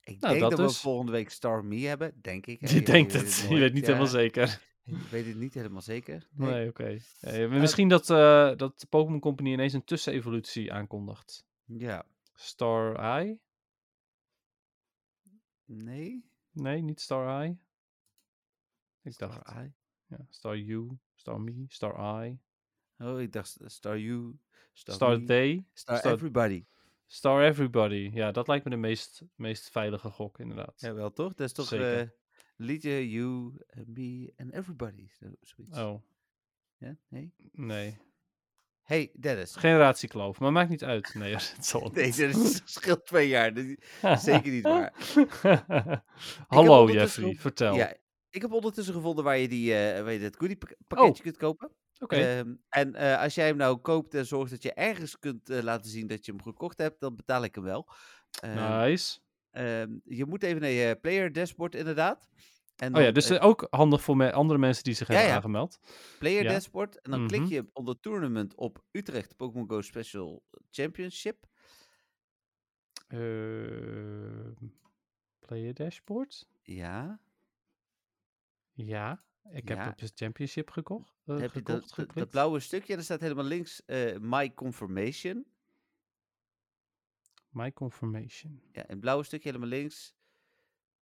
[SPEAKER 3] Ik
[SPEAKER 4] Nou,
[SPEAKER 3] denk
[SPEAKER 4] dat
[SPEAKER 3] dat,
[SPEAKER 4] dus.
[SPEAKER 3] we volgende week Star Me hebben, denk ik. hè.
[SPEAKER 4] Je denkt
[SPEAKER 3] weet
[SPEAKER 4] het, je
[SPEAKER 3] nooit,
[SPEAKER 4] weet niet
[SPEAKER 3] ja.
[SPEAKER 4] helemaal zeker.
[SPEAKER 3] Ik weet het niet helemaal zeker.
[SPEAKER 4] Nee,
[SPEAKER 3] Nee.
[SPEAKER 4] oké. Eh, maar misschien dat, eh, dat de Pokémon Company ineens een tussenevolutie aankondigt.
[SPEAKER 3] Ja.
[SPEAKER 4] Star Eye?
[SPEAKER 3] Nee.
[SPEAKER 4] Nee, niet Star Eye. Ik dacht,
[SPEAKER 3] Star Eye.
[SPEAKER 4] Ja, Star U, Star Me, Star Eye,
[SPEAKER 3] Oh, ik dacht Star You, Star,
[SPEAKER 4] Star
[SPEAKER 3] Me,
[SPEAKER 4] Day,
[SPEAKER 3] Star,
[SPEAKER 4] Star-
[SPEAKER 3] Everybody.
[SPEAKER 4] Star Everybody. Ja, dat lijkt me de meest, meest veilige gok, inderdaad.
[SPEAKER 3] Jawel, toch? Dat is toch
[SPEAKER 4] Zeker.
[SPEAKER 3] eh, liedje You, eh, Me and Everybody. Zo, zoiets.
[SPEAKER 4] Oh,
[SPEAKER 3] Ja? Nee?
[SPEAKER 4] nee.
[SPEAKER 3] Hey, Dennis.
[SPEAKER 4] Generatiekloof, maar maakt niet uit. Nee, het zal het
[SPEAKER 3] Nee,
[SPEAKER 4] niet.
[SPEAKER 3] dat is- scheelt twee jaar. Dat is zeker niet waar.
[SPEAKER 4] Hallo
[SPEAKER 3] ondertussen
[SPEAKER 4] Jeffrey,
[SPEAKER 3] ook-
[SPEAKER 4] vertel.
[SPEAKER 3] Ja, ik heb ondertussen gevonden waar je, die, eh, waar je dat goodie pak-
[SPEAKER 4] Oh.
[SPEAKER 3] pakketje kunt kopen.
[SPEAKER 4] Oké,
[SPEAKER 3] Ehm, en eh, als jij hem nou koopt en zorgt dat je ergens kunt eh, laten zien dat je hem gekocht hebt, dan betaal ik hem wel. Ehm,
[SPEAKER 4] nice.
[SPEAKER 3] ehm, je moet even naar je player dashboard inderdaad. En
[SPEAKER 4] Oh ja,
[SPEAKER 3] dan,
[SPEAKER 4] dus
[SPEAKER 3] eh,
[SPEAKER 4] eh, ook handig voor me andere mensen die zich
[SPEAKER 3] Ja,
[SPEAKER 4] hebben
[SPEAKER 3] ja.
[SPEAKER 4] aangemeld.
[SPEAKER 3] player
[SPEAKER 4] ja.
[SPEAKER 3] dashboard. En dan klik
[SPEAKER 4] Mhm.
[SPEAKER 3] je onder tournament op Utrecht Pokémon Go Special Championship.
[SPEAKER 4] Eh, player dashboard?
[SPEAKER 3] Ja.
[SPEAKER 4] Ja, ik heb
[SPEAKER 3] Ja.
[SPEAKER 4] op de championship gekocht. eh,
[SPEAKER 3] heb je
[SPEAKER 4] gekocht,
[SPEAKER 3] dat, dat, dat
[SPEAKER 4] geklikt.
[SPEAKER 3] blauwe stukje? En er staat helemaal links eh, My Confirmation.
[SPEAKER 4] My confirmation.
[SPEAKER 3] Ja, in het blauwe stukje helemaal links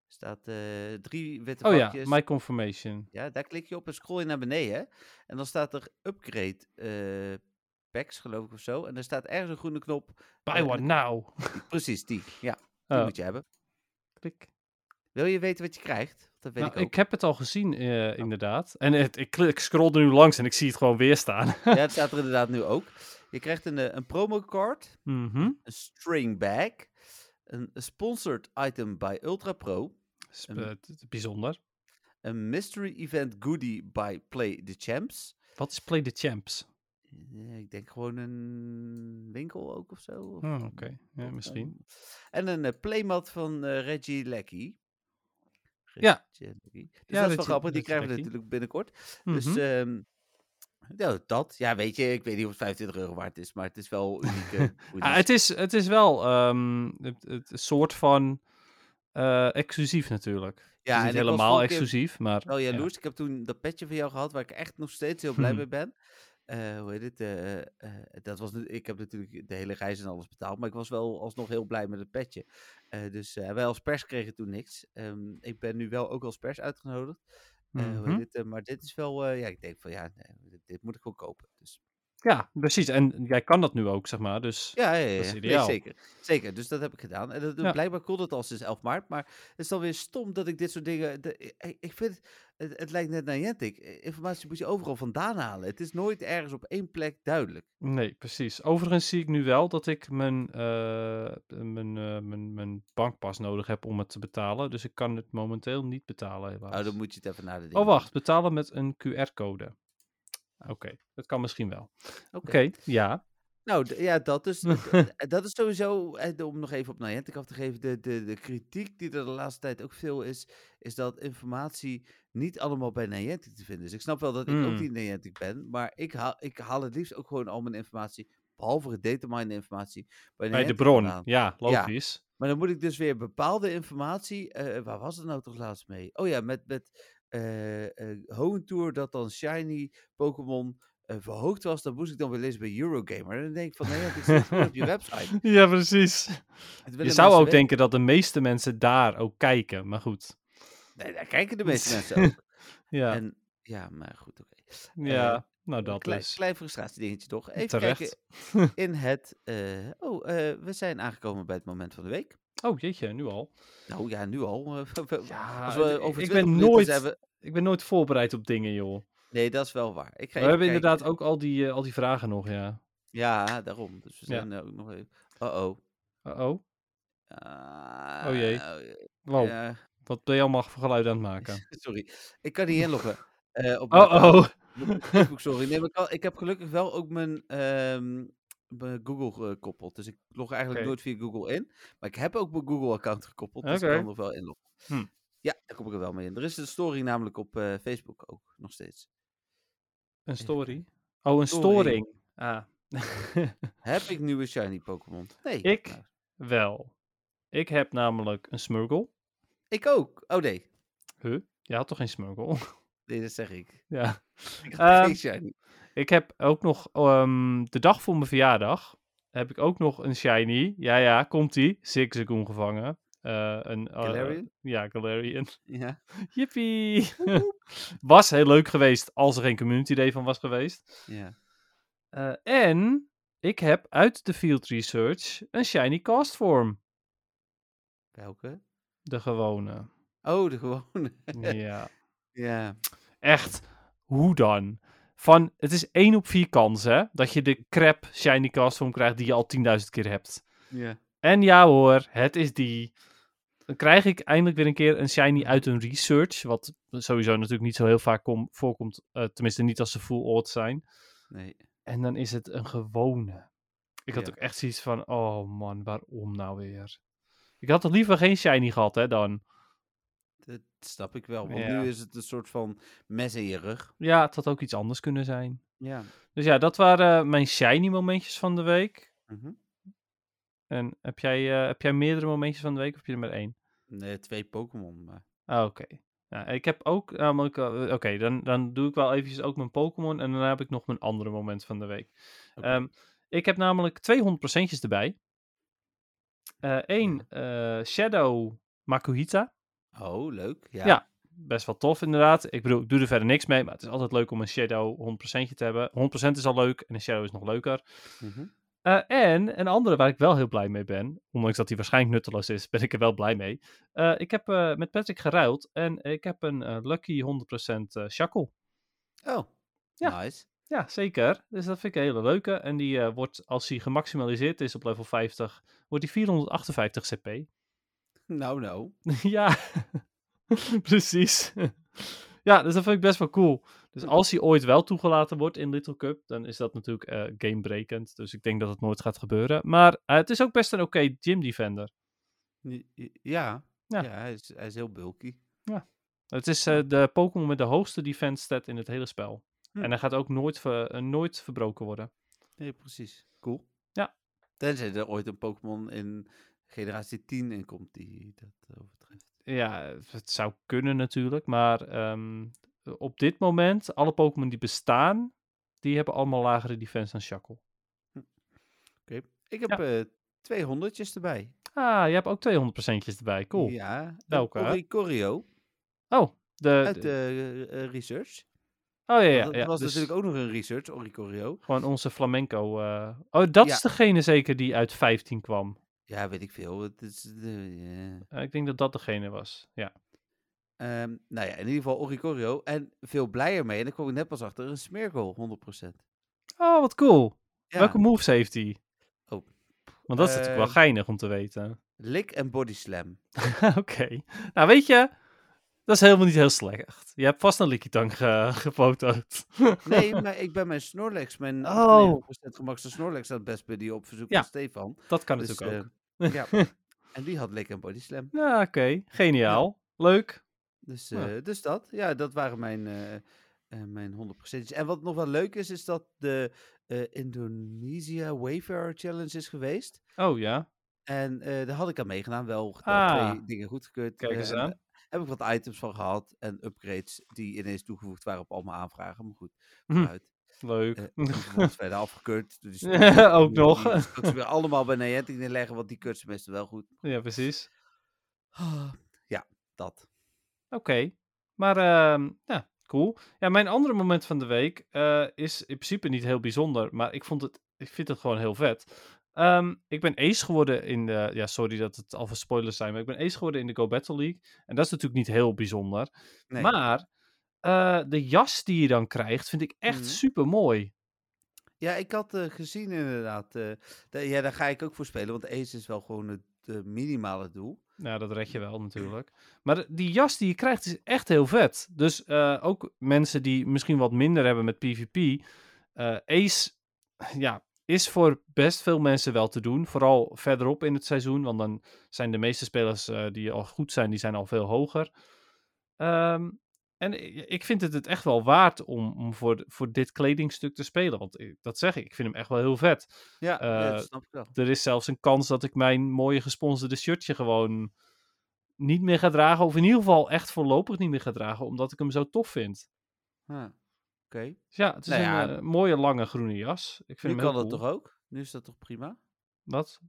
[SPEAKER 3] staat eh, drie witte
[SPEAKER 4] Oh ja,
[SPEAKER 3] vakjes.
[SPEAKER 4] my confirmation.
[SPEAKER 3] Ja, daar klik je op en scroll je naar beneden. En dan staat er upgrade eh, packs, geloof ik of zo. En er staat ergens een groene knop.
[SPEAKER 4] Buy
[SPEAKER 3] en
[SPEAKER 4] one
[SPEAKER 3] dan-
[SPEAKER 4] now.
[SPEAKER 3] Precies, die. Ja, die
[SPEAKER 4] Oh,
[SPEAKER 3] moet je hebben.
[SPEAKER 4] klik.
[SPEAKER 3] Wil je weten wat je krijgt? Dat weet
[SPEAKER 4] Nou,
[SPEAKER 3] ik ook.
[SPEAKER 4] heb het al gezien, eh, inderdaad. En het, ik, klik- ik scroll er nu langs en ik zie het gewoon weer staan.
[SPEAKER 3] Ja, dat staat er inderdaad nu ook. Je krijgt een, eh, een promocard,
[SPEAKER 4] Mhm.
[SPEAKER 3] een string bag, een sponsored item bij Ultra Pro,
[SPEAKER 4] Is,
[SPEAKER 3] Een-
[SPEAKER 4] eh, t- t- Bijzonder.
[SPEAKER 3] een mystery event goodie bij Play the Champs,
[SPEAKER 4] Wat is Play the Champs?
[SPEAKER 3] Eh, Ik denk gewoon een winkel ook of zo. of
[SPEAKER 4] Oh, Oké,
[SPEAKER 3] een
[SPEAKER 4] ja,
[SPEAKER 3] pot,
[SPEAKER 4] misschien.
[SPEAKER 3] ehm. En een eh, playmat van eh, Reggie Lecky.
[SPEAKER 4] Ja.
[SPEAKER 3] Reggie Lecky. Dus dat is
[SPEAKER 4] Ja, Reggie-
[SPEAKER 3] wel grappig. Die
[SPEAKER 4] Reggie
[SPEAKER 3] krijgen we
[SPEAKER 4] Lecky.
[SPEAKER 3] natuurlijk binnenkort. Dus
[SPEAKER 4] Mhm.
[SPEAKER 3] ehm, nou, dat. Ja, weet je, ik weet niet of het 25 euro waard is, maar het is wel uniek. eh, goodies.
[SPEAKER 4] Ah, het, is, het is wel ehm, het, het een soort van eh, exclusief natuurlijk. Het
[SPEAKER 3] ja,
[SPEAKER 4] is niet
[SPEAKER 3] en ik was
[SPEAKER 4] helemaal
[SPEAKER 3] vorige keer
[SPEAKER 4] exclusief, maar...
[SPEAKER 3] Wel
[SPEAKER 4] ja.
[SPEAKER 3] jaloers. Ik heb toen dat petje van jou gehad, waar ik echt nog steeds heel blij
[SPEAKER 4] Hmm.
[SPEAKER 3] mee ben. Eh, hoe heet het? eh, eh, dat was, nu- ik heb natuurlijk de hele reis en alles betaald, maar ik was wel alsnog heel blij met het petje. Eh, dus eh, wij als pers kregen toen niks. Ehm, ik ben nu wel ook als pers uitgenodigd. Eh, hoe heet
[SPEAKER 4] Mhm.
[SPEAKER 3] het, eh, maar dit is wel, eh, ja, ik denk van ja, nee, dit, dit moet ik gewoon kopen. Dus,
[SPEAKER 4] Ja, precies. En jij kan dat nu ook, zeg maar. Dus
[SPEAKER 3] ja, ja, ja, ja.
[SPEAKER 4] is
[SPEAKER 3] Nee,
[SPEAKER 4] ideaal.
[SPEAKER 3] zeker. Zeker, dus dat heb ik gedaan. En dat,
[SPEAKER 4] Ja.
[SPEAKER 3] blijkbaar kon het al sinds 11 maart, maar het is dan weer stom dat ik dit soort dingen... de- eh, ik, ik vind, het, het lijkt net naar Jentik. Informatie moet je overal vandaan halen. Het is nooit ergens op één plek duidelijk.
[SPEAKER 4] Nee, precies. Overigens zie ik nu wel dat ik mijn, eh, mijn, eh, mijn, mijn bankpas nodig heb om het te betalen. Dus ik kan het momenteel niet betalen, helaas.
[SPEAKER 3] Nou, dan moet je het even naar de dingen.
[SPEAKER 4] Oh, wacht. Betalen met een QR-code. Oké, dat kan misschien wel. Oké,
[SPEAKER 3] Oké.
[SPEAKER 4] ja.
[SPEAKER 3] Nou, d- ja, dat is, d- d- dat is sowieso, eh, de- om nog even op Niantic af te geven, de, de, de kritiek die er de laatste tijd ook veel is, is dat informatie niet allemaal bij Niantic te vinden is. Ik snap wel dat ik ook
[SPEAKER 4] Mm.
[SPEAKER 3] niet Niantic ben, maar ik haal, ik haal het liefst ook gewoon al mijn informatie, behalve gedatamined informatie, bij,
[SPEAKER 4] Bij de
[SPEAKER 3] Niantic
[SPEAKER 4] bron.
[SPEAKER 3] vandaan.
[SPEAKER 4] Ja, logisch.
[SPEAKER 3] Maar dan moet ik dus weer bepaalde informatie. eh, waar was het nou toch laatst mee? Oh ja, met, met eh eh, Hoentour dat dan Shiny Pokémon eh, verhoogd was. Dat moest ik dan weer lezen bij Eurogamer. En dan denk ik van, nee, ja, dit staat gewoon op je website.
[SPEAKER 4] Ja, precies.
[SPEAKER 3] Het
[SPEAKER 4] Je
[SPEAKER 3] willen
[SPEAKER 4] zou ook
[SPEAKER 3] mensen weten.
[SPEAKER 4] denken dat de meeste mensen daar ook kijken, maar goed.
[SPEAKER 3] Nee, daar kijken de meeste mensen ook.
[SPEAKER 4] Ja,
[SPEAKER 3] En, ja, maar goed, oké.
[SPEAKER 4] ja. nou
[SPEAKER 3] Een
[SPEAKER 4] dat
[SPEAKER 3] klein,
[SPEAKER 4] dus.
[SPEAKER 3] klein frustratiedingetje toch. Even
[SPEAKER 4] Terecht.
[SPEAKER 3] kijken in het... eh, oh, eh, we zijn aangekomen bij het moment van de week.
[SPEAKER 4] Oh, jeetje, nu al.
[SPEAKER 3] Nou ja, nu al. eh,
[SPEAKER 4] Ja,
[SPEAKER 3] als we over
[SPEAKER 4] ik
[SPEAKER 3] 20
[SPEAKER 4] ben
[SPEAKER 3] minuten
[SPEAKER 4] nooit...
[SPEAKER 3] zijn we-
[SPEAKER 4] Ik ben nooit voorbereid op dingen, joh.
[SPEAKER 3] Nee, dat is wel waar. Ik ga
[SPEAKER 4] We
[SPEAKER 3] even
[SPEAKER 4] hebben
[SPEAKER 3] kijken.
[SPEAKER 4] inderdaad ook al die, eh, al die vragen nog, ja.
[SPEAKER 3] Ja, daarom. Dus we
[SPEAKER 4] Ja.
[SPEAKER 3] zijn ook nog even. Oh oh.
[SPEAKER 4] Oh,
[SPEAKER 3] Ah,
[SPEAKER 4] jee.
[SPEAKER 3] eh,
[SPEAKER 4] wow.
[SPEAKER 3] ja,
[SPEAKER 4] Wat ben je allemaal voor geluid aan het maken?
[SPEAKER 3] sorry, ik kan niet inloggen. eh, op mijn
[SPEAKER 4] Oh, oh.
[SPEAKER 3] Facebook, sorry. Nee, maar ik, kan- ik heb gelukkig wel ook mijn, ehm, mijn Google gekoppeld. Dus ik log eigenlijk
[SPEAKER 4] Oké.
[SPEAKER 3] nooit via Google in. Maar ik heb ook mijn Google-account gekoppeld. Dus
[SPEAKER 4] Oké.
[SPEAKER 3] ik kan nog wel inloggen.
[SPEAKER 4] Hm.
[SPEAKER 3] Ja, daar kom ik er wel mee in. Er is een story namelijk op eh, Facebook ook nog steeds.
[SPEAKER 4] Een story? Oh, een
[SPEAKER 3] Storing.
[SPEAKER 4] storing. Ah.
[SPEAKER 3] Heb ik nieuwe shiny Pokémon? Nee.
[SPEAKER 4] Ik?
[SPEAKER 3] Nou,
[SPEAKER 4] Wel. Ik heb namelijk een smurgle.
[SPEAKER 3] Ik ook. Oh nee.
[SPEAKER 4] Huh? Je had toch geen smurgle?
[SPEAKER 3] Nee, dat zeg ik.
[SPEAKER 4] ja.
[SPEAKER 3] Ik had
[SPEAKER 4] Ehm,
[SPEAKER 3] geen shiny.
[SPEAKER 4] Ik heb ook nog, ehm, de dag voor mijn verjaardag, heb ik ook nog een shiny. Ja, ja, komt-ie. Zigzagoon gevangen. Eh, een, eh,
[SPEAKER 3] Galarian?
[SPEAKER 4] ja, Galarian.
[SPEAKER 3] Ja.
[SPEAKER 4] Jippie! was heel leuk geweest als er geen community day van was geweest.
[SPEAKER 3] ja.
[SPEAKER 4] Eh, en ik heb uit de field research een shiny cast form.
[SPEAKER 3] Welke?
[SPEAKER 4] De gewone.
[SPEAKER 3] Oh, de gewone.
[SPEAKER 4] ja.
[SPEAKER 3] ja.
[SPEAKER 4] Echt, hoe dan? Van, het is 1 op 4 kans, hè? Dat je de crap shiny cast form krijgt die je al 10.000 keer hebt.
[SPEAKER 3] Ja.
[SPEAKER 4] En ja hoor, het is die. Dan krijg ik eindelijk weer een keer een shiny uit een research. Wat sowieso natuurlijk niet zo heel vaak kom- voorkomt. eh, tenminste, niet als ze full odd zijn.
[SPEAKER 3] Nee.
[SPEAKER 4] En dan is het een gewone. Ik had
[SPEAKER 3] Ja.
[SPEAKER 4] ook echt zoiets van: oh man, waarom nou weer? Ik had toch liever geen shiny gehad, hè dan?
[SPEAKER 3] Dat snap ik wel. Want
[SPEAKER 4] Ja.
[SPEAKER 3] nu is het een soort van mes in je rug.
[SPEAKER 4] Ja, het had ook iets anders kunnen zijn.
[SPEAKER 3] Ja.
[SPEAKER 4] Dus ja, dat waren mijn shiny momentjes van de week.
[SPEAKER 3] Mhm.
[SPEAKER 4] En heb jij, eh, heb jij meerdere momentjes van de week of heb je er maar één?
[SPEAKER 3] Nee, twee Pokémon. Maar...
[SPEAKER 4] Ah, oké. Nou, ik heb ook namelijk... eh, Oké, dan, dan doe ik wel eventjes ook mijn Pokémon. En daarna heb ik nog mijn andere moment van de week.
[SPEAKER 3] Oké.
[SPEAKER 4] Ehm, ik heb namelijk 200%'jes erbij. Eén Shadow Makuhita.
[SPEAKER 3] Oh, leuk. Ja.
[SPEAKER 4] Ja. Best wel tof inderdaad. Ik bedoel, ik doe er verder niks mee. Maar het is altijd leuk om een Shadow 100%je te hebben. 100% is al leuk en een Shadow is nog leuker.
[SPEAKER 3] Mhm.
[SPEAKER 4] Eh, en een andere waar ik wel heel blij mee ben, ondanks dat die waarschijnlijk nutteloos is, ben ik er wel blij mee. Eh, ik heb eh, met Patrick geruild en ik heb een eh, Lucky 100% eh Shackle.
[SPEAKER 3] Oh,
[SPEAKER 4] Ja.
[SPEAKER 3] nice.
[SPEAKER 4] Ja, zeker. Dus dat vind ik een hele leuke. En die eh, wordt, als hij gemaximaliseerd is op level 50, wordt die 458 CP.
[SPEAKER 3] Nou, nou.
[SPEAKER 4] ja, precies. ja, dus dat vind ik best wel cool.
[SPEAKER 3] Hm.
[SPEAKER 4] Dus als hij ooit wel toegelaten wordt in Little Cup, dan is dat natuurlijk eh gamebrekend. Dus ik denk dat het nooit gaat gebeuren. Maar eh, het is ook best een oké gym defender.
[SPEAKER 3] Ni- i- Ja.
[SPEAKER 4] Ja.
[SPEAKER 3] Ja, hij, is, hij is heel bulky.
[SPEAKER 4] Het is eh, de Pokémon met de hoogste defense stat in het hele spel.
[SPEAKER 3] Hm.
[SPEAKER 4] En hij gaat ook nooit, ver- eh, nooit verbroken worden.
[SPEAKER 3] Nee, precies. Cool.
[SPEAKER 4] Ja.
[SPEAKER 3] Tenzij er ooit een Pokémon in generatie 10 in komt die dat eh, overtreft.
[SPEAKER 4] Ja, het zou kunnen natuurlijk. Maar ehm, op dit moment, alle Pokémon die bestaan, die hebben allemaal lagere defense dan Shackle.
[SPEAKER 3] Oké. Ik heb
[SPEAKER 4] Ja.
[SPEAKER 3] eh twee honderdjes erbij.
[SPEAKER 4] Ah, je hebt ook 200%'jes erbij. Cool.
[SPEAKER 3] Ja.
[SPEAKER 4] Welke?
[SPEAKER 3] Een Corio
[SPEAKER 4] Oh, de,
[SPEAKER 3] uit
[SPEAKER 4] de-
[SPEAKER 3] de research.
[SPEAKER 4] oh ja,
[SPEAKER 3] Ja,
[SPEAKER 4] ja.
[SPEAKER 3] eh, dat
[SPEAKER 4] ja,
[SPEAKER 3] was
[SPEAKER 4] dus
[SPEAKER 3] natuurlijk ook nog een research, Oricorio.
[SPEAKER 4] Gewoon onze flamenco. eh. Oh, dat
[SPEAKER 3] Ja.
[SPEAKER 4] is degene zeker die uit 15 kwam.
[SPEAKER 3] Ja, weet ik veel. Het is de, ja.
[SPEAKER 4] Eh, ik denk dat dat degene was. Ja.
[SPEAKER 3] Ehm, nou ja, in ieder geval Oricorio. En veel blijer mee. En dan kwam ik net pas achter een Smeargle, 100%.
[SPEAKER 4] Oh, wat cool.
[SPEAKER 3] Ja.
[SPEAKER 4] Welke moves heeft hij?
[SPEAKER 3] Oh.
[SPEAKER 4] Want dat is natuurlijk wel
[SPEAKER 3] Eh,
[SPEAKER 4] geinig om te weten.
[SPEAKER 3] Lick en Body Slam.
[SPEAKER 4] Oké. Nou, weet je, dat is helemaal niet heel slecht. Je hebt vast een Likitang ge gefoto'd.
[SPEAKER 3] Nee, maar ik ben mijn Snorlax, mijn
[SPEAKER 4] Oh.
[SPEAKER 3] 98% gemakste Snorlax aan het best buddy op verzoek
[SPEAKER 4] Ja,
[SPEAKER 3] van Stefan.
[SPEAKER 4] dat kan
[SPEAKER 3] Dus,
[SPEAKER 4] natuurlijk ook.
[SPEAKER 3] eh, ja. En die had Lick en Body Slam.
[SPEAKER 4] Ja, oké. Geniaal. Leuk.
[SPEAKER 3] Dus,
[SPEAKER 4] Ja.
[SPEAKER 3] eh, dus dat, ja, dat waren mijn, eh eh mijn 100%. En wat nog wel leuk is, is dat de eh, Indonesia Wayfarer Challenge is geweest.
[SPEAKER 4] Oh ja.
[SPEAKER 3] En eh, daar had ik aan meegedaan, wel geteld,
[SPEAKER 4] Ah.
[SPEAKER 3] twee dingen goedgekeurd.
[SPEAKER 4] Kijk
[SPEAKER 3] eh,
[SPEAKER 4] eens
[SPEAKER 3] en
[SPEAKER 4] aan.
[SPEAKER 3] Heb ik wat items van gehad en upgrades die ineens toegevoegd waren op al mijn aanvragen. Maar goed,
[SPEAKER 4] Hm.
[SPEAKER 3] vooruit.
[SPEAKER 4] Leuk. Hm,
[SPEAKER 3] Eh, en vervolgens verder afgekeurd. Dus die
[SPEAKER 4] Ja,
[SPEAKER 3] studio,
[SPEAKER 4] ook
[SPEAKER 3] die-
[SPEAKER 4] nog.
[SPEAKER 3] die straks weer allemaal bij Niantic neerleggen, want die keurt ze meestal wel goed.
[SPEAKER 4] ja, precies. Ah.
[SPEAKER 3] Ja, dat.
[SPEAKER 4] Oké. Maar, ehm ja, cool. Ja, mijn andere moment van de week eh, is in principe niet heel bijzonder, maar ik, vond het, ik vind het gewoon heel vet. Ehm, ik ben ace geworden in de... Ja, sorry dat het al voor spoilers zijn, maar ik ben ace geworden in de Go Battle League. En dat is natuurlijk niet heel bijzonder.
[SPEAKER 3] Nee.
[SPEAKER 4] Maar eh, de jas die je dan krijgt, vind ik echt
[SPEAKER 3] Mhm.
[SPEAKER 4] super mooi.
[SPEAKER 3] Ja, ik had eh, gezien inderdaad. eh, da- ja, daar ga ik ook voor spelen, want Ace is wel gewoon het eh, minimale doel.
[SPEAKER 4] Nou, dat red je wel natuurlijk. Maar de- die jas die je krijgt is echt heel vet. Dus eh, ook mensen die misschien wat minder hebben met PvP. eh, Ace ja, is voor best veel mensen wel te doen. Vooral verderop in het seizoen. Want dan zijn de meeste spelers eh, die al goed zijn, die zijn al veel hoger. Ehm, En i- ik vind het het echt wel waard om, om voor, d- voor dit kledingstuk te spelen. Want ik- dat zeg ik, ik vind hem echt wel heel vet.
[SPEAKER 3] Ja, ja, dat
[SPEAKER 4] Eh,
[SPEAKER 3] snap ik wel.
[SPEAKER 4] Er is zelfs een kans dat ik mijn mooie gesponsorde shirtje gewoon niet meer ga dragen. Of in ieder geval echt voorlopig niet meer ga dragen, omdat ik hem zo tof vind.
[SPEAKER 3] Ja. Oké.
[SPEAKER 4] Dus ja, het is
[SPEAKER 3] Nou
[SPEAKER 4] een
[SPEAKER 3] ja,
[SPEAKER 4] eh, mooie lange groene jas. Ik vind
[SPEAKER 3] Nu
[SPEAKER 4] hem
[SPEAKER 3] kan
[SPEAKER 4] heel
[SPEAKER 3] dat
[SPEAKER 4] cool.
[SPEAKER 3] toch ook? Nu is dat toch prima?
[SPEAKER 4] Wat?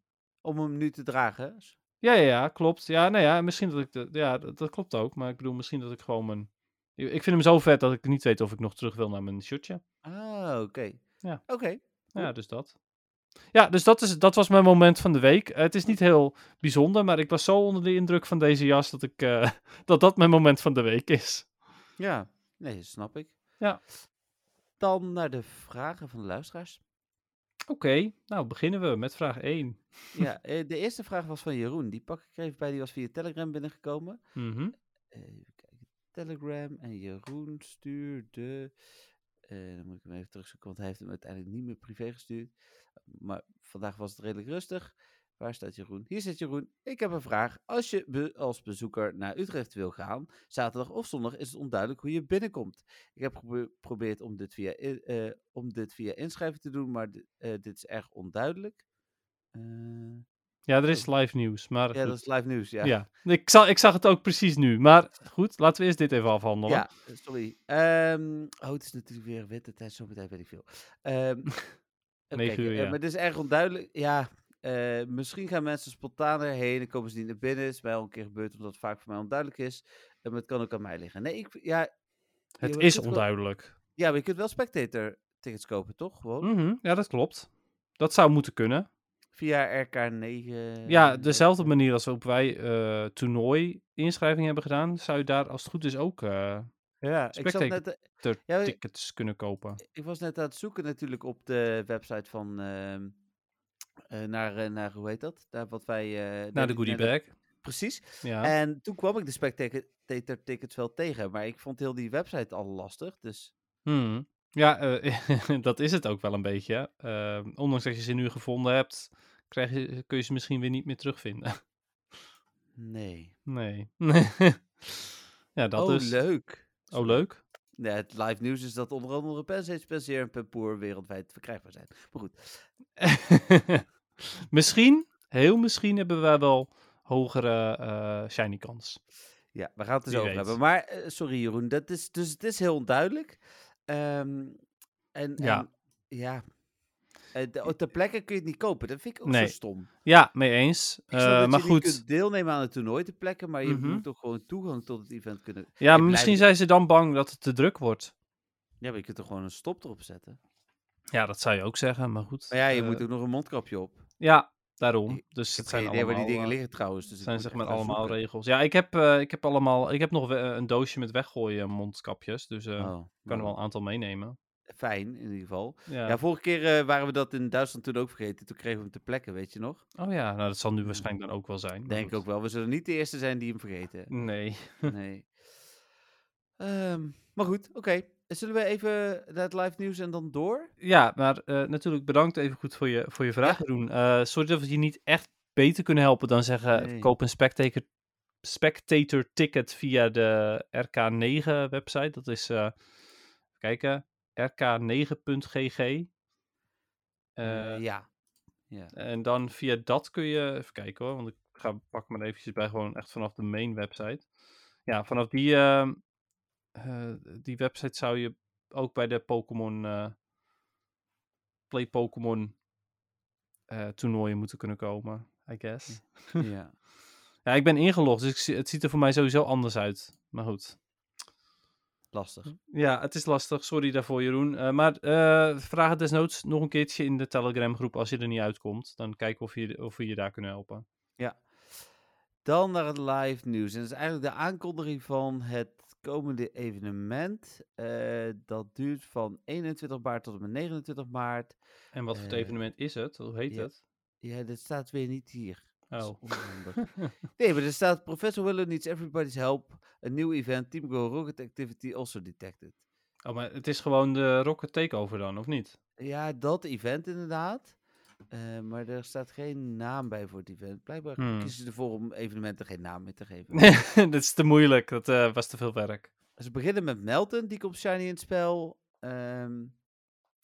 [SPEAKER 3] Om hem nu te dragen. hè? S-
[SPEAKER 4] Ja, ja, ja, klopt. Ja, nou ja, misschien dat ik... De, ja, dat, dat klopt ook. Maar ik bedoel, misschien dat ik gewoon mijn... Ik ik vind hem zo vet dat ik niet weet of ik nog terug wil naar mijn shirtje.
[SPEAKER 3] Ah, oké.
[SPEAKER 4] Ja.
[SPEAKER 3] Oké.
[SPEAKER 4] Ja, dus dat. Ja, dus dat, is, dat was mijn moment van de week. Eh, het is niet heel bijzonder, maar ik was zo onder de indruk van deze jas dat ik, eh, dat, dat mijn moment van de week is.
[SPEAKER 3] Ja. Nee, dat snap ik.
[SPEAKER 4] Ja.
[SPEAKER 3] Dan naar de vragen van de luisteraars.
[SPEAKER 4] Oké, nou beginnen we met vraag 1.
[SPEAKER 3] ja, eh, de eerste vraag was van Jeroen. Die pak ik er even bij. Die was via Telegram binnengekomen.
[SPEAKER 4] Mhm.
[SPEAKER 3] Even kijken. Telegram en Jeroen stuurde. eh, dan moet ik hem even terugzoeken, want hij heeft hem uiteindelijk niet meer privé gestuurd. Maar vandaag was het redelijk rustig. Waar staat Jeroen? Hier zit Jeroen. Ik heb een vraag. Als je be- als bezoeker naar Utrecht wil gaan, zaterdag of zondag, is het onduidelijk hoe je binnenkomt. Ik heb gepro- geprobeerd om dit via, in- eh, om dit via inschrijven te doen, maar di- eh, dit is erg onduidelijk. Eh,
[SPEAKER 4] Ja, er is live nieuws, maar
[SPEAKER 3] ja,
[SPEAKER 4] goed.
[SPEAKER 3] dat is live nieuws.
[SPEAKER 4] ja. Ik, zag, ik zag het ook precies nu. Maar goed, laten we eerst dit even afhandelen.
[SPEAKER 3] Ja, eh, sorry. Ehm, oh, het is natuurlijk weer witte tijd, zometeen weet ik veel. Ehm even
[SPEAKER 4] Negen
[SPEAKER 3] kijken,
[SPEAKER 4] uur,
[SPEAKER 3] eh,
[SPEAKER 4] ja.
[SPEAKER 3] maar het is erg onduidelijk. Ja, eh, misschien gaan mensen spontaan erheen en komen ze niet naar binnen. Het is mij al een keer gebeurd, omdat het vaak voor mij onduidelijk is. Eh, maar het kan ook aan mij liggen. Nee, ik, ja, je
[SPEAKER 4] het
[SPEAKER 3] kunt
[SPEAKER 4] is
[SPEAKER 3] wel-
[SPEAKER 4] onduidelijk.
[SPEAKER 3] ja, maar je kunt wel spectator tickets kopen, toch? Gewoon
[SPEAKER 4] Mhm, Ja, dat klopt. Dat zou moeten kunnen.
[SPEAKER 3] via RK9.
[SPEAKER 4] Ja, dezelfde manier als op wij eh toernooi inschrijving hebben gedaan, zou je daar als het goed is ook eh,
[SPEAKER 3] Ja, ik, zat
[SPEAKER 4] spectator.
[SPEAKER 3] net, eh,
[SPEAKER 4] ter-
[SPEAKER 3] ja, ik-
[SPEAKER 4] tickets kunnen kopen.
[SPEAKER 3] ik was net aan het zoeken natuurlijk op de website van... ehm, eh, naar, eh, naar, hoe heet dat? Daar wat wij... eh,
[SPEAKER 4] Naar de goodie bag.
[SPEAKER 3] Precies.
[SPEAKER 4] Ja.
[SPEAKER 3] En toen kwam ik de spectator tickets wel tegen, maar ik vond heel die website al lastig. Dus
[SPEAKER 4] Hmm. Ja, eh, dat is het ook wel een beetje. Eh, ondanks dat je ze nu gevonden hebt, krijg je, kun je ze misschien weer niet meer terugvinden.
[SPEAKER 3] nee.
[SPEAKER 4] Nee. ja, dat
[SPEAKER 3] oh,
[SPEAKER 4] is.
[SPEAKER 3] leuk.
[SPEAKER 4] Oh, leuk.
[SPEAKER 3] Nee, het live nieuws is dat onder andere Pensage, Penseer en Pempoer wereldwijd verkrijgbaar zijn. Maar goed,
[SPEAKER 4] misschien, heel misschien hebben wij wel hogere eh, shiny kans.
[SPEAKER 3] ja, we gaan het eens
[SPEAKER 4] Wie
[SPEAKER 3] over
[SPEAKER 4] weet.
[SPEAKER 3] hebben. Maar eh, sorry Jeroen, dat is, dus het is heel onduidelijk. Ehm, en
[SPEAKER 4] Ja.
[SPEAKER 3] en- ja. Eh, de- ter plekke kun je het niet kopen, dat vind ik ook
[SPEAKER 4] Nee.
[SPEAKER 3] zo stom.
[SPEAKER 4] Ja, mee eens.
[SPEAKER 3] Ik snap
[SPEAKER 4] Eh,
[SPEAKER 3] dat
[SPEAKER 4] maar
[SPEAKER 3] je
[SPEAKER 4] goed.
[SPEAKER 3] niet kunt deelnemen aan het toernooi ter plekke, maar je
[SPEAKER 4] Mhm.
[SPEAKER 3] moet toch gewoon toegang tot het event kunnen.
[SPEAKER 4] Ja, maar
[SPEAKER 3] blijft-
[SPEAKER 4] misschien zijn ze dan bang dat het te druk wordt.
[SPEAKER 3] Ja, maar je kunt er gewoon een stop erop zetten.
[SPEAKER 4] Ja, dat zou je ook zeggen, maar goed.
[SPEAKER 3] Maar ja, je
[SPEAKER 4] eh,
[SPEAKER 3] moet ook nog een mondkapje op.
[SPEAKER 4] Ja, daarom.
[SPEAKER 3] Ik-
[SPEAKER 4] Dus
[SPEAKER 3] Ik heb geen
[SPEAKER 4] het zijn
[SPEAKER 3] idee
[SPEAKER 4] allemaal...
[SPEAKER 3] waar die dingen
[SPEAKER 4] eh,
[SPEAKER 3] liggen trouwens. Dus
[SPEAKER 4] Het
[SPEAKER 3] ik
[SPEAKER 4] zijn
[SPEAKER 3] moet
[SPEAKER 4] zeg
[SPEAKER 3] echt
[SPEAKER 4] maar
[SPEAKER 3] gaan
[SPEAKER 4] allemaal
[SPEAKER 3] zoeken.
[SPEAKER 4] regels. Ja, ik heb, eh, ik heb allemaal. Ik heb nog we- eh, een doosje met weggooien mondkapjes. Dus eh, ik
[SPEAKER 3] Oh,
[SPEAKER 4] kan er wel
[SPEAKER 3] nou,
[SPEAKER 4] een aantal meenemen.
[SPEAKER 3] Fijn, in ieder geval.
[SPEAKER 4] Ja.
[SPEAKER 3] Ja, vorige keer eh, waren we dat in Duitsland toen ook vergeten. Toen kregen we hem te plekken, weet je nog?
[SPEAKER 4] Oh ja, nou dat zal nu waarschijnlijk dan ook wel zijn. maar
[SPEAKER 3] Hmm. Denk
[SPEAKER 4] goed.
[SPEAKER 3] ook wel. We zullen niet de eerste zijn die hem vergeten.
[SPEAKER 4] Nee.
[SPEAKER 3] Nee. Ehm, maar goed, oké. Zullen we even naar het live nieuws en dan door?
[SPEAKER 4] Ja, maar eh, natuurlijk bedankt even goed voor je, voor je vraag, Jeroen. Eh, sorry dat we je niet echt beter kunnen helpen dan zeggen: eh,
[SPEAKER 3] Nee.
[SPEAKER 4] koop een spectator, spectator ticket via de RK9 website. Dat is, eh, even kijken, rk9.gg. Eh,
[SPEAKER 3] Eh, ja. ja.
[SPEAKER 4] En dan via dat kun je, even kijken hoor, want ik ga, pak maar eventjes bij gewoon echt vanaf de main website. Ja, vanaf die, ehm, eh, die website zou je ook bij de Pokémon, eh, Play Pokémon eh, toernooien moeten kunnen komen, I guess.
[SPEAKER 3] ja.
[SPEAKER 4] Ja, ik ben ingelogd, dus ik zie- het ziet er voor mij sowieso anders uit. Maar goed. Hm.
[SPEAKER 3] Lastig.
[SPEAKER 4] Ja, het is lastig. Sorry daarvoor, Jeroen. Eh, maar eh, vraag het desnoods nog een keertje in de Telegram groep als je er niet uitkomt. Dan kijken we of, je, of we je daar kunnen helpen.
[SPEAKER 3] Dan naar het live nieuws. En dat is eigenlijk de aankondiging van het komende evenement. Eh, dat duurt van 21 maart tot en met 29 maart.
[SPEAKER 4] En wat voor
[SPEAKER 3] Eh,
[SPEAKER 4] evenement is het? Hoe heet
[SPEAKER 3] ja.
[SPEAKER 4] het?
[SPEAKER 3] Ja, dat staat weer niet hier. Dat is
[SPEAKER 4] Oh.
[SPEAKER 3] onhandig. nee, maar er staat Professor Willow needs everybody's help. Een nieuw event, Team Go Rocket Activity also detected.
[SPEAKER 4] oh, maar het is gewoon de Rocket Takeover dan, of niet?
[SPEAKER 3] Ja, dat event inderdaad. Eh, maar er staat geen naam bij voor het event. Blijkbaar
[SPEAKER 4] Hmm.
[SPEAKER 3] kiezen ze ervoor om evenementen geen naam meer te geven.
[SPEAKER 4] dat is te moeilijk. Dat eh, was te veel werk.
[SPEAKER 3] Ze beginnen met Melton, die komt shiny in het spel. Ehm,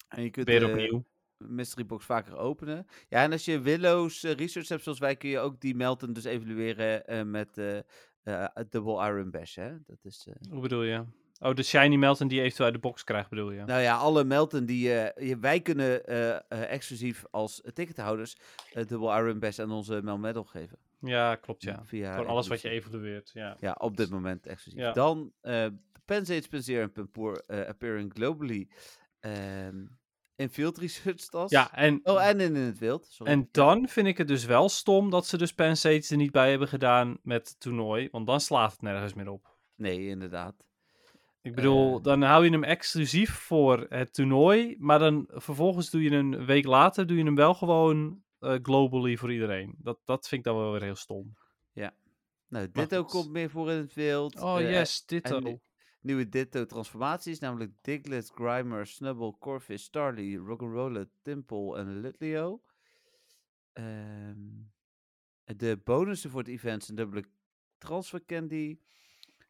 [SPEAKER 3] en je kunt
[SPEAKER 4] Weer
[SPEAKER 3] de
[SPEAKER 4] opnieuw.
[SPEAKER 3] mystery box vaker openen. Ja, en als je Willow's eh, research hebt zoals wij, kun je ook die Melton dus evalueren eh, met eh eh, Double Iron Bash, hè? Dat is... eh,
[SPEAKER 4] Hoe bedoel je? Oh, de shiny Melton die je eventueel uit de box krijgt, bedoel je?
[SPEAKER 3] Nou ja, alle Melton die eh, je- wij kunnen eh, eh, exclusief als tickethouders eh dubbel Iron Best aan onze Mel Medal geven.
[SPEAKER 4] Ja, klopt, ja.
[SPEAKER 3] Via
[SPEAKER 4] Gewoon alles wat je
[SPEAKER 3] evolutie.
[SPEAKER 4] evalueert, ja.
[SPEAKER 3] Ja, op dit moment exclusief.
[SPEAKER 4] Ja.
[SPEAKER 3] Dan eh Pensates, Penseer en Pempoor eh, appearing globally ehm, in field research tas.
[SPEAKER 4] Ja, en,
[SPEAKER 3] Oh, en in, in het wild. Sorry.
[SPEAKER 4] en dan vind ik het dus wel stom dat ze dus Pensates er niet bij hebben gedaan met het toernooi, want dan slaat het nergens meer op.
[SPEAKER 3] Nee, inderdaad.
[SPEAKER 4] Ik bedoel,
[SPEAKER 3] Eh.
[SPEAKER 4] dan hou je hem exclusief voor het toernooi, maar dan vervolgens doe je hem een week later, doe je hem wel gewoon eh, globally voor iedereen. Dat, dat vind ik dan wel weer heel stom.
[SPEAKER 3] Nou,
[SPEAKER 4] Maar
[SPEAKER 3] Ditto
[SPEAKER 4] goed.
[SPEAKER 3] komt meer voor in het wild.
[SPEAKER 4] Oh
[SPEAKER 3] Eh,
[SPEAKER 4] yes, dit
[SPEAKER 3] en die- nieuwe Ditto-transformaties, namelijk Diglett, Grimer, Snubble, Corvus, Starly, Rock'n'Roller, Timple en Lutlio. Ehm, de bonussen voor het event zijn dubbele transfer candy,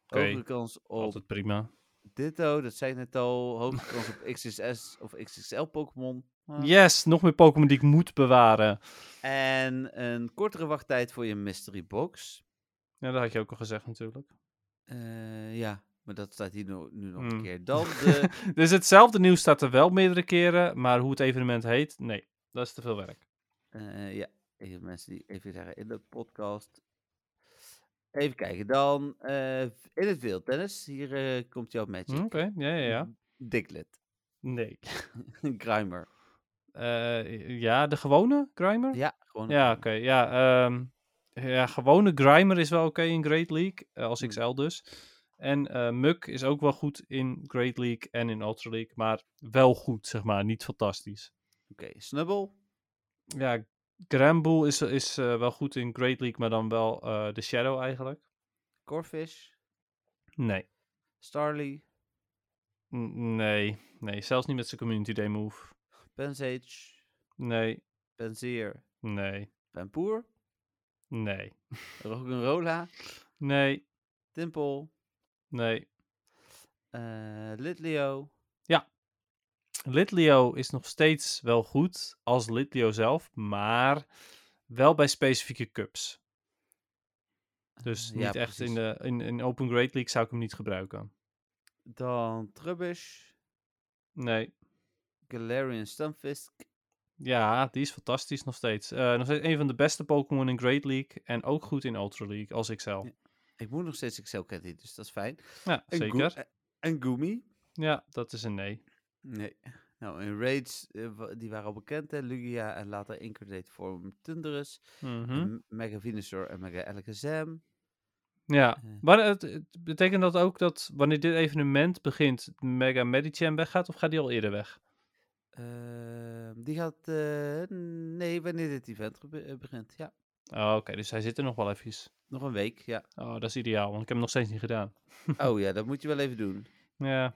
[SPEAKER 4] Oké,
[SPEAKER 3] hogere kans op
[SPEAKER 4] Altijd prima.
[SPEAKER 3] Ditto, dat zei ik net al, hogere kans op XXS of XXL Pokémon. Ah.
[SPEAKER 4] Yes, nog meer Pokémon die ik moet bewaren.
[SPEAKER 3] En een kortere wachttijd voor je mystery box.
[SPEAKER 4] Ja, dat had je ook al gezegd natuurlijk.
[SPEAKER 3] Eh, ja, maar dat staat hier nu, nu nog een
[SPEAKER 4] Mm.
[SPEAKER 3] keer. Dan de
[SPEAKER 4] Dus hetzelfde nieuws staat er wel meerdere keren, maar hoe het evenement heet, nee, dat is te veel werk.
[SPEAKER 3] Eh, ja, even mensen die even zeggen in de podcast. Even kijken, dan eh, in het wild, Dennis. Hier eh, komt jouw
[SPEAKER 4] Hm, Oké,
[SPEAKER 3] magic.
[SPEAKER 4] ja, ja, ja.
[SPEAKER 3] Diglett.
[SPEAKER 4] Nee.
[SPEAKER 3] Grimer.
[SPEAKER 4] Eh, ja, de gewone Grimer?
[SPEAKER 3] Ja, gewoon.
[SPEAKER 4] Ja, oké. Ja, ehm, ja, gewone Grimer is wel oké in Great League, eh, als
[SPEAKER 3] Hmm.
[SPEAKER 4] XL dus. En eh Muk is ook wel goed in Great League en in Ultra League, maar wel goed, zeg maar. Niet fantastisch.
[SPEAKER 3] Oké, Snubble.
[SPEAKER 4] Ja, Gramble is, is eh, wel goed in Great League, maar dan wel eh, de Shadow eigenlijk.
[SPEAKER 3] Corfish.
[SPEAKER 4] Nee.
[SPEAKER 3] Starly.
[SPEAKER 4] N- nee. Nee, zelfs niet met zijn Community Day move.
[SPEAKER 3] Pensage.
[SPEAKER 4] Nee.
[SPEAKER 3] Pensier.
[SPEAKER 4] Nee.
[SPEAKER 3] Pampoer.
[SPEAKER 4] Nee.
[SPEAKER 3] Rock'n'Rolla.
[SPEAKER 4] Nee.
[SPEAKER 3] Timple.
[SPEAKER 4] Nee.
[SPEAKER 3] eh Litleo.
[SPEAKER 4] Litleo is nog steeds wel goed als Litleo zelf, maar wel bij specifieke cups. Dus
[SPEAKER 3] Eh,
[SPEAKER 4] niet
[SPEAKER 3] ja,
[SPEAKER 4] echt in,
[SPEAKER 3] precies.
[SPEAKER 4] de, in, in Open Great League zou ik hem niet gebruiken.
[SPEAKER 3] Dan Trubbish.
[SPEAKER 4] Nee.
[SPEAKER 3] Galarian Stunfisk.
[SPEAKER 4] Ja, die is fantastisch nog steeds. Eh, nog steeds een van de beste Pokémon in Great League en ook goed in Ultra League als XL. Ja,
[SPEAKER 3] Ik moet nog steeds Excel Candy, dus dat is fijn. En Goo-
[SPEAKER 4] zeker.
[SPEAKER 3] eh, En Goomy.
[SPEAKER 4] Ja, dat is een nee.
[SPEAKER 3] Nee. Nou, in Raids, eh, wa- die waren al bekend, hè? Lugia en later Incarnate Form Tundurus,
[SPEAKER 4] Mhm.
[SPEAKER 3] M- Mega Venusaur en Mega Alakazam.
[SPEAKER 4] Ja,
[SPEAKER 3] Eh.
[SPEAKER 4] maar het, het betekent dat ook dat wanneer dit evenement begint, Mega Medicham weggaat of gaat die al eerder weg?
[SPEAKER 3] Ehm, die gaat, eh, nee, wanneer dit event gebe- eh, begint, ja.
[SPEAKER 4] Oh, Oké, dus hij zit er nog wel eventjes.
[SPEAKER 3] Nog een week, ja.
[SPEAKER 4] Oh, dat is ideaal, want ik heb hem nog steeds niet gedaan.
[SPEAKER 3] Oh ja, dat moet je wel even doen.
[SPEAKER 4] Ja.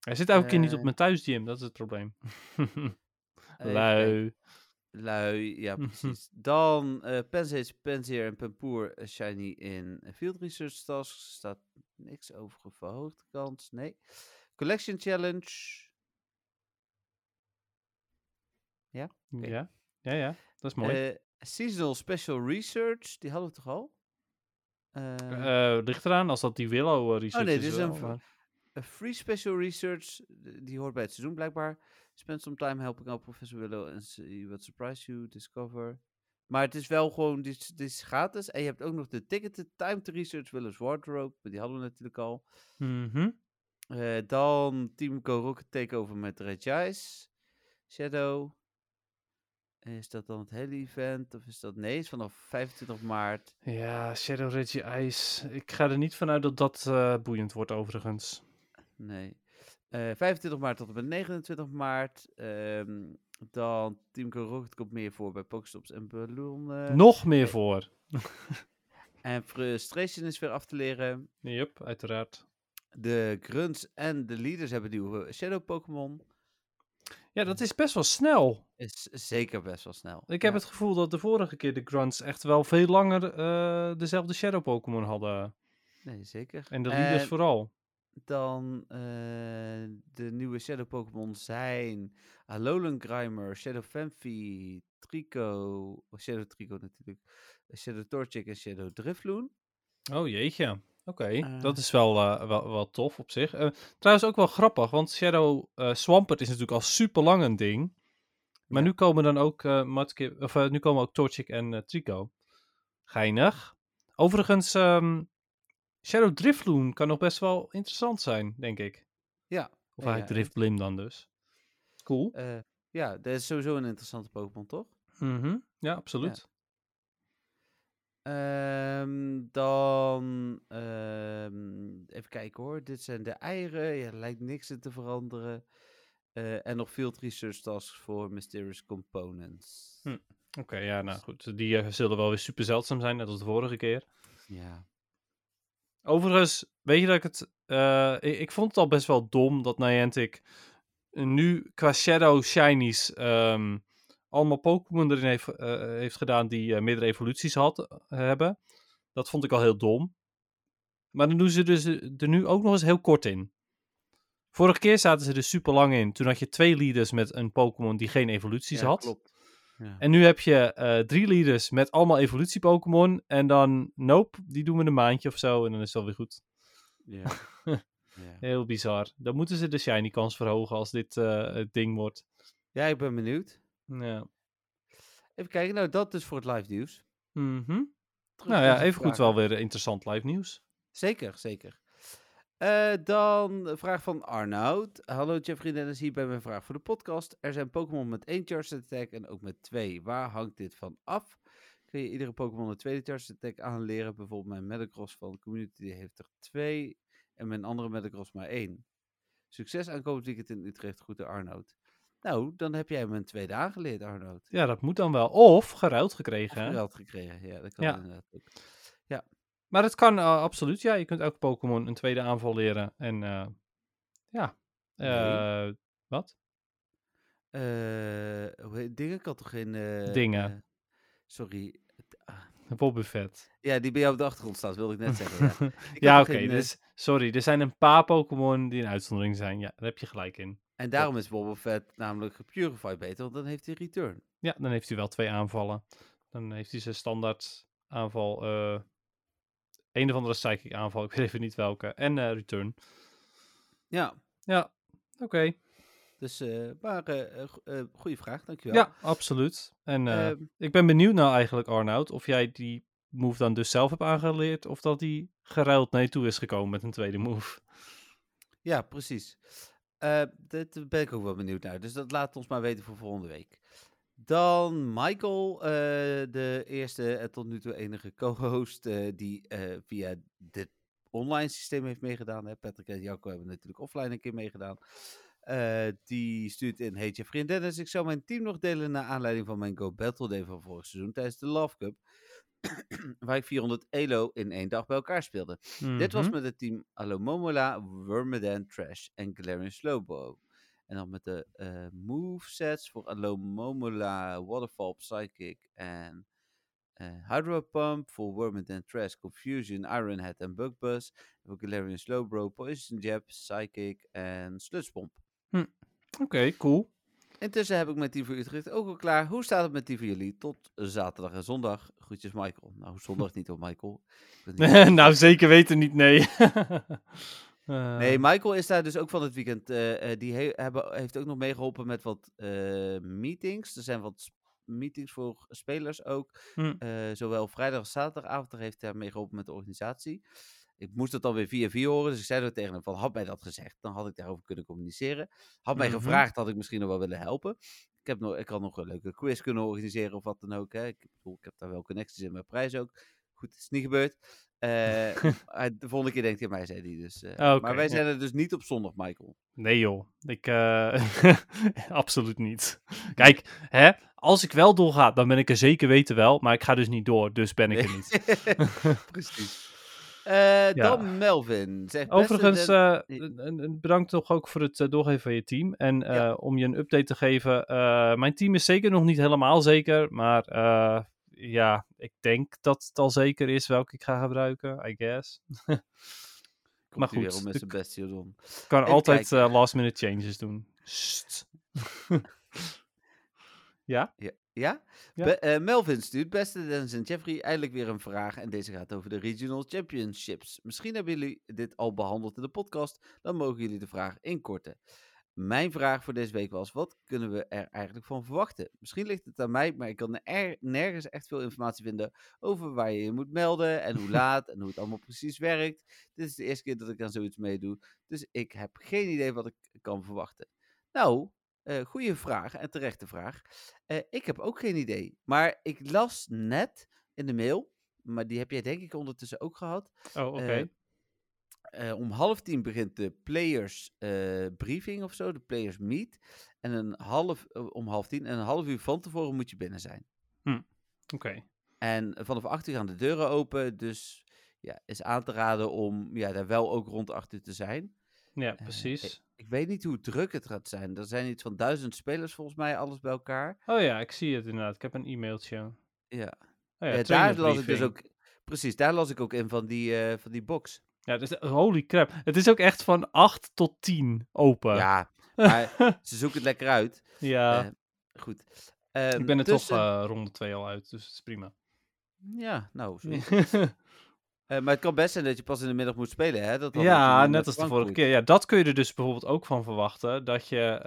[SPEAKER 4] Hij zit elke keer niet op
[SPEAKER 3] Eh.
[SPEAKER 4] mijn thuisgym, dat is het probleem.
[SPEAKER 3] Even kijken.
[SPEAKER 4] Lui.
[SPEAKER 3] Lui, ja
[SPEAKER 4] Mhm.
[SPEAKER 3] precies. Dan eh Pensace, Penseer en Pampoer eh, Shiny in eh, Field Research Tasks. Staat niks over een verhoogde kans, nee. Collection Challenge. Oké.
[SPEAKER 4] Ja. ja, ja, dat is mooi.
[SPEAKER 3] Eh, seasonal Special Research, die hadden we toch al? Eh, Oh,
[SPEAKER 4] Eh, ligt eraan als dat die Willow eh, research
[SPEAKER 3] nee, dit is
[SPEAKER 4] wel,
[SPEAKER 3] een ver-
[SPEAKER 4] maar-
[SPEAKER 3] eh, free Special Research, d- die hoort bij het seizoen blijkbaar. Spend some time helping out Professor Willow and see what surprise you discover. Maar het is wel gewoon, dit is, dit is gratis. En je hebt ook nog de Ticketed Time to Research Willow's Wardrobe, maar die hadden we natuurlijk al.
[SPEAKER 4] Mhm.
[SPEAKER 3] Eh, dan Team Go Rocket Takeover met Red Eyes, Shadow. Is dat dan het hele event? Of is dat nee? Is vanaf 25 maart.
[SPEAKER 4] Ja, Shadow Reggie Ice. Ik ga er niet vanuit dat dat eh, boeiend wordt, overigens.
[SPEAKER 3] Nee. Eh, 25 maart tot en met 29 maart. ehm, dan Team Go Rocket komt meer voor bij Pokestops en ballonnen.
[SPEAKER 4] nog meer
[SPEAKER 3] nee.
[SPEAKER 4] voor.
[SPEAKER 3] En Frustration is weer af te leren.
[SPEAKER 4] Yep, uiteraard.
[SPEAKER 3] De Grunts en de Leaders hebben nieuwe Shadow Pokémon.
[SPEAKER 4] Ja, dat is best wel snel.
[SPEAKER 3] Is zeker best wel snel.
[SPEAKER 4] Ik heb
[SPEAKER 3] Ja.
[SPEAKER 4] het gevoel dat de vorige keer de Grunts echt wel veel langer eh, dezelfde Shadow Pokémon hadden.
[SPEAKER 3] Nee, zeker.
[SPEAKER 4] En de leaders
[SPEAKER 3] En-
[SPEAKER 4] vooral.
[SPEAKER 3] dan eh, de nieuwe Shadow Pokémon zijn Alolan Grimer, Shadow Fanfi, Trico, Shadow Trico natuurlijk, Shadow Torchic en Shadow Drifloon.
[SPEAKER 4] Oh jeetje. Oké,
[SPEAKER 3] Eh.
[SPEAKER 4] dat is wel, eh, wel, wel tof op zich. Eh, trouwens ook wel grappig, want Shadow eh Swampert is natuurlijk al super lang een ding. Maar
[SPEAKER 3] Ja.
[SPEAKER 4] nu komen dan ook eh Mudkip, of eh, nu komen ook Torchic en eh, Trico. Geinig. Overigens, ehm, Shadow Drifloon kan nog best wel interessant zijn, denk ik.
[SPEAKER 3] Ja.
[SPEAKER 4] Of
[SPEAKER 3] Ja,
[SPEAKER 4] hij
[SPEAKER 3] ja,
[SPEAKER 4] Driftblim dan dus. Cool.
[SPEAKER 3] Eh, ja, dat is sowieso een interessante Pokémon, toch?
[SPEAKER 4] Mhm. Ja, absoluut.
[SPEAKER 3] Ehm, dan ehm, even kijken hoor. Dit zijn de eieren. Ja, er lijkt niks in te veranderen. Eh, en nog Field Research Tasks voor Mysterious Components.
[SPEAKER 4] Hm. Oké, ja, nou goed. Die eh, zullen wel weer super zeldzaam zijn, net als de vorige keer.
[SPEAKER 3] Ja.
[SPEAKER 4] Overigens, weet je dat ik het... eh, ik, ik vond het al best wel dom dat Niantic nu qua Shadow Shinies ehm, allemaal Pokémon erin heeft, eh, heeft gedaan die eh, meerdere evoluties had, eh, hebben. Dat vond ik al heel dom. Maar dan doen ze dus er nu ook nog eens heel kort in. Vorige keer zaten ze er super lang in. Toen had je twee leaders met een Pokémon die geen evoluties
[SPEAKER 3] ja,
[SPEAKER 4] had.
[SPEAKER 3] Klopt. Ja.
[SPEAKER 4] En nu heb je eh, drie leaders met allemaal evolutie-Pokémon. En dan, nope, die doen we een maandje of zo. En dan is het alweer goed.
[SPEAKER 3] Ja. ja.
[SPEAKER 4] Heel bizar. Dan moeten ze de shiny kans verhogen als dit eh, het ding wordt.
[SPEAKER 3] ja, ik ben benieuwd.
[SPEAKER 4] Ja.
[SPEAKER 3] Even kijken. Nou, dat is voor het live nieuws.
[SPEAKER 4] Mhm.
[SPEAKER 3] Terug
[SPEAKER 4] Nou
[SPEAKER 3] naar
[SPEAKER 4] ja,
[SPEAKER 3] de
[SPEAKER 4] even goed
[SPEAKER 3] vragen.
[SPEAKER 4] wel weer interessant live nieuws.
[SPEAKER 3] Zeker, zeker. Eh, dan een vraag van Arnoud. Hallo Jeffrey Dennis, hier bij mijn vraag voor de podcast. Er zijn Pokémon met één Charge Attack en ook met twee. Waar hangt dit van af? Kun je iedere Pokémon een tweede Charge Attack aanleren? Bijvoorbeeld mijn Metagross van Community die heeft er twee en mijn andere Metagross maar één. Succes aankomend weekend in Utrecht, groeten Arnoud. Nou, dan heb jij hem een tweede aangeleerd, Arnoud.
[SPEAKER 4] Ja, dat moet dan wel. Of geruild
[SPEAKER 3] Of
[SPEAKER 4] gekregen. hè?
[SPEAKER 3] geweld gekregen, ja, dat kan
[SPEAKER 4] Ja.
[SPEAKER 3] inderdaad ook.
[SPEAKER 4] Maar het kan eh, absoluut, ja. Je kunt elke Pokémon een tweede aanval leren. En eh, ja.
[SPEAKER 3] Nee.
[SPEAKER 4] Eh, wat?
[SPEAKER 3] Eh, hoe heet- dingen kan toch geen... eh,
[SPEAKER 4] Dingen.
[SPEAKER 3] eh, sorry.
[SPEAKER 4] Bobbuffet.
[SPEAKER 3] Ja, die bij jou op de achtergrond staat, wilde ik net zeggen. Ja, Die kan
[SPEAKER 4] Ja,
[SPEAKER 3] toch
[SPEAKER 4] oké.
[SPEAKER 3] geen, eh,
[SPEAKER 4] dus, sorry, er zijn een paar Pokémon die een uitzondering zijn. Ja, daar heb je gelijk in.
[SPEAKER 3] En daarom is Boba Fett namelijk gepurified beter, want dan heeft hij return.
[SPEAKER 4] Ja, dan heeft hij wel twee aanvallen. Dan heeft hij zijn standaard aanval. eh, een of andere psychic aanval, ik weet even niet welke. En eh, return.
[SPEAKER 3] Ja,
[SPEAKER 4] Ja, oké.
[SPEAKER 3] dus, eh maar eh, eh, go- eh, goede vraag, dankjewel.
[SPEAKER 4] Ja, absoluut. En eh,
[SPEAKER 3] Ehm,
[SPEAKER 4] ik ben benieuwd nou eigenlijk, Arnoud, of jij die move dan dus zelf hebt aangeleerd. Of dat die geruild naar je toe is gekomen met een tweede move.
[SPEAKER 3] ja precies. Eh daar ben ik ook wel benieuwd naar, dus dat laat ons maar weten voor volgende week. Dan Michael, eh, de eerste en tot nu toe enige co-host eh, die eh, via dit online systeem heeft meegedaan. Hè. Patrick en Jacco hebben natuurlijk offline een keer meegedaan. Eh, die stuurt in, hey Jeffrey en Dennis, ik zou mijn team nog delen naar aanleiding van mijn Go Battle Day van vorig seizoen tijdens de Love Cup. waar ik 400 elo in één dag bij elkaar speelde. Dit was
[SPEAKER 4] Mhm.
[SPEAKER 3] met het team Alomomola, Wormadan, Trash en Galarian Slowbo. En dan met de eh movesets voor Alomomola, Waterfall, Psychic en eh Hydro Pump. Voor Wormadan, Trash, Confusion, Ironhead en Bugbuzz. Voor Galarian Slowbro, Poison Jab, Psychic en Sludgepomp.
[SPEAKER 4] Mhm. Oké, cool.
[SPEAKER 3] Intussen heb ik mijn team voor Utrecht ook al klaar. Hoe staat het met die voor jullie? Tot zaterdag en zondag. Groetjes Michael. Nou, zondag niet hoor Michael. Ik ben niet-
[SPEAKER 4] nou, zeker weten niet, nee. Eh,
[SPEAKER 3] Nee, Michael is daar dus ook van het weekend. eh, eh, die he- hebben, heeft ook nog meegeholpen met wat eh, meetings. Er zijn wat s- meetings voor spelers ook.
[SPEAKER 4] hm.
[SPEAKER 3] Eh, zowel vrijdag als zaterdagavond Daar heeft hij meegeholpen met de organisatie. Ik moest dat dan weer via via horen. Dus ik zei er tegen hem van, had mij dat gezegd? Dan had ik daarover kunnen communiceren. Had mij
[SPEAKER 4] Mhm.
[SPEAKER 3] gevraagd, had ik misschien nog wel willen helpen. Ik, heb nog, ik had nog een leuke quiz kunnen organiseren of wat dan ook. Hè. Ik, bedoel, ik heb daar wel connecties in mijn prijs ook. Goed, het is niet gebeurd. Eh, hij- de volgende keer denkt hij aan mij, zei hij dus. eh,
[SPEAKER 4] Ah, Oké,
[SPEAKER 3] maar wij
[SPEAKER 4] ja.
[SPEAKER 3] zijn er dus niet op zondag, Michael.
[SPEAKER 4] Nee joh, ik eh, absoluut niet. Kijk, hè, als ik wel doorga, dan ben ik er zeker weten wel, maar ik ga dus niet door, dus ben ik er niet.
[SPEAKER 3] Precies. Eh, Dan Melvin. Zeg, beste
[SPEAKER 4] Overigens,
[SPEAKER 3] Den-
[SPEAKER 4] eh, n- n- bedankt toch ook voor het eh, doorgeven van je team. En eh,
[SPEAKER 3] Ja.
[SPEAKER 4] om je een update te geven. eh, mijn team is zeker nog niet helemaal zeker. Maar eh, ja, ik denk dat het al zeker is welke ik ga gebruiken. I guess.
[SPEAKER 3] Komt
[SPEAKER 4] eh, Maar
[SPEAKER 3] hij weer
[SPEAKER 4] goed,
[SPEAKER 3] om met
[SPEAKER 4] de-
[SPEAKER 3] zijn best Jodon.
[SPEAKER 4] kan
[SPEAKER 3] Even
[SPEAKER 4] altijd
[SPEAKER 3] kijken.
[SPEAKER 4] eh, last minute changes doen. Sst. ja?
[SPEAKER 3] Ja?
[SPEAKER 4] Ja.
[SPEAKER 3] Be- eh, Melvin stuurt, beste Dennis en Jeffrey, eindelijk weer een vraag. En deze gaat over de Regional Championships. Misschien hebben jullie dit al behandeld in de podcast. Dan mogen jullie de vraag inkorten. Mijn vraag voor deze week was, wat kunnen we er eigenlijk van verwachten? Misschien ligt het aan mij, maar ik kan er nergens echt veel informatie vinden over waar je je moet melden en hoe laat en hoe het allemaal precies werkt. Dit is de eerste keer dat ik aan zoiets meedoe, dus ik heb geen idee wat ik kan verwachten. Nou, eh goede vraag en terechte vraag. Eh, ik heb ook geen idee. Maar ik las net in de mail, maar die heb jij denk ik ondertussen ook gehad.
[SPEAKER 4] Oh, oké.
[SPEAKER 3] Eh, eh, om half tien begint de players eh, briefing of zo, de players meet. En een half, eh, om half tien en een half uur van tevoren moet je binnen zijn.
[SPEAKER 4] Oké.
[SPEAKER 3] En vanaf acht uur gaan de deuren open, dus ja, is aan te raden om ja, daar wel ook rond acht uur te zijn.
[SPEAKER 4] Ja,
[SPEAKER 3] eh,
[SPEAKER 4] precies.
[SPEAKER 3] Ik weet niet hoe druk het gaat zijn. Er zijn iets van duizend spelers volgens mij, alles bij elkaar.
[SPEAKER 4] Oh ja, ik zie het inderdaad. Ik heb een e-mailtje. Oh
[SPEAKER 3] Ja,
[SPEAKER 4] ja,
[SPEAKER 3] Ja, daar las ik dus ook. Precies, daar las ik ook in van die, eh, van die box.
[SPEAKER 4] Ja, dus, holy crap. Het is ook echt van 8 tot 10 open.
[SPEAKER 3] Ja, maar ze zoeken het lekker uit.
[SPEAKER 4] Ja,
[SPEAKER 3] eh, Goed. Ehm,
[SPEAKER 4] ik ben er
[SPEAKER 3] tussen-
[SPEAKER 4] toch eh, ronde 2 al uit, dus het is prima.
[SPEAKER 3] Ja, nou, zo. Eh, maar het kan best zijn dat je pas in de middag moet spelen, hè? Dat had
[SPEAKER 4] ja,
[SPEAKER 3] natuurlijk
[SPEAKER 4] net
[SPEAKER 3] met
[SPEAKER 4] als de
[SPEAKER 3] Frankrijk.
[SPEAKER 4] vorige keer. Ja, dat kun je er dus bijvoorbeeld ook van verwachten. Dat je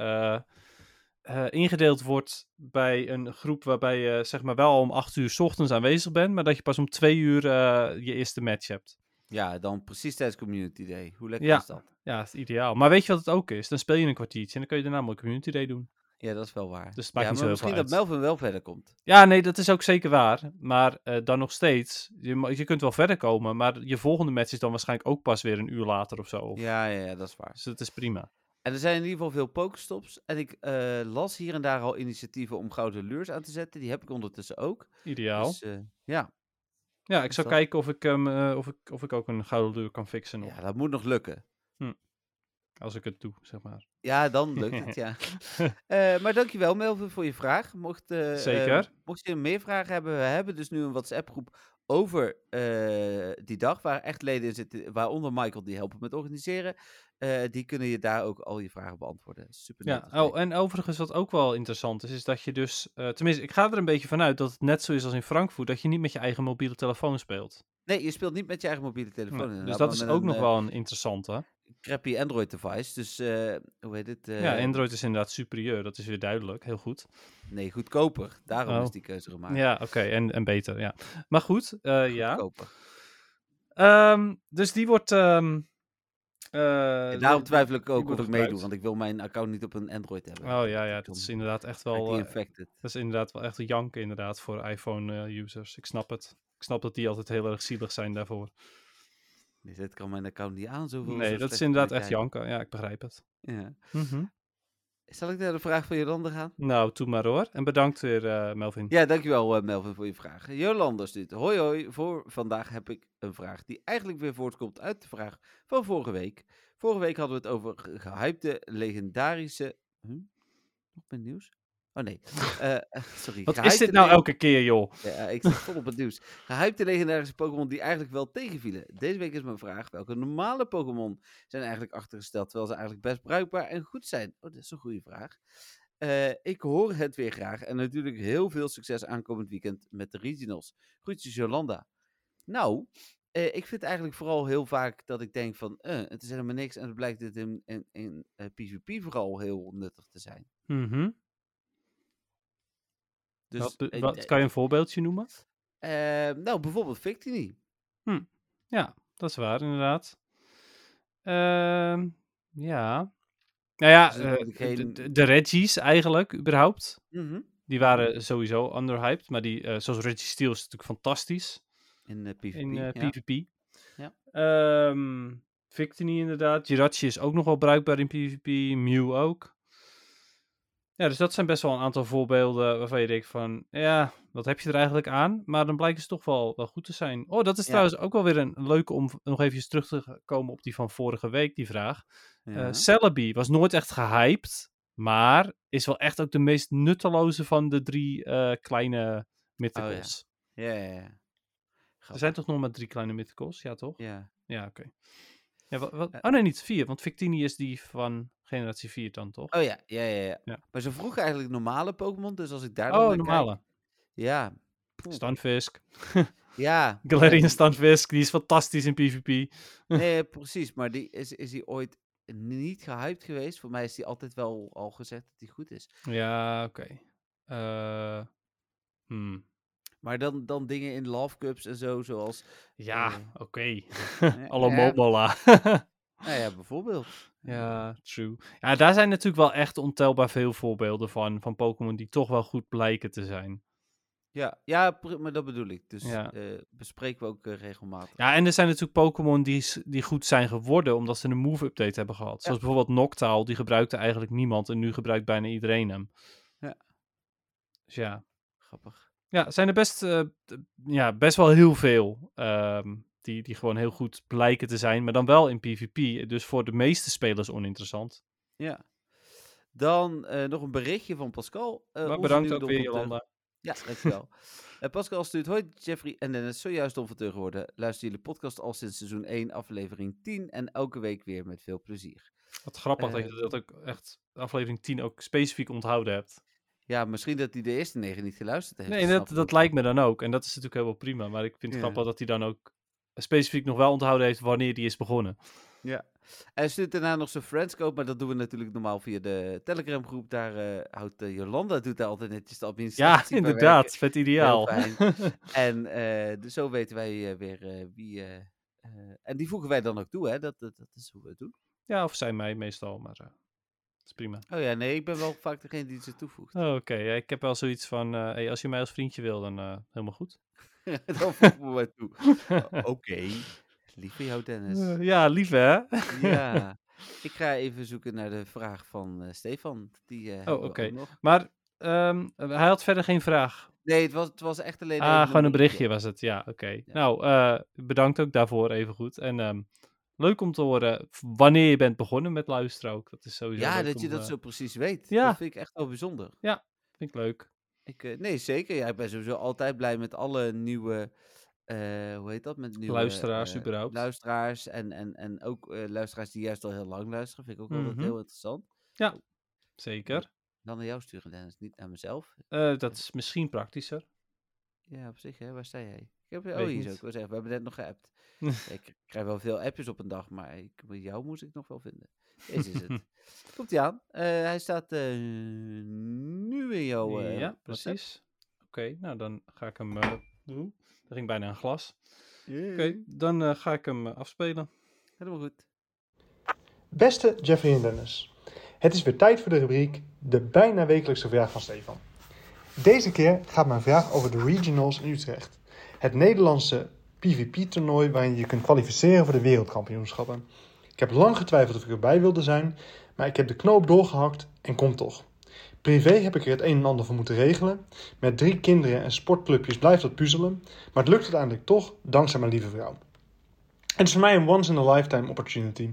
[SPEAKER 4] eh, eh, ingedeeld wordt bij een groep waarbij je zeg maar wel om 8 uur 's ochtends aanwezig bent, maar dat je pas om 2 uur eh, je eerste match hebt.
[SPEAKER 3] Ja, dan precies tijdens Community Day. Hoe lekker
[SPEAKER 4] Ja.
[SPEAKER 3] is dat?
[SPEAKER 4] Ja, dat is ideaal. Maar weet je wat het ook is? Dan speel je een kwartiertje en dan kun je daarna mooi community day doen.
[SPEAKER 3] Ja, dat is wel waar.
[SPEAKER 4] Dus het maakt
[SPEAKER 3] ja,
[SPEAKER 4] niet
[SPEAKER 3] maar
[SPEAKER 4] zo heel veel
[SPEAKER 3] misschien dat
[SPEAKER 4] uit.
[SPEAKER 3] Melvin wel verder komt.
[SPEAKER 4] Ja, nee, dat is ook zeker waar. Maar eh, dan nog steeds, je, ma- je kunt wel verder komen, maar je volgende match is dan waarschijnlijk ook pas weer een uur later of zo.
[SPEAKER 3] Ja, ja, ja, dat is waar.
[SPEAKER 4] Dus dat is prima.
[SPEAKER 3] En er zijn in ieder geval veel pokestops. En ik eh, las hier en daar al initiatieven om gouden lures aan te zetten. Die heb ik ondertussen ook.
[SPEAKER 4] Ideaal.
[SPEAKER 3] Dus, eh, ja.
[SPEAKER 4] ja, ik
[SPEAKER 3] is
[SPEAKER 4] zou
[SPEAKER 3] dat-
[SPEAKER 4] kijken of ik, hem, eh, of, ik, of ik ook een gouden deur kan fixen nog.
[SPEAKER 3] ja, dat moet nog lukken.
[SPEAKER 4] Als ik het doe, zeg maar.
[SPEAKER 3] Ja, dan lukt het, ja. Eh maar dankjewel Melvin voor je vraag. Mocht, eh, eh,
[SPEAKER 4] Zeker.
[SPEAKER 3] mocht je meer vragen hebben, we hebben dus nu een WhatsApp groep over eh, die dag, waar echt leden in zitten, waaronder Michael, die helpen met organiseren. Eh, die kunnen je daar ook al je vragen beantwoorden. Super
[SPEAKER 4] Ja, oh, en overigens wat ook wel interessant is, is dat je dus... eh, tenminste, ik ga er een beetje vanuit dat het net zo is als in Frankfurt, dat je niet met je eigen mobiele telefoon speelt.
[SPEAKER 3] Nee, je speelt niet met je eigen mobiele telefoon.
[SPEAKER 4] Nou, dus
[SPEAKER 3] inderdaad,
[SPEAKER 4] dat
[SPEAKER 3] maar
[SPEAKER 4] is
[SPEAKER 3] met
[SPEAKER 4] ook
[SPEAKER 3] een,
[SPEAKER 4] nog
[SPEAKER 3] eh,
[SPEAKER 4] wel een interessante.
[SPEAKER 3] crappy Android device, dus eh, hoe heet het?
[SPEAKER 4] ja,
[SPEAKER 3] eh,
[SPEAKER 4] Android is inderdaad superieur, dat is weer duidelijk. Heel goed.
[SPEAKER 3] Nee, goedkoper. Daarom
[SPEAKER 4] Oh.
[SPEAKER 3] is die keuze gemaakt.
[SPEAKER 4] Ja, oké, en, en beter, ja. Maar goed, eh, ja.
[SPEAKER 3] Goedkoper.
[SPEAKER 4] Ehm, dus die wordt... ehm, eh,
[SPEAKER 3] En daarom
[SPEAKER 4] die-
[SPEAKER 3] twijfel ik ook
[SPEAKER 4] wordt
[SPEAKER 3] of ik
[SPEAKER 4] gebruikt.
[SPEAKER 3] meedoe, want ik wil mijn account niet op een Android hebben.
[SPEAKER 4] Oh ja, ja,
[SPEAKER 3] ik
[SPEAKER 4] dat
[SPEAKER 3] dan-
[SPEAKER 4] is inderdaad echt
[SPEAKER 3] Kijk,
[SPEAKER 4] wel...
[SPEAKER 3] die
[SPEAKER 4] eh,
[SPEAKER 3] infected.
[SPEAKER 4] dat is inderdaad wel echt een jank inderdaad voor iPhone-users. ik snap het. Ik snap dat die altijd heel erg zielig zijn daarvoor.
[SPEAKER 3] Nee, dit kan mijn account niet aan. Zoveel
[SPEAKER 4] Nee,
[SPEAKER 3] zo
[SPEAKER 4] dat is
[SPEAKER 3] slechte
[SPEAKER 4] inderdaad echt
[SPEAKER 3] kwaliteit.
[SPEAKER 4] janken. Ja, ik begrijp het.
[SPEAKER 3] Ja. Zal ik naar de vraag van Jolanda gaan?
[SPEAKER 4] Nou, doe maar hoor. En bedankt weer, eh, Melvin.
[SPEAKER 3] Ja, dankjewel eh, Melvin voor je vraag. Jolanda stuurt. Hoi hoi, voor vandaag heb ik een vraag die eigenlijk weer voortkomt uit de vraag van vorige week. Vorige week hadden we het over ge- gehypte, legendarische... Hm? Nog mijn nieuws? Oh nee. Eh, sorry.
[SPEAKER 4] Wat is
[SPEAKER 3] gehypte
[SPEAKER 4] dit nou
[SPEAKER 3] leg-
[SPEAKER 4] elke keer, joh?
[SPEAKER 3] Ja, ik zit vol op het nieuws. Gehypte legendarische Pokémon die eigenlijk wel tegenvielen. Deze week is mijn vraag: welke normale Pokémon zijn eigenlijk achtergesteld, terwijl ze eigenlijk best bruikbaar en goed zijn? Oh, dat is een goede vraag. Eh, ik hoor het weer graag en natuurlijk heel veel succes aankomend weekend met de regionals. Groetjes Jolanda. Nou, eh, ik vind eigenlijk vooral heel vaak dat ik denk van, eh, het is helemaal niks en het blijkt dit in, in, in eh, PvP vooral heel nuttig te zijn.
[SPEAKER 4] Mhm.
[SPEAKER 3] Dus,
[SPEAKER 4] wat, be-
[SPEAKER 3] eh,
[SPEAKER 4] wat- kan je een voorbeeldje noemen?
[SPEAKER 3] eh, nou, bijvoorbeeld Victini.
[SPEAKER 4] Dat is waar, inderdaad. Ehm, ja. Nou ja,
[SPEAKER 3] Dus er
[SPEAKER 4] eh,
[SPEAKER 3] wordt geen-
[SPEAKER 4] de, de Reggies eigenlijk, überhaupt.
[SPEAKER 3] Mhm.
[SPEAKER 4] Die waren sowieso underhyped. Maar die, eh, zoals Reggie Steel is natuurlijk fantastisch
[SPEAKER 3] In eh, PvP.
[SPEAKER 4] in eh,
[SPEAKER 3] ja.
[SPEAKER 4] PvP.
[SPEAKER 3] Ja.
[SPEAKER 4] Ehm, Victini inderdaad. Jirachi is ook nog wel bruikbaar in PvP. Mew ook. Ja, dus dat zijn best wel een aantal voorbeelden waarvan je denkt van... Ja, wat heb je er eigenlijk aan? Maar dan blijken ze toch wel, wel goed te zijn. Oh, dat is
[SPEAKER 3] Ja.
[SPEAKER 4] trouwens ook wel weer een leuke om nog even terug te komen op die van vorige week, die vraag. Eh,
[SPEAKER 3] Ja.
[SPEAKER 4] Celebi was nooit echt gehyped, maar is wel echt ook de meest nutteloze van de drie eh,
[SPEAKER 3] Oh
[SPEAKER 4] kleine mythicals.
[SPEAKER 3] Ja, ja, ja.
[SPEAKER 4] Er zijn toch nog maar drie kleine mythicals? Ja, toch?
[SPEAKER 3] Ja.
[SPEAKER 4] Ja, oké. Ja, wat, wat- oh nee, niet 4, want Victini is die van generatie 4 dan toch?
[SPEAKER 3] Oh ja, ja, ja, ja.
[SPEAKER 4] Ja.
[SPEAKER 3] Maar ze vroegen eigenlijk normale Pokémon, dus als ik daar dan
[SPEAKER 4] Oh,
[SPEAKER 3] naar kijk-
[SPEAKER 4] normale.
[SPEAKER 3] ja. Poeh,
[SPEAKER 4] Stunfisk.
[SPEAKER 3] Ja.
[SPEAKER 4] Galarian Stunfisk, die is fantastisch in PvP.
[SPEAKER 3] Nee, precies. Maar die is, is die ooit niet gehyped geweest? Voor mij is die altijd wel al gezegd dat die goed is.
[SPEAKER 4] Ja, oké. Eh, hmm.
[SPEAKER 3] Maar dan, dan dingen in Love Cups en zo, zoals...
[SPEAKER 4] Ja,
[SPEAKER 3] Eh,
[SPEAKER 4] oké.
[SPEAKER 3] eh,
[SPEAKER 4] Alle
[SPEAKER 3] ja.
[SPEAKER 4] Mobola.
[SPEAKER 3] Nou ja, bijvoorbeeld.
[SPEAKER 4] ja, true. Ja, daar zijn natuurlijk wel echt ontelbaar veel voorbeelden van. Van Pokémon die toch wel goed blijken te zijn.
[SPEAKER 3] Ja, ja pr- maar dat bedoel ik. Dus
[SPEAKER 4] Ja.
[SPEAKER 3] eh, bespreken we ook eh, regelmatig.
[SPEAKER 4] Ja, en er zijn natuurlijk Pokémon die, s- die goed zijn geworden omdat ze een move-update hebben gehad. Zoals bijvoorbeeld Noctowl, die gebruikte eigenlijk niemand en nu gebruikt bijna iedereen hem.
[SPEAKER 3] Ja.
[SPEAKER 4] Dus ja.
[SPEAKER 3] Grappig.
[SPEAKER 4] Ja, zijn er best, eh, d- ja, best wel heel veel ehm, die, die gewoon heel goed blijken te zijn, maar dan wel in PvP. Dus voor de meeste spelers oninteressant.
[SPEAKER 3] Ja. Dan eh, nog een berichtje van Pascal. Eh,
[SPEAKER 4] maar
[SPEAKER 3] onze
[SPEAKER 4] bedankt
[SPEAKER 3] nieuwe
[SPEAKER 4] ook weer,
[SPEAKER 3] doelpunten.
[SPEAKER 4] Jolanda.
[SPEAKER 3] Ja, dankjewel. Eh, Pascal stuurt, hoi Jeffrey en Dennis, zojuist onverteur geworden. Luister jullie podcast al sinds seizoen 1, aflevering 10 en elke week weer met veel plezier.
[SPEAKER 4] Wat grappig dat
[SPEAKER 3] Eh,
[SPEAKER 4] je dat ook echt aflevering 10 ook specifiek onthouden hebt.
[SPEAKER 3] Ja, misschien dat hij de eerste negen niet geluisterd heeft.
[SPEAKER 4] Nee, dat, dat lijkt me dan ook. En dat is natuurlijk helemaal prima. Maar ik vind het
[SPEAKER 3] Ja.
[SPEAKER 4] grappig dat hij dan ook eh, specifiek nog wel onthouden heeft wanneer die is begonnen.
[SPEAKER 3] Ja. Hij stuurt daarna nog zijn friendscope, maar dat doen we natuurlijk normaal via de Telegram groep. Daar eh, houdt eh, Jolanda, doet daar altijd netjes de administratie
[SPEAKER 4] Ja,
[SPEAKER 3] bij werken.
[SPEAKER 4] inderdaad. Vet ideaal.
[SPEAKER 3] Heel fijn. en eh, dus zo weten wij eh, weer eh, wie. eh, eh, en die voegen wij dan ook toe, hè? Dat, dat, dat is hoe we het doen.
[SPEAKER 4] Ja, of zij mij meestal, maar eh is prima.
[SPEAKER 3] Oh ja, nee, ik ben wel vaak degene die ze toevoegt.
[SPEAKER 4] Oh, Oké, ja, ik heb wel zoiets van, eh, hey, als je mij als vriendje wil, dan eh, helemaal goed.
[SPEAKER 3] dan voegen we maar toe. Oké. Lieve jou, Dennis.
[SPEAKER 4] Eh, ja, lief hè?
[SPEAKER 3] ja. Ik ga even zoeken naar de vraag van eh, Stefan. Die, eh, hebben we ook
[SPEAKER 4] Oh, oké.
[SPEAKER 3] nog.
[SPEAKER 4] Maar ehm, hij had verder geen vraag.
[SPEAKER 3] Nee, het was, het was echt alleen. even
[SPEAKER 4] Ah, gewoon een berichtje was het. Ja, oké. Nou, eh, bedankt ook daarvoor even goed. En ehm, leuk om te horen v- wanneer je bent begonnen met luisteren ook. Dat is sowieso
[SPEAKER 3] Ja,
[SPEAKER 4] leuk
[SPEAKER 3] dat je
[SPEAKER 4] om,
[SPEAKER 3] dat
[SPEAKER 4] eh,
[SPEAKER 3] zo precies weet.
[SPEAKER 4] ja.
[SPEAKER 3] Dat vind ik echt wel bijzonder.
[SPEAKER 4] Vind ik leuk.
[SPEAKER 3] Ik, eh, nee, zeker. Ja, ik ben sowieso altijd blij met alle nieuwe. eh, hoe heet dat? Met nieuwe
[SPEAKER 4] Luisteraars
[SPEAKER 3] eh,
[SPEAKER 4] überhaupt.
[SPEAKER 3] Luisteraars en, en, en ook eh, luisteraars die juist al heel lang luisteren. Vind ik ook
[SPEAKER 4] Mhm.
[SPEAKER 3] altijd heel interessant.
[SPEAKER 4] Zeker.
[SPEAKER 3] Dan naar jou sturen, Dennis, niet naar mezelf.
[SPEAKER 4] Eh, dat is misschien praktischer.
[SPEAKER 3] Ja, op zich, hè? waar sta jij? Ik heb,
[SPEAKER 4] Weet
[SPEAKER 3] oh, hier
[SPEAKER 4] niet.
[SPEAKER 3] zo. Ik wil zeggen, we hebben net nog geappt. Ja, ik krijg wel veel appjes op een dag, maar ik, met jou moest ik nog wel vinden. Deze is het. Komt hij aan? Eh, hij staat eh, nu in jouw. eh,
[SPEAKER 4] ja,
[SPEAKER 3] recept.
[SPEAKER 4] precies. Oké, nou dan ga ik hem... eh doen. Er ging bijna een glas.
[SPEAKER 3] Yeah.
[SPEAKER 4] Oké, dan eh, ga ik hem eh, afspelen.
[SPEAKER 3] Helemaal goed.
[SPEAKER 1] Beste Jeffrey en Dennis, het is weer tijd voor de rubriek De bijna wekelijkse vraag van Stefan. Deze keer gaat mijn vraag over de Regionals in Utrecht. Het Nederlandse PvP-toernooi waarin je je kunt kwalificeren voor de wereldkampioenschappen. Ik heb lang getwijfeld of ik erbij wilde zijn, maar ik heb de knoop doorgehakt en kom toch. Privé heb ik er het een en ander voor moeten regelen. Met drie kinderen en sportclubjes blijft dat puzzelen, maar het lukt uiteindelijk toch dankzij mijn lieve vrouw. Het is voor mij een once-in-a-lifetime opportunity.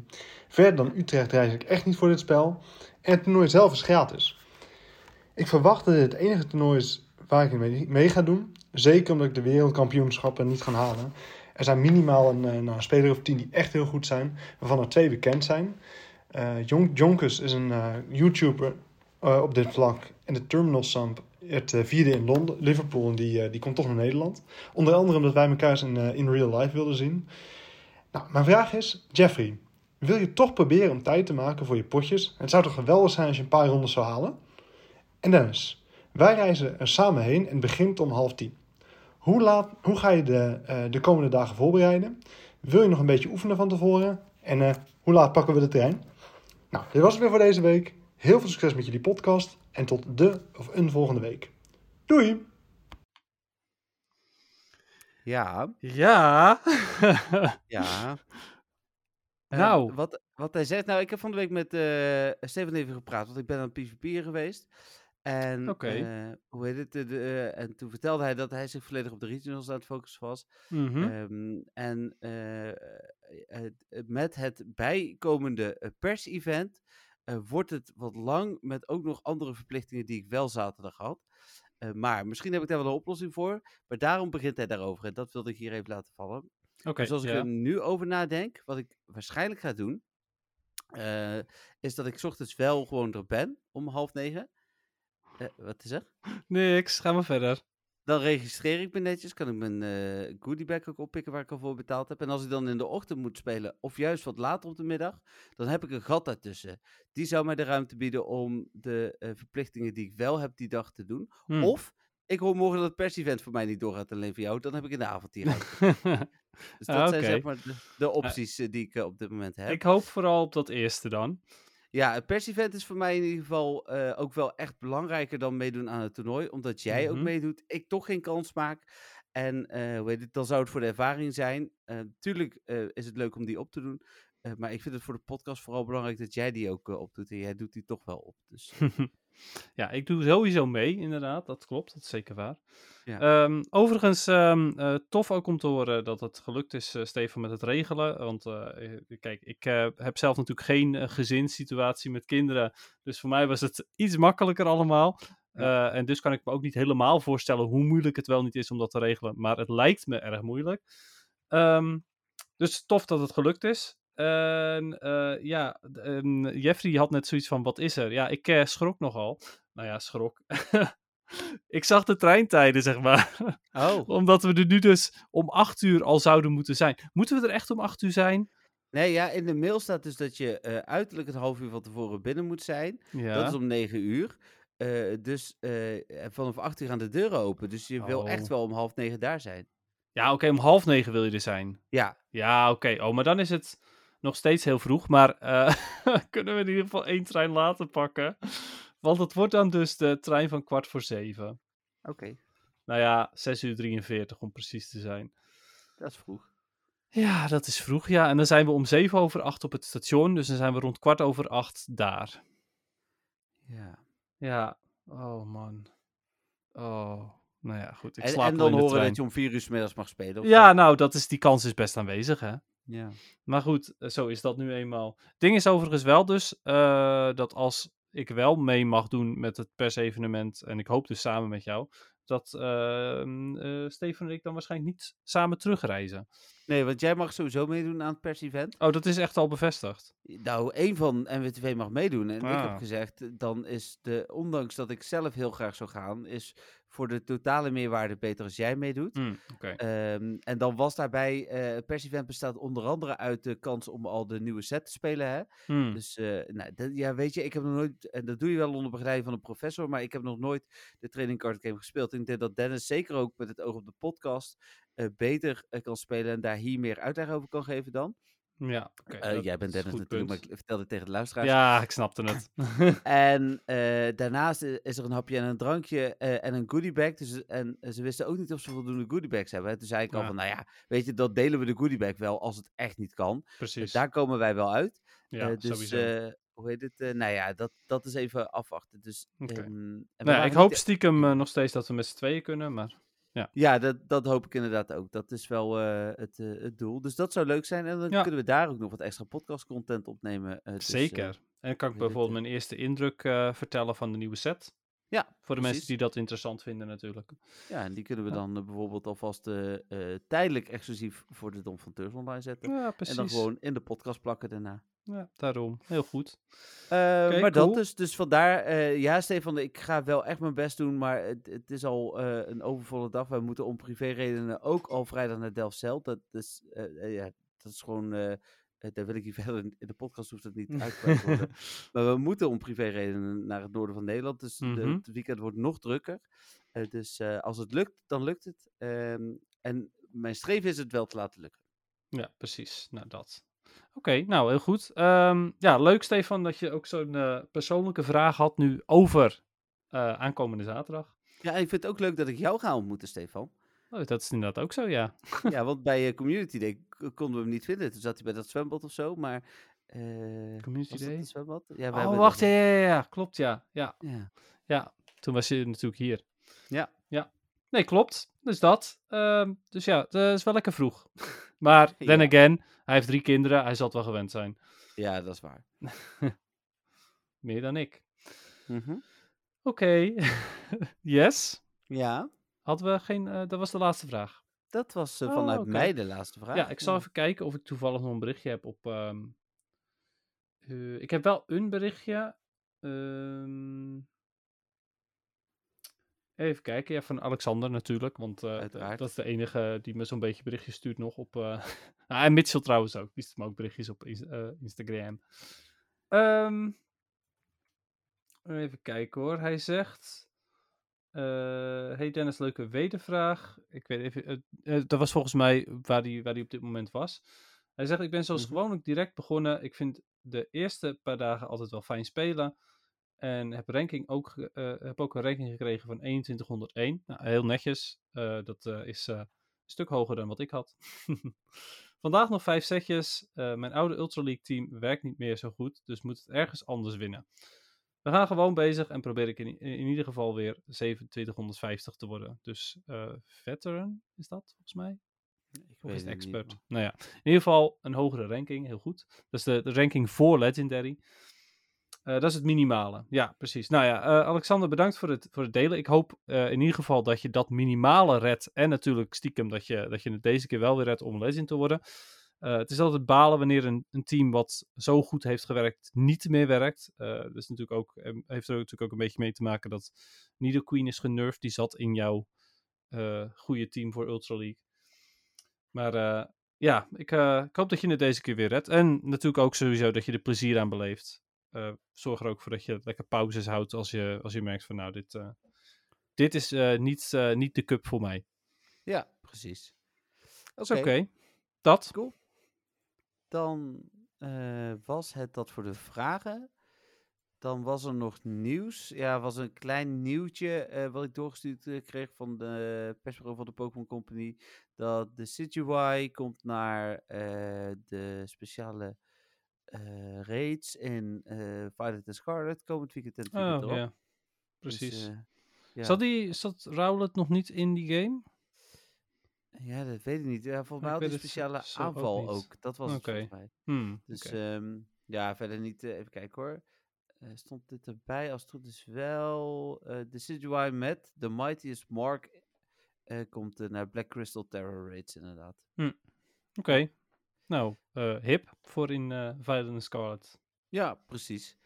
[SPEAKER 1] Verder dan Utrecht reis ik echt niet voor dit spel. En het toernooi zelf is gratis. Ik verwacht dat dit het enige toernooi is waar ik in mee- mee ga doen. Zeker omdat ik de wereldkampioenschappen niet ga halen. Er zijn minimaal een, eh, nou, een speler of tien die echt heel goed zijn. Waarvan er twee bekend zijn. Eh Jon- Jonkus is een eh, YouTuber eh, op dit vlak. En de Terminal Sump, het eh, vierde in Londen, Liverpool. En die, eh, die komt toch naar Nederland. Onder andere omdat wij elkaar eens in, eh, in real life wilden zien. Nou, mijn vraag is, Jeffrey... Wil je toch proberen om tijd te maken voor je potjes? Het zou toch geweldig zijn als je een paar rondes zou halen? En Dennis, wij reizen er samen heen en het begint om half tien. Hoe, laat, hoe ga je de, eh, de komende dagen voorbereiden? Wil je nog een beetje oefenen van tevoren? En eh, hoe laat pakken we de trein? Nou, dit was het weer voor deze week. Heel veel succes met jullie podcast en tot de of een volgende week. Doei!
[SPEAKER 3] Ja,
[SPEAKER 4] Ja.
[SPEAKER 3] ja. Eh,
[SPEAKER 4] nou,
[SPEAKER 3] wat, wat hij zegt, nou, ik heb van de week met eh Steven even gepraat, want ik ben aan het PvP'er geweest. En,
[SPEAKER 4] Oké.
[SPEAKER 3] eh, hoe heet het, eh, de, eh, en toen vertelde hij dat hij zich volledig op de regionals aan het focussen was.
[SPEAKER 4] mhm.
[SPEAKER 3] Ehm, en eh, het- het- met het bijkomende eh, pers-event eh, wordt het wat lang met ook nog andere verplichtingen die ik wel zaterdag had. Eh, maar misschien heb ik daar wel een oplossing voor. Maar daarom begint hij daarover. En dat wilde ik hier even laten vallen.
[SPEAKER 4] Oké,
[SPEAKER 3] dus als ik
[SPEAKER 4] ja.
[SPEAKER 3] er nu over nadenk, wat ik waarschijnlijk ga doen, eh, is dat ik 's ochtends wel gewoon er ben om half negen. Eh, wat is er?
[SPEAKER 4] Niks, ga maar verder.
[SPEAKER 3] Dan registreer ik me netjes, kan ik mijn eh goodiebag ook oppikken waar ik al voor betaald heb. En als ik dan in de ochtend moet spelen, of juist wat later op de middag, dan heb ik een gat daartussen. Die zou mij de ruimte bieden om de eh, verplichtingen die ik wel heb die dag te doen.
[SPEAKER 4] Hm.
[SPEAKER 3] Of ik hoor morgen dat het pers-event voor mij niet doorgaat, alleen voor jou. Dan heb ik in de avond die ruimte. Dus dat
[SPEAKER 4] Ah,
[SPEAKER 3] zijn
[SPEAKER 4] oké.
[SPEAKER 3] zeg maar de, de opties eh, die ik eh, op dit moment heb.
[SPEAKER 4] ik hoop vooral op dat eerste dan.
[SPEAKER 3] Ja, het pers-event is voor mij in ieder geval eh, ook wel echt belangrijker dan meedoen aan het toernooi. Omdat jij
[SPEAKER 4] Mhm.
[SPEAKER 3] ook meedoet, ik toch geen kans maak. En eh, hoe heet het, dan zou het voor de ervaring zijn. Eh, tuurlijk eh, is het leuk om die op te doen. eh, maar ik vind het voor de podcast vooral belangrijk dat jij die ook eh, opdoet. En jij doet die toch wel op. Dus
[SPEAKER 4] ja, ik doe sowieso mee, inderdaad. Dat klopt, dat is zeker waar.
[SPEAKER 3] Ja.
[SPEAKER 4] Ehm, overigens, ehm, eh, tof ook om te horen dat het gelukt is, eh, Stefan, met het regelen. Want eh, eh, kijk, ik eh, heb zelf natuurlijk geen eh, gezinssituatie met kinderen. Dus voor mij was het iets makkelijker allemaal. Eh, en dus kan ik me ook niet helemaal voorstellen hoe moeilijk het wel niet is om dat te regelen. Maar het lijkt me erg moeilijk. Ehm, dus tof dat het gelukt is. En eh, ja, d- en Jeffrey had net zoiets van: wat is er? Ja, ik eh, schrok nogal. Nou ja, schrok. ik zag de treintijden, zeg maar.
[SPEAKER 3] Oh,
[SPEAKER 4] Omdat we er nu dus om acht uur al zouden moeten zijn. Moeten we er echt om acht uur zijn?
[SPEAKER 3] nee, ja, in de mail staat dus dat je eh, uiterlijk een half uur van tevoren binnen moet zijn.
[SPEAKER 4] Ja.
[SPEAKER 3] Dat is om 9 uur. Eh, dus eh, en vanaf 8 uur gaan de deuren open. Dus je wil echt
[SPEAKER 4] Oh.
[SPEAKER 3] wel om half negen daar zijn.
[SPEAKER 4] Ja, oké, om half negen wil je er zijn.
[SPEAKER 3] Ja,
[SPEAKER 4] Ja, oké. Oh, maar dan is het nog steeds heel vroeg. Maar eh, kunnen we in ieder geval één trein later pakken? Want het wordt dan dus de trein van kwart voor zeven.
[SPEAKER 3] oké.
[SPEAKER 4] Nou ja, 6 uur 43 om precies te zijn.
[SPEAKER 3] Dat is vroeg.
[SPEAKER 4] Ja, dat is vroeg, ja. En dan zijn we om 7 over 8 op het station. Dus dan zijn we rond kwart over 8 daar.
[SPEAKER 3] Ja.
[SPEAKER 4] Ja, oh man. Oh, nou ja, goed. Ik
[SPEAKER 3] En,
[SPEAKER 4] slaap
[SPEAKER 3] en
[SPEAKER 4] wel
[SPEAKER 3] dan
[SPEAKER 4] in de
[SPEAKER 3] horen
[SPEAKER 4] trein.
[SPEAKER 3] dat je om vier uur 's middags mag spelen. of
[SPEAKER 4] Ja,
[SPEAKER 3] zo.
[SPEAKER 4] nou, dat is, die kans is best aanwezig, hè.
[SPEAKER 3] ja.
[SPEAKER 4] Maar goed, eh, zo is dat nu eenmaal. Ding is overigens wel dus eh, dat als ik wel mee mag doen met het persevenement, en ik hoop dus samen met jou, dat eh, eh, Stefan en ik dan waarschijnlijk niet samen terugreizen.
[SPEAKER 3] Nee, want jij mag sowieso meedoen aan het pers-event.
[SPEAKER 4] Oh, dat is echt al bevestigd.
[SPEAKER 3] Nou, één van NWTV mag meedoen. En ik
[SPEAKER 4] Ah.
[SPEAKER 3] heb gezegd, dan is de, ondanks dat ik zelf heel graag zou gaan, is voor de totale meerwaarde beter als jij meedoet.
[SPEAKER 4] Hmm, Oké.
[SPEAKER 3] Ehm, en dan was daarbij, eh het pers-event bestaat onder andere uit de kans om al de nieuwe set te spelen. Hè?
[SPEAKER 4] Hmm.
[SPEAKER 3] Dus eh, nou, dat- ja, weet je, ik heb nog nooit, en dat doe je wel onder begeleiding van een professor, maar ik heb nog nooit de training card game gespeeld. En ik denk dat Dennis zeker ook met het oog op de podcast eh, beter eh, kan spelen en daar hier meer uitleg over kan geven dan.
[SPEAKER 4] Ja, oké.
[SPEAKER 3] Eh,
[SPEAKER 4] dat
[SPEAKER 3] jij bent
[SPEAKER 4] is een
[SPEAKER 3] Dennis
[SPEAKER 4] goed
[SPEAKER 3] natuurlijk, maar
[SPEAKER 4] punt.
[SPEAKER 3] ik vertel dit tegen de luisteraars.
[SPEAKER 4] Ja, ik snapte het.
[SPEAKER 3] En eh, daarnaast i- is er een hapje en een drankje eh, en een goodiebag. Dus, eh, en eh, ze wisten ook niet of ze voldoende goodiebags hebben. hè. Toen zei ik al
[SPEAKER 4] Ja.
[SPEAKER 3] van, nou ja, weet je, dat delen we de goodiebag wel als het echt niet kan.
[SPEAKER 4] Precies.
[SPEAKER 3] Daar komen wij wel uit.
[SPEAKER 4] ja,
[SPEAKER 3] Eh, dus
[SPEAKER 4] sowieso.
[SPEAKER 3] eh, hoe heet het? Eh, nou ja, dat, dat is even afwachten. Dus,
[SPEAKER 4] Oké.
[SPEAKER 3] ehm, en we
[SPEAKER 4] nou, ja,
[SPEAKER 3] waren
[SPEAKER 4] ik
[SPEAKER 3] niet
[SPEAKER 4] hoop
[SPEAKER 3] e-
[SPEAKER 4] stiekem eh, nog steeds dat we met z'n tweeën kunnen, maar...
[SPEAKER 3] Ja, dat, dat hoop ik inderdaad ook. Dat is wel eh, het, eh, het doel. Dus dat zou leuk zijn. En dan
[SPEAKER 4] Ja.
[SPEAKER 3] kunnen we daar ook nog wat extra podcast content opnemen. eh, dus, eh,
[SPEAKER 4] Zeker. en dan kan ik
[SPEAKER 3] weet het,
[SPEAKER 4] bijvoorbeeld
[SPEAKER 3] eh.
[SPEAKER 4] mijn eerste indruk eh, vertellen van de nieuwe set.
[SPEAKER 3] Ja,
[SPEAKER 4] Voor de mensen
[SPEAKER 3] precies.
[SPEAKER 4] die dat interessant vinden natuurlijk.
[SPEAKER 3] ja, en die kunnen we
[SPEAKER 4] Ja.
[SPEAKER 3] dan eh, bijvoorbeeld alvast eh, eh, tijdelijk exclusief voor de Dom van Teurs online zetten.
[SPEAKER 4] Ja, precies.
[SPEAKER 3] En dan gewoon in de podcast plakken daarna.
[SPEAKER 4] Ja, daarom. Heel goed.
[SPEAKER 3] Eh,
[SPEAKER 4] Oké,
[SPEAKER 3] maar
[SPEAKER 4] cool.
[SPEAKER 3] dat dus, dus vandaar, eh, ja Stefan, ik ga wel echt mijn best doen, maar het, het is al eh, een overvolle dag. Wij moeten om privéredenen ook al vrijdag naar Delft-Cel. Dat is, eh, eh, ja, dat is gewoon, eh, eh, daar wil ik hier verder, in de podcast hoeft dat niet uitgebreid te worden. maar we moeten om privéredenen naar het noorden van Nederland, dus de-
[SPEAKER 4] Mhm.
[SPEAKER 3] het weekend wordt nog drukker. Eh, dus eh, als het lukt, dan lukt het. Ehm, en mijn streven is het wel te laten lukken.
[SPEAKER 4] ja, precies. Nou, dat. Oké, nou, heel goed. Ehm, ja, leuk Stefan dat je ook zo'n eh, persoonlijke vraag had nu over eh, aankomende zaterdag.
[SPEAKER 3] Ja, en ik vind het ook leuk dat ik jou ga ontmoeten, Stefan.
[SPEAKER 4] Oh, dat is inderdaad ook zo, ja.
[SPEAKER 3] Ja, want bij eh, Community Day k- konden we hem niet vinden. Toen zat hij bij dat zwembad of zo, maar... eh
[SPEAKER 4] Community
[SPEAKER 3] was dat
[SPEAKER 4] Day?
[SPEAKER 3] het zwembad? Ja, we
[SPEAKER 4] oh,
[SPEAKER 3] hebben
[SPEAKER 4] wacht, ja,
[SPEAKER 3] dat-
[SPEAKER 4] ja, ja, ja, klopt, ja. ja.
[SPEAKER 3] Ja.
[SPEAKER 4] Ja, toen was je natuurlijk hier.
[SPEAKER 3] Ja.
[SPEAKER 4] Ja. Nee, klopt. Dus dat. Ehm, dus ja, dat is wel lekker vroeg. Maar, then
[SPEAKER 3] Ja.
[SPEAKER 4] again, hij heeft drie kinderen. Hij zal het wel gewend zijn.
[SPEAKER 3] ja, dat is waar.
[SPEAKER 4] Meer dan ik.
[SPEAKER 3] Mhm.
[SPEAKER 4] Oké. yes.
[SPEAKER 3] Ja.
[SPEAKER 4] Hadden we geen... eh, dat was de laatste vraag.
[SPEAKER 3] Dat was eh,
[SPEAKER 4] Oh,
[SPEAKER 3] vanuit
[SPEAKER 4] oké.
[SPEAKER 3] mij de laatste vraag.
[SPEAKER 4] Ja, ik zal even kijken of ik toevallig nog een berichtje heb op. ehm, eh, ik heb wel een berichtje. ehm, even kijken, ja, van Alexander natuurlijk. Want eh,
[SPEAKER 3] Uiteraard.
[SPEAKER 4] dat is de enige die me zo'n beetje berichtjes stuurt nog op. eh, ah, en Mitchell trouwens ook. Die stuurt me ook berichtjes op Ins- eh, Instagram. Ehm, even kijken hoor. Hij zegt. eh, hey Dennis, leuke wedervraag. Ik weet even, eh, eh, dat was volgens mij waar hij waar die op dit moment was. Hij zegt, ik ben zoals
[SPEAKER 3] Mhm.
[SPEAKER 4] gewoonlijk direct begonnen. Ik vind de eerste paar dagen altijd wel fijn spelen. En heb, ranking ook, ge- eh, heb ook een ranking gekregen van 2101. Nou, heel netjes. Eh, dat eh, is eh, een stuk hoger dan wat ik had. Vandaag nog vijf setjes. Eh, mijn oude Ultra League team werkt niet meer zo goed. Dus moet het ergens anders winnen. We gaan gewoon bezig en probeer ik in, in ieder geval weer 2750 te worden. Dus eh, veteran is dat volgens mij?
[SPEAKER 3] Ik
[SPEAKER 4] Of is
[SPEAKER 3] weet
[SPEAKER 4] het
[SPEAKER 3] het niet,
[SPEAKER 4] expert?
[SPEAKER 3] maar-
[SPEAKER 4] nou ja, in ieder geval een hogere ranking, heel goed. Dat is de, de ranking voor Legendary. Eh, dat is het minimale. Ja, precies. Nou ja, eh, Alexander, bedankt voor het, voor het delen. Ik hoop eh, in ieder geval dat je dat minimale redt. En natuurlijk stiekem dat je, dat je het deze keer wel weer redt om Legend te worden. Eh, het is altijd balen wanneer een, een team wat zo goed heeft gewerkt niet meer werkt. Eh dat is natuurlijk ook, eh, heeft er natuurlijk ook een beetje mee te maken dat Nido Queen is genervd. Die zat in jouw eh, goede team voor Ultra League. Maar eh, ja, ik, eh, ik hoop dat je het deze keer weer redt. En natuurlijk ook sowieso dat je er plezier aan beleeft. Eh, zorg er ook voor dat je lekker pauzes houdt als je, als je merkt van nou, dit, eh, dit is eh, niet, eh, niet de cup voor mij.
[SPEAKER 3] Ja, precies. Oké,
[SPEAKER 4] Dat is oké. Dat.
[SPEAKER 3] cool. Dan eh, was het dat voor de vragen. Dan was er nog nieuws. Ja, er was een klein nieuwtje eh, wat ik doorgestuurd eh, kreeg van de persbureau van de Pokémon Company. Dat de Situai komt naar eh, de speciale eh, raids in eh Violet en Scarlet komend weekend en het
[SPEAKER 4] Oh
[SPEAKER 3] weekend erop.
[SPEAKER 4] ja,
[SPEAKER 3] Dus,
[SPEAKER 4] precies.
[SPEAKER 3] eh, ja.
[SPEAKER 4] Zat, die, zat Rowlet nog niet in die game?
[SPEAKER 3] Ja, dat weet ik niet. Ja, volgens mij had hij
[SPEAKER 4] Ik weet
[SPEAKER 3] een speciale
[SPEAKER 4] het zo ook
[SPEAKER 3] aanval
[SPEAKER 4] niet.
[SPEAKER 3] ook, Dat was
[SPEAKER 4] Oké.
[SPEAKER 3] het volgens mij.
[SPEAKER 4] Hmm,
[SPEAKER 3] Dus
[SPEAKER 4] oké.
[SPEAKER 3] ehm, ja, verder niet. eh, even kijken hoor. Eh, stond dit erbij? Als het goed is wel. eh Decidueye met The Mightiest Mark eh, komt eh, naar Black Crystal Terror Raids inderdaad.
[SPEAKER 4] Oké. Nou, eh, hip voor in eh Violet and Scarlet.
[SPEAKER 3] Ja, precies.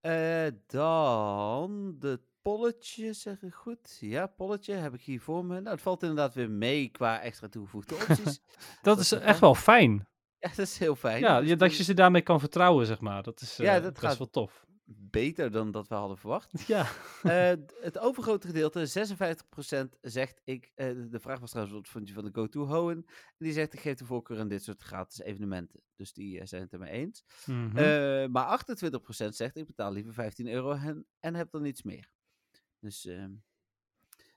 [SPEAKER 3] Eh, dan de polletje, zeg ik goed. Ja, polletje heb ik hier voor me. Nou, het valt inderdaad weer mee qua extra toegevoegde opties.
[SPEAKER 4] Dat,
[SPEAKER 3] Dat is
[SPEAKER 4] is echt
[SPEAKER 3] fijn.
[SPEAKER 4] wel fijn.
[SPEAKER 3] ja, dat is heel fijn.
[SPEAKER 4] Ja,
[SPEAKER 3] dus
[SPEAKER 4] je- dat
[SPEAKER 3] die
[SPEAKER 4] je ze daarmee kan vertrouwen, zeg maar. Dat is, eh
[SPEAKER 3] Ja, dat
[SPEAKER 4] dat
[SPEAKER 3] gaat-
[SPEAKER 4] is wel tof.
[SPEAKER 3] is Beter dan dat we hadden verwacht.
[SPEAKER 4] Ja.
[SPEAKER 3] Eh, d- het overgrote gedeelte, 56%, zegt ik. eh, de- de vraag was trouwens wat vond je van de go-to Hoen. En die zegt: ik geef de voorkeur aan dit soort gratis evenementen. Dus die eh, zijn het ermee eens.
[SPEAKER 4] Mhm.
[SPEAKER 3] Eh, maar 28% zegt: ik betaal liever 15 euro en, en heb dan niets meer. Dus ehm,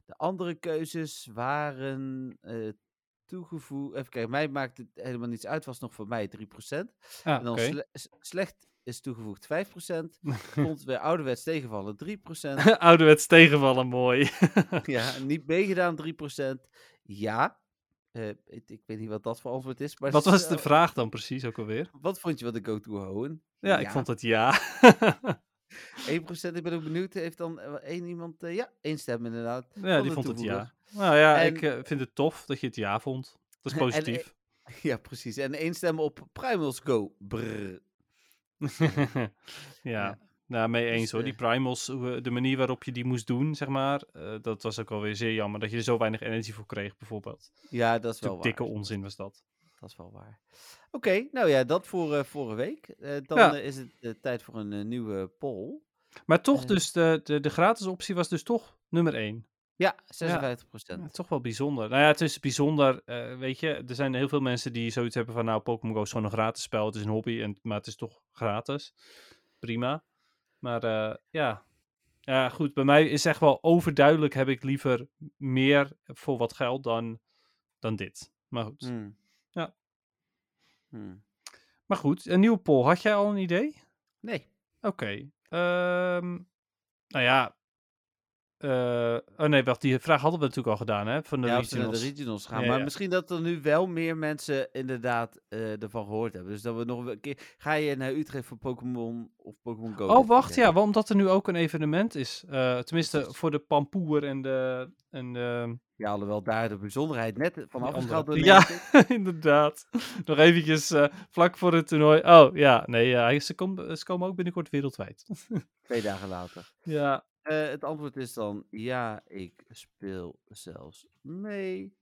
[SPEAKER 3] de andere keuzes waren eh toegevoegd. Even kijken, mij maakt het helemaal niets uit. Was nog voor mij 3%.
[SPEAKER 4] Ah,
[SPEAKER 3] En dan
[SPEAKER 4] oké.
[SPEAKER 3] sle- s- slecht is toegevoegd 5%. Vond weer ouderwets tegenvallen 3%.
[SPEAKER 4] Ouderwets tegenvallen, mooi.
[SPEAKER 3] Ja, niet meegedaan 3%. Ja. Eh, ik, ik weet niet wat dat voor antwoord is. Maar
[SPEAKER 4] Wat
[SPEAKER 3] ze-
[SPEAKER 4] was de
[SPEAKER 3] eh,
[SPEAKER 4] vraag dan precies ook alweer?
[SPEAKER 3] Wat vond je van de go-to hoen?
[SPEAKER 4] Ja, ik vond het ja.
[SPEAKER 3] 1%, ik ben ook benieuwd. Heeft dan eh, één iemand... eh, ja, één stem inderdaad.
[SPEAKER 4] ja, die
[SPEAKER 3] de
[SPEAKER 4] vond het ja.
[SPEAKER 3] toevoeger.
[SPEAKER 4] Nou ja,
[SPEAKER 3] En-
[SPEAKER 4] ik eh, vind het tof dat je het ja vond. Dat is
[SPEAKER 3] En- eh,
[SPEAKER 4] positief.
[SPEAKER 3] Ja, precies. En één stem op Primals Go. Brrr.
[SPEAKER 4] ja. nou mee
[SPEAKER 3] Dus,
[SPEAKER 4] eens hoor. Die
[SPEAKER 3] eh,
[SPEAKER 4] primals, hoe, eh, de manier waarop je die moest doen, zeg maar, eh, dat was ook alweer zeer jammer. Dat je er zo weinig energie voor kreeg, bijvoorbeeld.
[SPEAKER 3] Ja, dat is wel
[SPEAKER 4] Natuurlijk
[SPEAKER 3] waar.
[SPEAKER 4] dikke onzin was dat.
[SPEAKER 3] Dat is wel waar. Oké, nou ja, dat voor eh, vorige week. Eh, dan
[SPEAKER 4] Ja.
[SPEAKER 3] eh, is het eh, tijd voor een eh, nieuwe poll.
[SPEAKER 4] Maar toch,
[SPEAKER 3] Eh.
[SPEAKER 4] dus de, de, de gratis optie was dus toch nummer 1.
[SPEAKER 3] Ja, 56
[SPEAKER 4] Ja, toch wel bijzonder. Nou ja, het is bijzonder. eh, weet je, er zijn heel veel mensen die zoiets hebben van... nou, Pokémon Go is gewoon een gratis spel. Het is een hobby, en, maar het is toch gratis. Prima. Maar eh, ja. ja, goed. Bij mij is echt wel overduidelijk... heb ik liever meer voor wat geld dan, dan dit. Maar goed.
[SPEAKER 3] Hmm.
[SPEAKER 4] Ja.
[SPEAKER 3] Hmm.
[SPEAKER 4] Maar goed, een nieuwe poll. Had jij al een idee?
[SPEAKER 3] Nee.
[SPEAKER 4] Oké. ehm, nou ja, eh, oh nee, wacht, die vraag hadden we natuurlijk al gedaan, hè? Van de
[SPEAKER 3] ja, of ze naar
[SPEAKER 4] regionals.
[SPEAKER 3] de regionals gaan.
[SPEAKER 4] Ja,
[SPEAKER 3] maar
[SPEAKER 4] ja.
[SPEAKER 3] misschien dat er nu wel meer mensen inderdaad eh, ervan gehoord hebben. Dus dat we nog een keer... Ga je naar Utrecht voor Pokémon of Pokémon Go?
[SPEAKER 4] Oh, wacht, ja,
[SPEAKER 3] Wat...
[SPEAKER 4] wel omdat er nu ook een evenement is. Eh, tenminste, voor de Pampoer en de... En de
[SPEAKER 3] Ja, alhoewel daar de bijzonderheid net van
[SPEAKER 4] andere.
[SPEAKER 3] afgeschaald wordt.
[SPEAKER 4] Ja.
[SPEAKER 3] denk ik.
[SPEAKER 4] inderdaad. Nog eventjes eh, vlak voor het toernooi. Oh, ja, nee, ja, hij- ze, kom- ze komen ook binnenkort wereldwijd.
[SPEAKER 3] Twee dagen later.
[SPEAKER 4] ja,
[SPEAKER 3] Eh, het antwoord is dan ja, ik speel zelfs mee.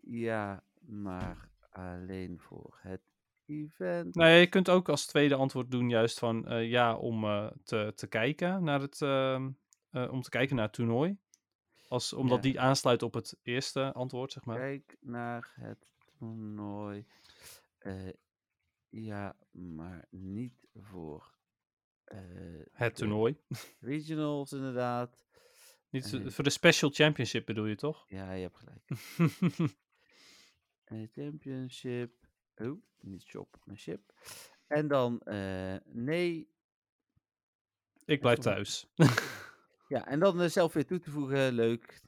[SPEAKER 3] Ja, maar alleen voor het event.
[SPEAKER 4] nou ja, je kunt ook als tweede antwoord doen juist van eh, ja, om eh, te, te kijken naar het... ehm, eh, om te kijken naar het toernooi. Als, omdat
[SPEAKER 3] Ja.
[SPEAKER 4] die aansluit op het eerste antwoord, zeg maar.
[SPEAKER 3] Kijk naar het toernooi. Eh, ja, maar niet voor eh,
[SPEAKER 4] Het
[SPEAKER 3] de
[SPEAKER 4] toernooi.
[SPEAKER 3] Regionals, inderdaad.
[SPEAKER 4] Niet zo-
[SPEAKER 3] Eh.
[SPEAKER 4] voor de Special Championship bedoel je toch?
[SPEAKER 3] Ja, je hebt gelijk. Eh, championship. Oh, niet shop, maar ship. En dan eh, nee,
[SPEAKER 4] ik blijf
[SPEAKER 3] toernooi.
[SPEAKER 4] thuis.
[SPEAKER 3] Ja, en dan eh, zelf weer toe te voegen, leuk.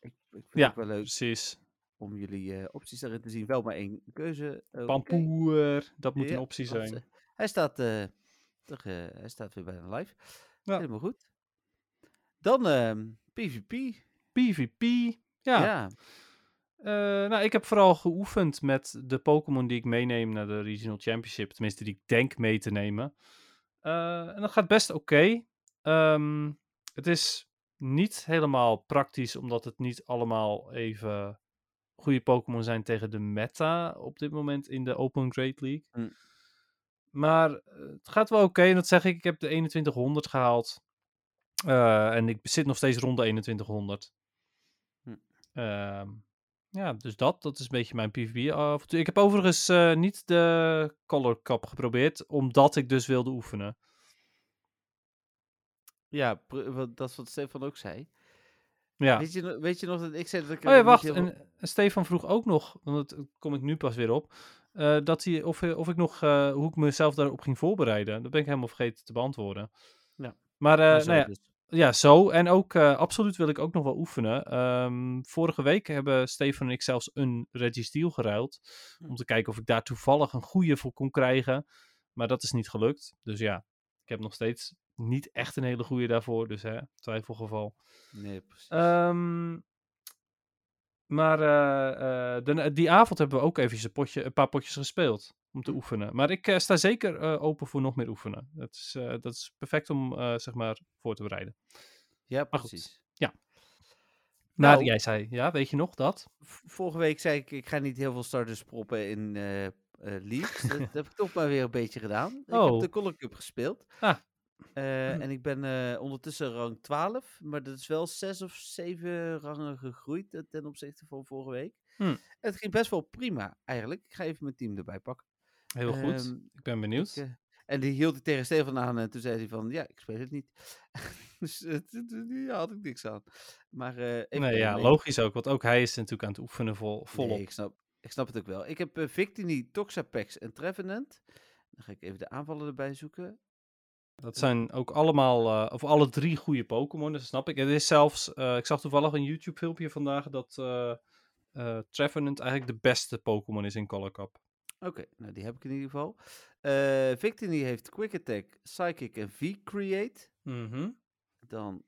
[SPEAKER 3] Ik, ik vind
[SPEAKER 4] Ja.
[SPEAKER 3] het wel leuk
[SPEAKER 4] Precies.
[SPEAKER 3] om jullie eh, opties daarin te zien. Wel maar één keuze. eh, oké.
[SPEAKER 4] Pampoer, dat moet
[SPEAKER 3] Ja,
[SPEAKER 4] een optie
[SPEAKER 3] dat,
[SPEAKER 4] zijn.
[SPEAKER 3] eh, hij, staat, eh, toch, eh, hij staat weer bijna live.
[SPEAKER 4] Ja.
[SPEAKER 3] Helemaal goed. Dan ehm, PvP.
[SPEAKER 4] PvP.
[SPEAKER 3] Ja.
[SPEAKER 4] Ja. eh, nou, ik heb vooral geoefend met de Pokémon die ik meeneem naar de Regional Championship. Tenminste, die ik denk mee te nemen. Eh, en dat gaat best oké. Ehm, het is niet helemaal praktisch, omdat het niet allemaal even goede Pokémon zijn tegen de meta op dit moment in de Open Great League.
[SPEAKER 3] Hm.
[SPEAKER 4] Maar eh, het gaat wel oké. en dat zeg ik, ik heb de 2100 gehaald. Eh, en ik zit nog steeds rond de 2100.
[SPEAKER 3] Hm.
[SPEAKER 4] Ehm, ja, dus dat, dat is een beetje mijn PvP-avontuur. Ik heb overigens eh, niet de Color Cup geprobeerd, omdat ik dus wilde oefenen.
[SPEAKER 3] Ja, pr- wat, dat is wat Stefan ook zei.
[SPEAKER 4] Ja.
[SPEAKER 3] Weet, je, no- weet je nog dat ik zei dat ik...
[SPEAKER 4] Oh
[SPEAKER 3] er
[SPEAKER 4] ja,
[SPEAKER 3] niet
[SPEAKER 4] wacht.
[SPEAKER 3] heel veel-
[SPEAKER 4] En Stefan vroeg ook nog, want dat eh, kom ik nu pas weer op, eh, dat hij, of, of ik nog, eh, hoe ik mezelf daarop ging voorbereiden. Dat ben ik helemaal vergeten te beantwoorden.
[SPEAKER 3] Ja.
[SPEAKER 4] Maar, eh,
[SPEAKER 3] Maar zo
[SPEAKER 4] nou ja,
[SPEAKER 3] dus.
[SPEAKER 4] ja, zo. En ook eh, absoluut wil ik ook nog wel oefenen. Ehm, vorige week hebben Stefan en ik zelfs een Reggie Steel geruild. Om te kijken of ik daar toevallig een goede voor kon krijgen. Maar dat is niet gelukt. Dus ja, ik heb nog steeds niet echt een hele goede daarvoor. Dus hè, twijfelgeval.
[SPEAKER 3] Nee, precies.
[SPEAKER 4] Ehm, maar eh, eh, de- die avond hebben we ook even een, potje, een paar potjes gespeeld om te oefenen. Maar ik eh, sta zeker eh, open voor nog meer oefenen. Dat is, eh, dat is perfect om eh, zeg maar voor te bereiden.
[SPEAKER 3] ja,
[SPEAKER 4] maar goed.
[SPEAKER 3] precies.
[SPEAKER 4] Maar
[SPEAKER 3] Nou.
[SPEAKER 4] jij zei, ja, weet je nog dat?
[SPEAKER 3] v- vorige week zei ik, ik ga niet heel veel starters proppen in eh eh, leagues. dat, dat heb ik toch maar weer een beetje gedaan. Ik heb
[SPEAKER 4] Oh.
[SPEAKER 3] de Color Cup gespeeld.
[SPEAKER 4] Ah.
[SPEAKER 3] Eh, en ik ben eh, ondertussen rang 12, maar dat is wel 6 of 7 rangen gegroeid eh, ten opzichte van vorige week.
[SPEAKER 4] Hmm.
[SPEAKER 3] Het ging best wel prima eigenlijk. Ik ga even mijn team erbij pakken.
[SPEAKER 4] Heel goed.
[SPEAKER 3] Ehm,
[SPEAKER 4] Ik ben benieuwd.
[SPEAKER 3] ik, eh, en die hield ik tegen Stefan aan en toen zei hij van, ja, ik speel het niet. dus eh, toen- toen- daar had ik niks aan. Maar eh even
[SPEAKER 4] nee,
[SPEAKER 3] kijken,
[SPEAKER 4] ja,
[SPEAKER 3] nee.
[SPEAKER 4] logisch ook. Want ook hij is natuurlijk aan het oefenen vol, volop.
[SPEAKER 3] Nee, ik snap, ik snap het ook wel. Ik heb eh, Victini, Toxapex en Trevenant. Dan ga ik even de aanvallen erbij zoeken.
[SPEAKER 4] Dat zijn ook allemaal, eh, of alle drie goede Pokémon, dus dat snap ik. Het is zelfs, eh, ik zag toevallig een YouTube-filmpje vandaag dat eh eh Trevenant eigenlijk de beste Pokémon is in Color Cup.
[SPEAKER 3] Oké, nou die heb ik in ieder geval. Eh Victini heeft Quick Attack, Psychic en V-Create. Mhm. Dan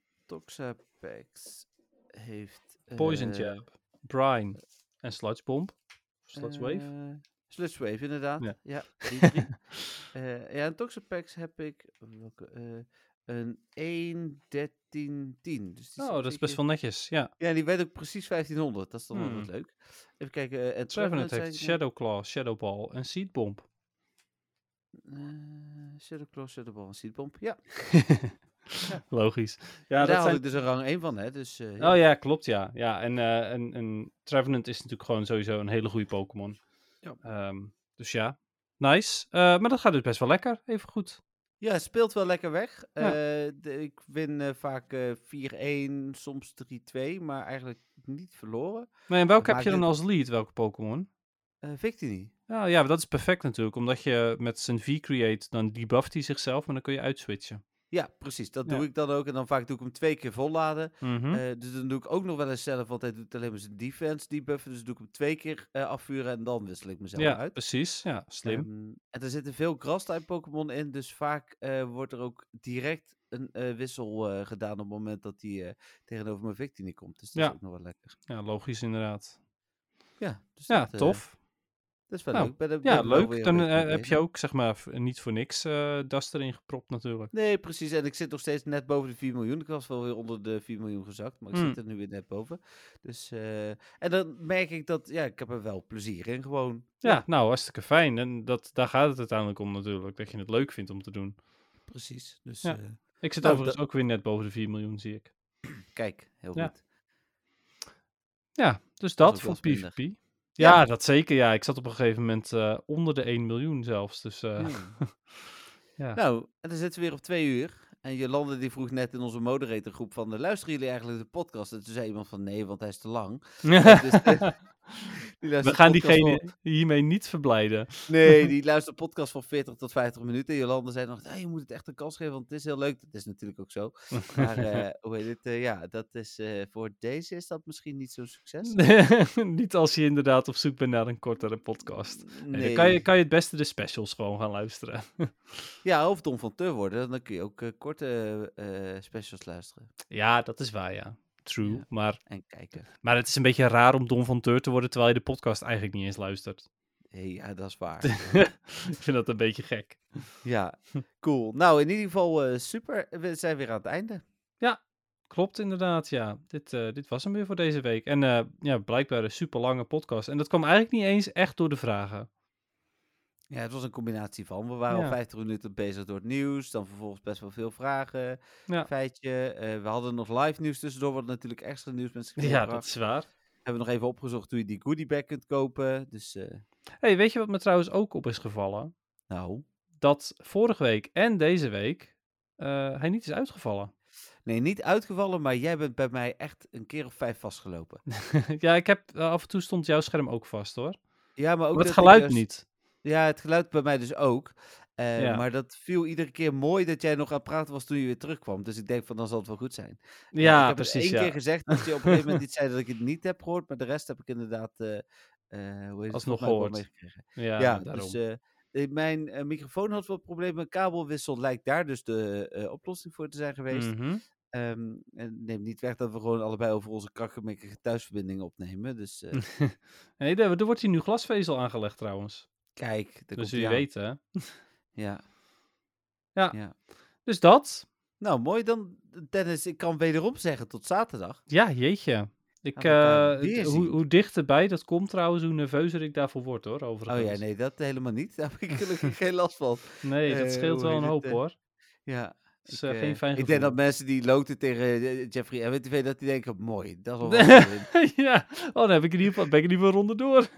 [SPEAKER 3] Toxapex heeft...
[SPEAKER 4] Poison
[SPEAKER 3] eh,
[SPEAKER 4] Jab, Brine en Sludge Bomb. Of Sludge Wave.
[SPEAKER 3] eh, Sludge Wave, inderdaad. Ja,
[SPEAKER 4] Ja.
[SPEAKER 3] die drie. Eh, ja, en Toxapex heb ik welke, eh, een 1, 13, 10. Dus die zit
[SPEAKER 4] oh, dat is
[SPEAKER 3] zeker-
[SPEAKER 4] best wel netjes, ja.
[SPEAKER 3] Ja, die werd ook precies 1500. Dat is dan wel wat
[SPEAKER 4] Hmm.
[SPEAKER 3] leuk. Even kijken. eh, en
[SPEAKER 4] Trevenant
[SPEAKER 3] zei
[SPEAKER 4] heeft
[SPEAKER 3] ik net.
[SPEAKER 4] Shadow Claw, Shadow Ball en Seed Bomb.
[SPEAKER 3] Eh, Shadow Claw, Shadow Ball en Seedbomb. Ja,
[SPEAKER 4] Logisch.
[SPEAKER 3] daar
[SPEAKER 4] Ja, dat
[SPEAKER 3] had
[SPEAKER 4] zijn...
[SPEAKER 3] ik dus een rang 1 van, hè. Dus, eh, ja.
[SPEAKER 4] Oh ja, klopt ja. ja en, eh en, en Trevenant is natuurlijk gewoon sowieso een hele goede Pokémon.
[SPEAKER 3] Ja.
[SPEAKER 4] Ehm, dus ja, nice. Eh, maar dat gaat dus best wel lekker, even goed.
[SPEAKER 3] Ja, speelt wel lekker weg.
[SPEAKER 4] Ja.
[SPEAKER 3] Eh, de- ik win eh, vaak eh, 4-1, soms 3-2, maar eigenlijk niet verloren.
[SPEAKER 4] Nee, en welke
[SPEAKER 3] Maar
[SPEAKER 4] heb je dan
[SPEAKER 3] dit-
[SPEAKER 4] als lead, welke Pokémon?
[SPEAKER 3] Eh Victini.
[SPEAKER 4] Nou ja, dat is perfect natuurlijk, omdat je met zijn V-Create, dan debufft hij zichzelf, maar dan kun je uitswitchen.
[SPEAKER 3] Ja, precies. Dat
[SPEAKER 4] Ja.
[SPEAKER 3] doe ik dan ook. En dan vaak doe ik hem twee keer volladen.
[SPEAKER 4] Mhm.
[SPEAKER 3] Eh, dus dan doe ik ook nog wel eens zelf, want hij doet alleen maar zijn defense debuffen. Dus doe ik hem twee keer eh, afvuren en dan wissel ik mezelf
[SPEAKER 4] ja,
[SPEAKER 3] uit.
[SPEAKER 4] precies. Ja, slim.
[SPEAKER 3] Ehm, en er zitten veel grastype Pokémon in, dus vaak eh, wordt er ook direct een eh, wissel eh, gedaan op het moment dat die eh, tegenover mijn Victini komt. Dus dat
[SPEAKER 4] Ja.
[SPEAKER 3] is ook nog wel lekker.
[SPEAKER 4] ja, logisch inderdaad.
[SPEAKER 3] Ja, dus
[SPEAKER 4] Ja,
[SPEAKER 3] dat, eh,
[SPEAKER 4] tof.
[SPEAKER 3] dat is wel
[SPEAKER 4] Nou,
[SPEAKER 3] leuk. Ik Ben, er- ben
[SPEAKER 4] Ja,
[SPEAKER 3] er wel weer
[SPEAKER 4] leuk.
[SPEAKER 3] een
[SPEAKER 4] Dan
[SPEAKER 3] beetje
[SPEAKER 4] eh,
[SPEAKER 3] mee
[SPEAKER 4] heb je
[SPEAKER 3] bezig.
[SPEAKER 4] ook, zeg maar, v- niet voor niks eh das erin gepropt natuurlijk.
[SPEAKER 3] Nee, precies. En ik zit nog steeds net boven de 4 miljoen. Ik was wel weer onder de 4 miljoen gezakt, maar ik
[SPEAKER 4] Hmm.
[SPEAKER 3] zit er nu weer net boven. Dus, eh, en dan merk ik dat, ja, ik heb er wel plezier in gewoon.
[SPEAKER 4] Ja, nou, hartstikke fijn. En dat, daar gaat het uiteindelijk om natuurlijk, dat je het leuk vindt om te doen.
[SPEAKER 3] Precies. Dus
[SPEAKER 4] Ja.
[SPEAKER 3] eh,
[SPEAKER 4] Ik zit
[SPEAKER 3] Nou,
[SPEAKER 4] overigens ook weer net boven de 4 miljoen, zie ik.
[SPEAKER 3] kijk, heel
[SPEAKER 4] Ja.
[SPEAKER 3] goed.
[SPEAKER 4] Ja, dus
[SPEAKER 3] Dat
[SPEAKER 4] dat
[SPEAKER 3] is
[SPEAKER 4] voor
[SPEAKER 3] ook wel eens
[SPEAKER 4] PvP. Ja,
[SPEAKER 3] Ja.
[SPEAKER 4] dat zeker. Ja, ik zat op een gegeven moment eh, onder de 1 miljoen zelfs. Dus eh,
[SPEAKER 3] Hmm.
[SPEAKER 4] Ja.
[SPEAKER 3] Nou, en dan zitten we weer op twee uur. En Jolande die vroeg net in onze moderatorgroep van... eh, Luisteren jullie eigenlijk de podcast? En toen zei iemand van nee, want hij is te lang. Dus, eh, die luistert de
[SPEAKER 4] we gaan
[SPEAKER 3] podcast
[SPEAKER 4] diegene
[SPEAKER 3] van-
[SPEAKER 4] hiermee niet verblijden.
[SPEAKER 3] nee, die luistert de podcast van 40 tot 50 minuten. En Jolande zei nog, "Hey, je moet het echt een kans geven, want het is heel leuk. Dat is natuurlijk ook zo. Maar eh, hoe heet het? eh, ja, dat is, eh, voor deze is dat misschien niet zo'n succes.
[SPEAKER 4] niet als je inderdaad op zoek bent naar een kortere podcast. Nee, dan
[SPEAKER 3] Nee.
[SPEAKER 4] kan je, kan je het beste de specials gewoon gaan luisteren.
[SPEAKER 3] Ja, of Don van Teur worden. Dan kun je ook eh, korte eh, specials luisteren
[SPEAKER 4] ja, dat is waar, ja. True.
[SPEAKER 3] Ja.
[SPEAKER 4] Maar,
[SPEAKER 3] en kijken.
[SPEAKER 4] maar het is een beetje raar om Don van Teur te worden terwijl je de podcast eigenlijk niet eens luistert.
[SPEAKER 3] Hey, ja, dat is waar.
[SPEAKER 4] ik vind dat een beetje gek.
[SPEAKER 3] Ja, cool. Nou, in ieder geval eh, super. We zijn weer aan het einde.
[SPEAKER 4] Klopt inderdaad, ja. Dit, eh, dit was hem weer voor deze week. En eh, ja, blijkbaar een super lange podcast. En dat kwam eigenlijk niet eens echt door de vragen.
[SPEAKER 3] Ja, het was een combinatie van. We waren
[SPEAKER 4] Ja.
[SPEAKER 3] al 50 minuten bezig door het nieuws. Dan vervolgens best wel veel vragen.
[SPEAKER 4] Ja.
[SPEAKER 3] Feitje. eh, we hadden nog live nieuws tussendoor. Wat natuurlijk extra nieuws met zich
[SPEAKER 4] Ja,
[SPEAKER 3] meebracht.
[SPEAKER 4] dat is waar.
[SPEAKER 3] Hebben we nog even opgezocht hoe je die goodie bag kunt kopen. Dus, eh,
[SPEAKER 4] hey, weet je wat me trouwens ook op is gevallen?
[SPEAKER 3] nou.
[SPEAKER 4] Dat vorige week en deze week eh, hij niet is uitgevallen.
[SPEAKER 3] Nee, niet uitgevallen, maar jij bent bij mij echt een keer of vijf vastgelopen.
[SPEAKER 4] ja, ik heb eh, af en toe stond jouw scherm ook vast hoor.
[SPEAKER 3] Ja, maar ook
[SPEAKER 4] Maar het
[SPEAKER 3] dat ik
[SPEAKER 4] geluid
[SPEAKER 3] juist-
[SPEAKER 4] niet.
[SPEAKER 3] Ja, het geluid bij mij dus ook. Eh,
[SPEAKER 4] Ja.
[SPEAKER 3] Maar dat viel iedere keer mooi dat jij nog aan het praten was toen je weer terugkwam. Dus ik denk van, dan zal het wel goed zijn.
[SPEAKER 4] Ja,
[SPEAKER 3] ik heb het
[SPEAKER 4] precies.
[SPEAKER 3] één
[SPEAKER 4] Ja.
[SPEAKER 3] keer gezegd dat je op een gegeven moment iets zei dat ik het niet heb gehoord, maar de rest heb ik inderdaad eh, eh, hoe heet het, volgens mij
[SPEAKER 4] Alsnog
[SPEAKER 3] wel
[SPEAKER 4] gehoord.
[SPEAKER 3] meegekregen.
[SPEAKER 4] Ja,
[SPEAKER 3] Ja,
[SPEAKER 4] daarom.
[SPEAKER 3] dus eh, eh, mijn eh, microfoon had wat problemen. Mijn kabelwissel lijkt daar dus de eh, oplossing voor te zijn geweest.
[SPEAKER 4] Mhm.
[SPEAKER 3] Ehm, en neem niet weg dat we gewoon allebei over onze krakkemikkige thuisverbindingen opnemen. Dus eh,
[SPEAKER 4] Nee, er, er wordt hier nu glasvezel aangelegd trouwens.
[SPEAKER 3] kijk, daar
[SPEAKER 4] dus
[SPEAKER 3] komt
[SPEAKER 4] jullie
[SPEAKER 3] hij
[SPEAKER 4] weten. hè?
[SPEAKER 3] Ja.
[SPEAKER 4] Ja.
[SPEAKER 3] ja.
[SPEAKER 4] Dus dat.
[SPEAKER 3] Nou, mooi dan, Dennis. Ik kan wederom zeggen tot zaterdag.
[SPEAKER 4] Ja, jeetje. Ik,
[SPEAKER 3] Gaan we elkaar
[SPEAKER 4] eh,
[SPEAKER 3] weer
[SPEAKER 4] d- hoe,
[SPEAKER 3] zien.
[SPEAKER 4] hoe dichterbij dat komt trouwens, hoe nerveuzer ik daarvoor word hoor,
[SPEAKER 3] Oh
[SPEAKER 4] overigens.
[SPEAKER 3] ja, nee, dat helemaal niet. Daar heb ik gelukkig geen last van.
[SPEAKER 4] Nee, dat
[SPEAKER 3] Eh,
[SPEAKER 4] scheelt
[SPEAKER 3] hoe
[SPEAKER 4] wel
[SPEAKER 3] heet
[SPEAKER 4] een
[SPEAKER 3] het,
[SPEAKER 4] hoop
[SPEAKER 3] eh,
[SPEAKER 4] hoor.
[SPEAKER 3] Ja.
[SPEAKER 4] Het is
[SPEAKER 3] Ik,
[SPEAKER 4] eh, geen
[SPEAKER 3] eh,
[SPEAKER 4] fijn
[SPEAKER 3] Ik denk dat
[SPEAKER 4] gevoel.
[SPEAKER 3] mensen die loten tegen eh, Jeffrey MWTV, dat die denken, mooi, dat is wel wat voor hun.
[SPEAKER 4] ja, oh, dan heb ik in ieder geval, ben ik in ieder geval ronde door.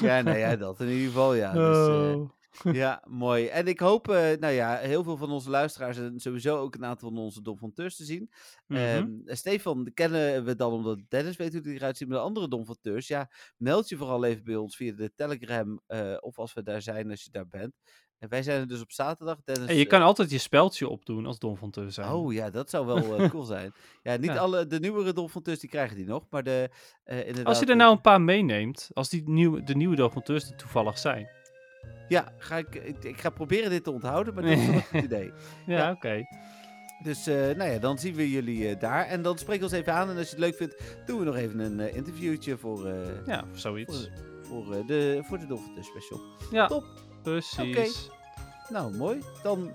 [SPEAKER 3] Ja, nou ja, dat in ieder geval, ja. Dus, eh,
[SPEAKER 4] Oh.
[SPEAKER 3] ja, mooi. En ik hoop, eh, nou ja, heel veel van onze luisteraars en sowieso ook een aantal van onze Dom van Teurs te zien.
[SPEAKER 4] Mhm.
[SPEAKER 3] Ehm, Stefan kennen we dan omdat Dennis weet hoe die eruit ziet, maar de andere Dom van Teurs, ja, meld je vooral even bij ons via de Telegram eh, of als we daar zijn, als je daar bent. En wij zijn er dus op zaterdag. Dennis,
[SPEAKER 4] En je
[SPEAKER 3] eh,
[SPEAKER 4] kan altijd je speltje opdoen als Don van Teur zijn.
[SPEAKER 3] Oh ja, dat zou wel eh, cool zijn. Ja, niet
[SPEAKER 4] Ja.
[SPEAKER 3] alle, de nieuwere Dolphinteurs die krijgen die nog, maar de, eh, inderdaad...
[SPEAKER 4] als je er
[SPEAKER 3] eh,
[SPEAKER 4] nou een paar meeneemt, als die nieuwe, de nieuwe documentaires er toevallig zijn.
[SPEAKER 3] Ja, ga ik, ik, ik ga proberen dit te onthouden, maar dit is wel een goed idee.
[SPEAKER 4] Ja,
[SPEAKER 3] Ja.
[SPEAKER 4] oké.
[SPEAKER 3] Dus eh, nou ja, dan zien we jullie eh, daar. En dan spreek ons even aan. En als je het leuk vindt, doen we nog even een eh, interviewtje voor, eh,
[SPEAKER 4] Ja, zoiets.
[SPEAKER 3] voor, eh, de, voor de Dolphinteurs special.
[SPEAKER 4] Ja,
[SPEAKER 3] Top.
[SPEAKER 4] precies.
[SPEAKER 3] Nou, mooi. Dan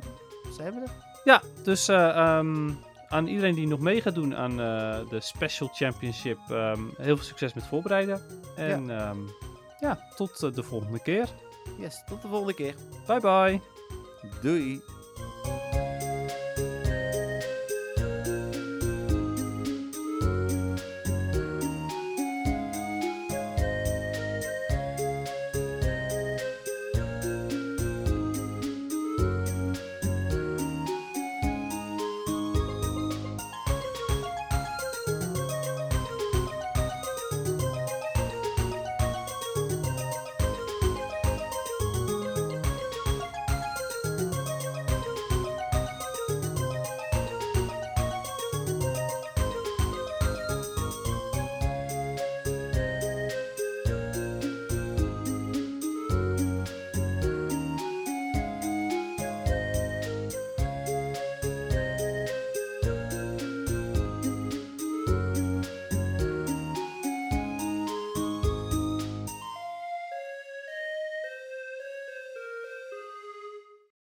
[SPEAKER 3] zijn we er.
[SPEAKER 4] Ja, dus eh, ehm, aan iedereen die nog mee gaat doen aan eh, de Special Championship, ehm, heel veel succes met voorbereiden. En ehm, ja, ja tot eh, de volgende keer.
[SPEAKER 3] Yes, tot de volgende keer.
[SPEAKER 4] Bye bye.
[SPEAKER 3] Doei.